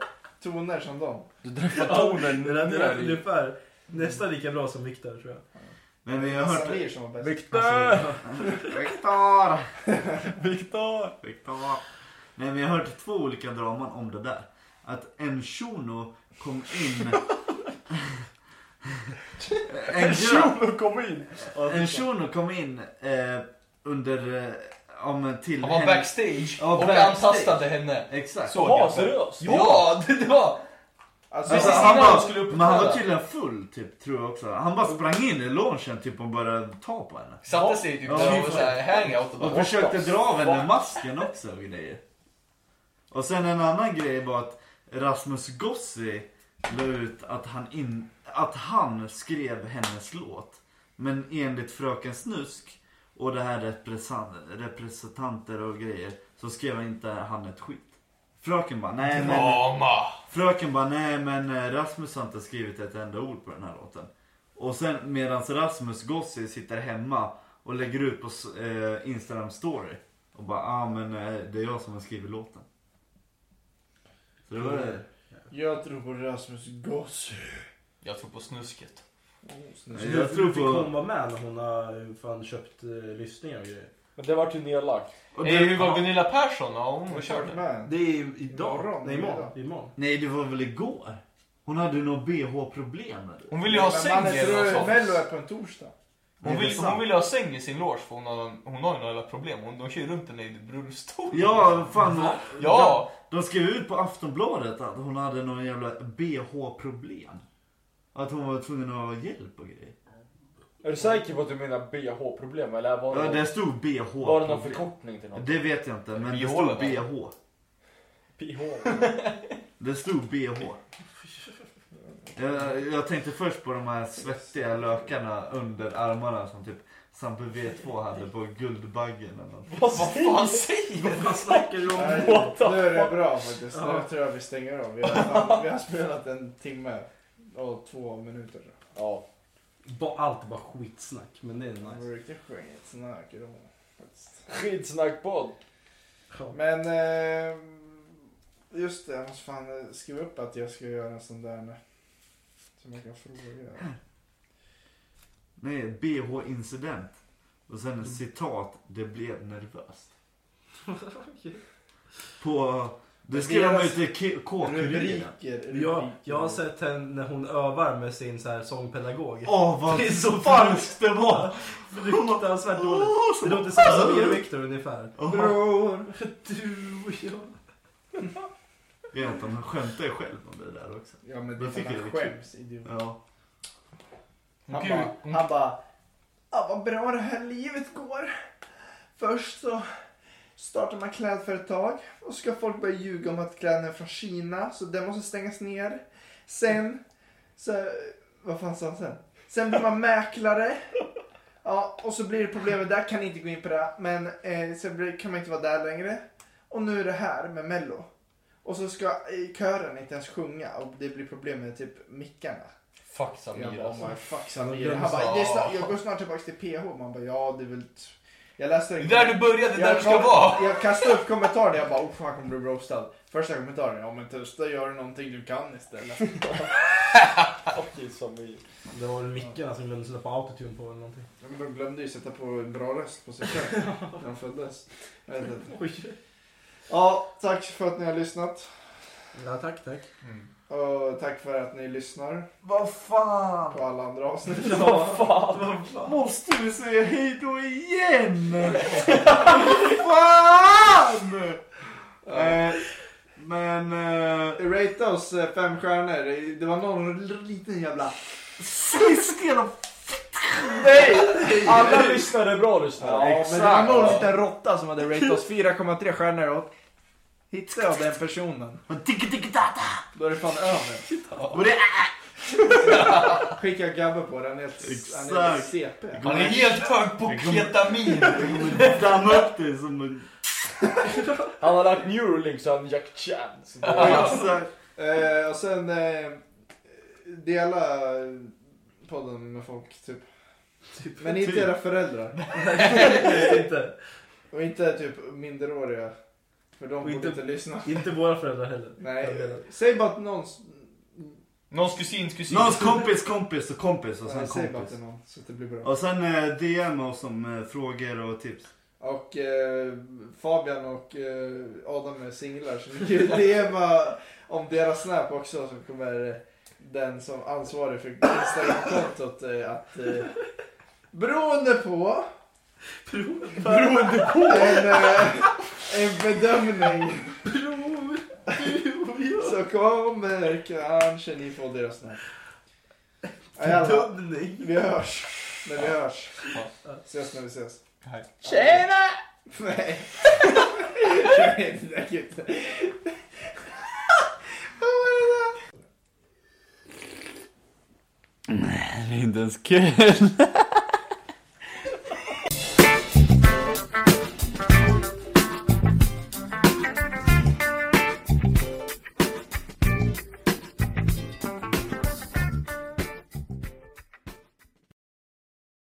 Speaker 4: eh, toner som dem.
Speaker 2: Du träffar
Speaker 3: Ja,
Speaker 2: tonen
Speaker 3: Det där är
Speaker 2: där i.
Speaker 3: ungefär nästan lika bra som Viktor tror jag.
Speaker 5: Nej men jag har hört...
Speaker 4: Samir som var bäst.
Speaker 2: Viktor!
Speaker 3: Alltså-
Speaker 5: Viktor!
Speaker 2: Viktor!
Speaker 5: Viktor! Nej men jag har hört två olika draman om det där. Att en shuno kom in... en
Speaker 2: Shuno
Speaker 5: grabb-
Speaker 2: kom in!
Speaker 5: En shuno kom in eh, under eh, ja, men till
Speaker 1: Han var
Speaker 5: henne.
Speaker 1: backstage
Speaker 5: Ja,
Speaker 1: och
Speaker 5: backstage.
Speaker 1: antastade henne.
Speaker 5: Exakt.
Speaker 1: Så.
Speaker 2: Jaha, seriöst?
Speaker 1: Ja, det var...
Speaker 4: Alltså,
Speaker 1: Precis
Speaker 5: Alltså,
Speaker 1: innan
Speaker 5: han,
Speaker 1: han skulle
Speaker 5: bara,
Speaker 1: upp på
Speaker 5: men han var
Speaker 1: knäna.
Speaker 5: tydligen full typ, tror jag också. Han bara sprang in i loungen typ, och började ta på henne.
Speaker 1: Satte sig typ
Speaker 5: Ja,
Speaker 1: där
Speaker 5: fy
Speaker 1: och så här hangout och
Speaker 5: Och
Speaker 1: bara...
Speaker 5: försökte dra av henne
Speaker 2: fuck?
Speaker 5: masken också och grejer. Och sen en annan grej var att Rasmus Gossi la ut att han, in, att han skrev hennes låt. Men enligt Fröken Snusk och det här represan- representanter och grejer så skrev han inte han ett skit. Fröken bara, nej men...
Speaker 1: Drama!
Speaker 5: Fröken bara, nej men eh, Rasmus har inte skrivit ett enda ord på den här låten. Och sen medan Rasmus Gossi sitter hemma och lägger ut på s- eh, Instagram story. Och bara, ah men eh, det är jag som har skrivit låten. Så det var det.
Speaker 4: jag tror på Rasmus Goss.
Speaker 1: Jag tror på snusket.
Speaker 4: Oh,
Speaker 3: Så
Speaker 5: Jag
Speaker 3: nu
Speaker 5: tror
Speaker 3: fick
Speaker 5: på-
Speaker 3: hon vara med när hon har fan köpt eh, lyssningar och grejer.
Speaker 2: Men det vart ju nedlagt.
Speaker 5: Och
Speaker 1: Eh, Hur
Speaker 5: det
Speaker 1: var Gunilla Persson? Ja, hon var körd.
Speaker 3: Det är idag.
Speaker 4: Imorgon,
Speaker 3: Nej, imorgon.
Speaker 4: idag.
Speaker 3: imorgon.
Speaker 5: nej det var väl igår? Hon hade ju något bh-problem. eller?
Speaker 1: Hon ville ju ha
Speaker 4: Men
Speaker 1: säng
Speaker 4: mannen, tror
Speaker 1: eller något
Speaker 4: du Mello
Speaker 1: sånt.
Speaker 4: är på en torsdag.
Speaker 5: Det
Speaker 1: Hon
Speaker 5: är
Speaker 1: vill,
Speaker 5: sant.
Speaker 1: hon vill ha säng i sin loge för hon har, hon har ju några jävla problem. Hon, de kör ju runt henne i rullstol.
Speaker 5: Ja, fan. hon-
Speaker 1: Ja!
Speaker 5: De skrev ut på Aftonbladet att hon hade någon jävla bh-problem. Att hon var tvungen att ha hjälp och grejer.
Speaker 2: Är du säker på att du menar BH-problem eller var
Speaker 5: Ja,
Speaker 2: det,
Speaker 5: det stod bh
Speaker 2: var det någon förkortning till något?
Speaker 5: Det vet jag inte, men det
Speaker 1: BH
Speaker 5: stod
Speaker 1: eller
Speaker 5: BH.
Speaker 2: BH?
Speaker 5: Det stod BH. Jag, jag tänkte först på de här svettiga lökarna under armarna som typ Sampe V2 hade på Guldbaggen eller något.
Speaker 2: Vad
Speaker 1: Vad
Speaker 2: säger
Speaker 1: fan
Speaker 2: du?
Speaker 1: säger du?
Speaker 3: Vad snackar du om?
Speaker 4: Nej,
Speaker 2: What the
Speaker 4: nu är det
Speaker 2: fuck?
Speaker 4: bra faktiskt. Nu
Speaker 3: Ja.
Speaker 4: tror jag vi stänger av. Vi har, fan, vi har spelat en timme och två minuter.
Speaker 2: Ja.
Speaker 3: Ba- Allt är bara skitsnack, men det är
Speaker 4: Det
Speaker 3: nice.
Speaker 4: var riktigt skitsnack idag. faktiskt.
Speaker 2: Skitsnackpodd.
Speaker 3: Ja.
Speaker 4: Men eh, just det, jag måste fan eh, skriva upp att jag ska göra en sån där med. Som jag kan fråga.
Speaker 5: Nej, BH-incident. Och sen
Speaker 2: Mm.
Speaker 5: ett citat, det blev nervöst. På... Det skrev de ut i K- K-Kuriren.
Speaker 4: Rubriker.
Speaker 3: Jag,
Speaker 4: rubriker.
Speaker 3: jag har sett henne när hon övar med sin så här sångpedagog.
Speaker 5: Åh vad
Speaker 3: Det är så
Speaker 5: falskt det var!
Speaker 3: Fruktansvärt
Speaker 5: Åh,
Speaker 3: dåligt.
Speaker 5: så-
Speaker 3: Det låter som Samir och Viktor ungefär.
Speaker 5: Åh.
Speaker 4: Bror.
Speaker 3: Du och jag.
Speaker 5: Egentligen, han skämtade ju själv om det där också.
Speaker 4: Ja men
Speaker 5: Då
Speaker 4: det
Speaker 5: fick
Speaker 4: är
Speaker 5: jag
Speaker 4: han
Speaker 5: det.
Speaker 4: skäms idiot.
Speaker 5: Ja.
Speaker 4: Han
Speaker 1: Gud,
Speaker 4: bara,
Speaker 1: hon-
Speaker 4: han bara, ah, vad bra det här livet går. Först så startar man klädföretag och ska folk börja ljuga om att kläderna är från Kina så den måste stängas ner. Sen, så, vad fan sa han sen? Sen blir man mäklare. Ja, och så blir det problem med där, kan inte gå in på det. Men eh, sen blir, kan man inte vara där längre. Och nu är det här med Mello. Och så ska eh, kören inte ens sjunga och det blir problem med typ mickarna.
Speaker 1: Fuck
Speaker 4: Jag
Speaker 1: Samir
Speaker 4: bara, oh
Speaker 1: alltså.
Speaker 4: my fuck Samir. Han bara, det är snart, jag går snart tillbaka till PH. Man bara, ja det är väl... t- Jag läste
Speaker 1: Det är där du började, det är där du ska
Speaker 4: kom-
Speaker 1: vara.
Speaker 4: Jag kastade upp kommentarer där jag bara, oh fan jag kommer bli roastad. Första kommentaren, ja men Tusta gör någonting du kan istället.
Speaker 2: Okej, Samir.
Speaker 3: Det var väl mickarna som glömde sätta på autotune på eller någonting.
Speaker 4: Ja, men de glömde ju sätta på en bra röst på sig själv när de föddes. Jag vet inte. Ja, tack för att ni har lyssnat.
Speaker 3: Ja, tack, tack.
Speaker 1: Mm.
Speaker 4: Och tack för att ni lyssnar
Speaker 5: Vad fan!
Speaker 4: på alla andra avsnitt.
Speaker 2: Vad fan?
Speaker 5: Måste vi säga hej då igen? Fan! Eh, men... Eh,
Speaker 4: Rate oss eh, fem stjärnor. Det var någon liten jävla...
Speaker 5: Slisk genom...
Speaker 2: Alla lyssnare är bra
Speaker 4: Ja,
Speaker 2: lyssnare.
Speaker 4: men det var någon
Speaker 2: Ja.
Speaker 4: liten råtta som hade ratat oss 4,3 stjärnor och hittade jag den personen,
Speaker 5: Ticka ticka tata!
Speaker 4: då är det fan över.
Speaker 5: Och det är...
Speaker 4: Skicka Gabbe på den, han är ett- han är ett
Speaker 5: Exakt.
Speaker 4: CP.
Speaker 1: Han är helt hög på
Speaker 5: Det kommer-
Speaker 1: ketamin.
Speaker 5: Damma upp dig som en...
Speaker 2: Han har lagt neuralink så han är Jack Chan. Så det-
Speaker 5: Exakt.
Speaker 4: Eh, och sen eh, dela podden med folk typ. Men inte era föräldrar.
Speaker 3: inte,
Speaker 4: Och inte typ minderåriga. För de
Speaker 3: Och
Speaker 4: borde
Speaker 3: inte-
Speaker 4: inte lyssna.
Speaker 3: inte våra föräldrar heller. Jag
Speaker 4: Nej,
Speaker 3: menar,
Speaker 4: säg bara att någon...
Speaker 1: Någons kusins kusin.
Speaker 5: Någons kompis, kompis och kompis och sen
Speaker 4: Nej, säg bara
Speaker 5: kompis.
Speaker 4: till någon så att det blir bra.
Speaker 5: Och sen eh, DM oss om eh, frågor och tips.
Speaker 4: Och eh, Fabian och eh, Adam är singlar så ni kan ju DMa om deras Snap också så kommer den som ansvarig för Instagram-kontot eh, att eh, beroende på Beroende på! En, eh, en bedömning som kommer eh, kanske ni får deras snart. Ja, i alla fall,
Speaker 3: Bedömning.
Speaker 4: Vi hörs när vi hörs.
Speaker 1: Ja.
Speaker 4: Ses när vi ses.
Speaker 1: Hej.
Speaker 4: Tjena! Nej. Nej, det där kan inte. Vad var det där?
Speaker 5: Det är inte ens kul.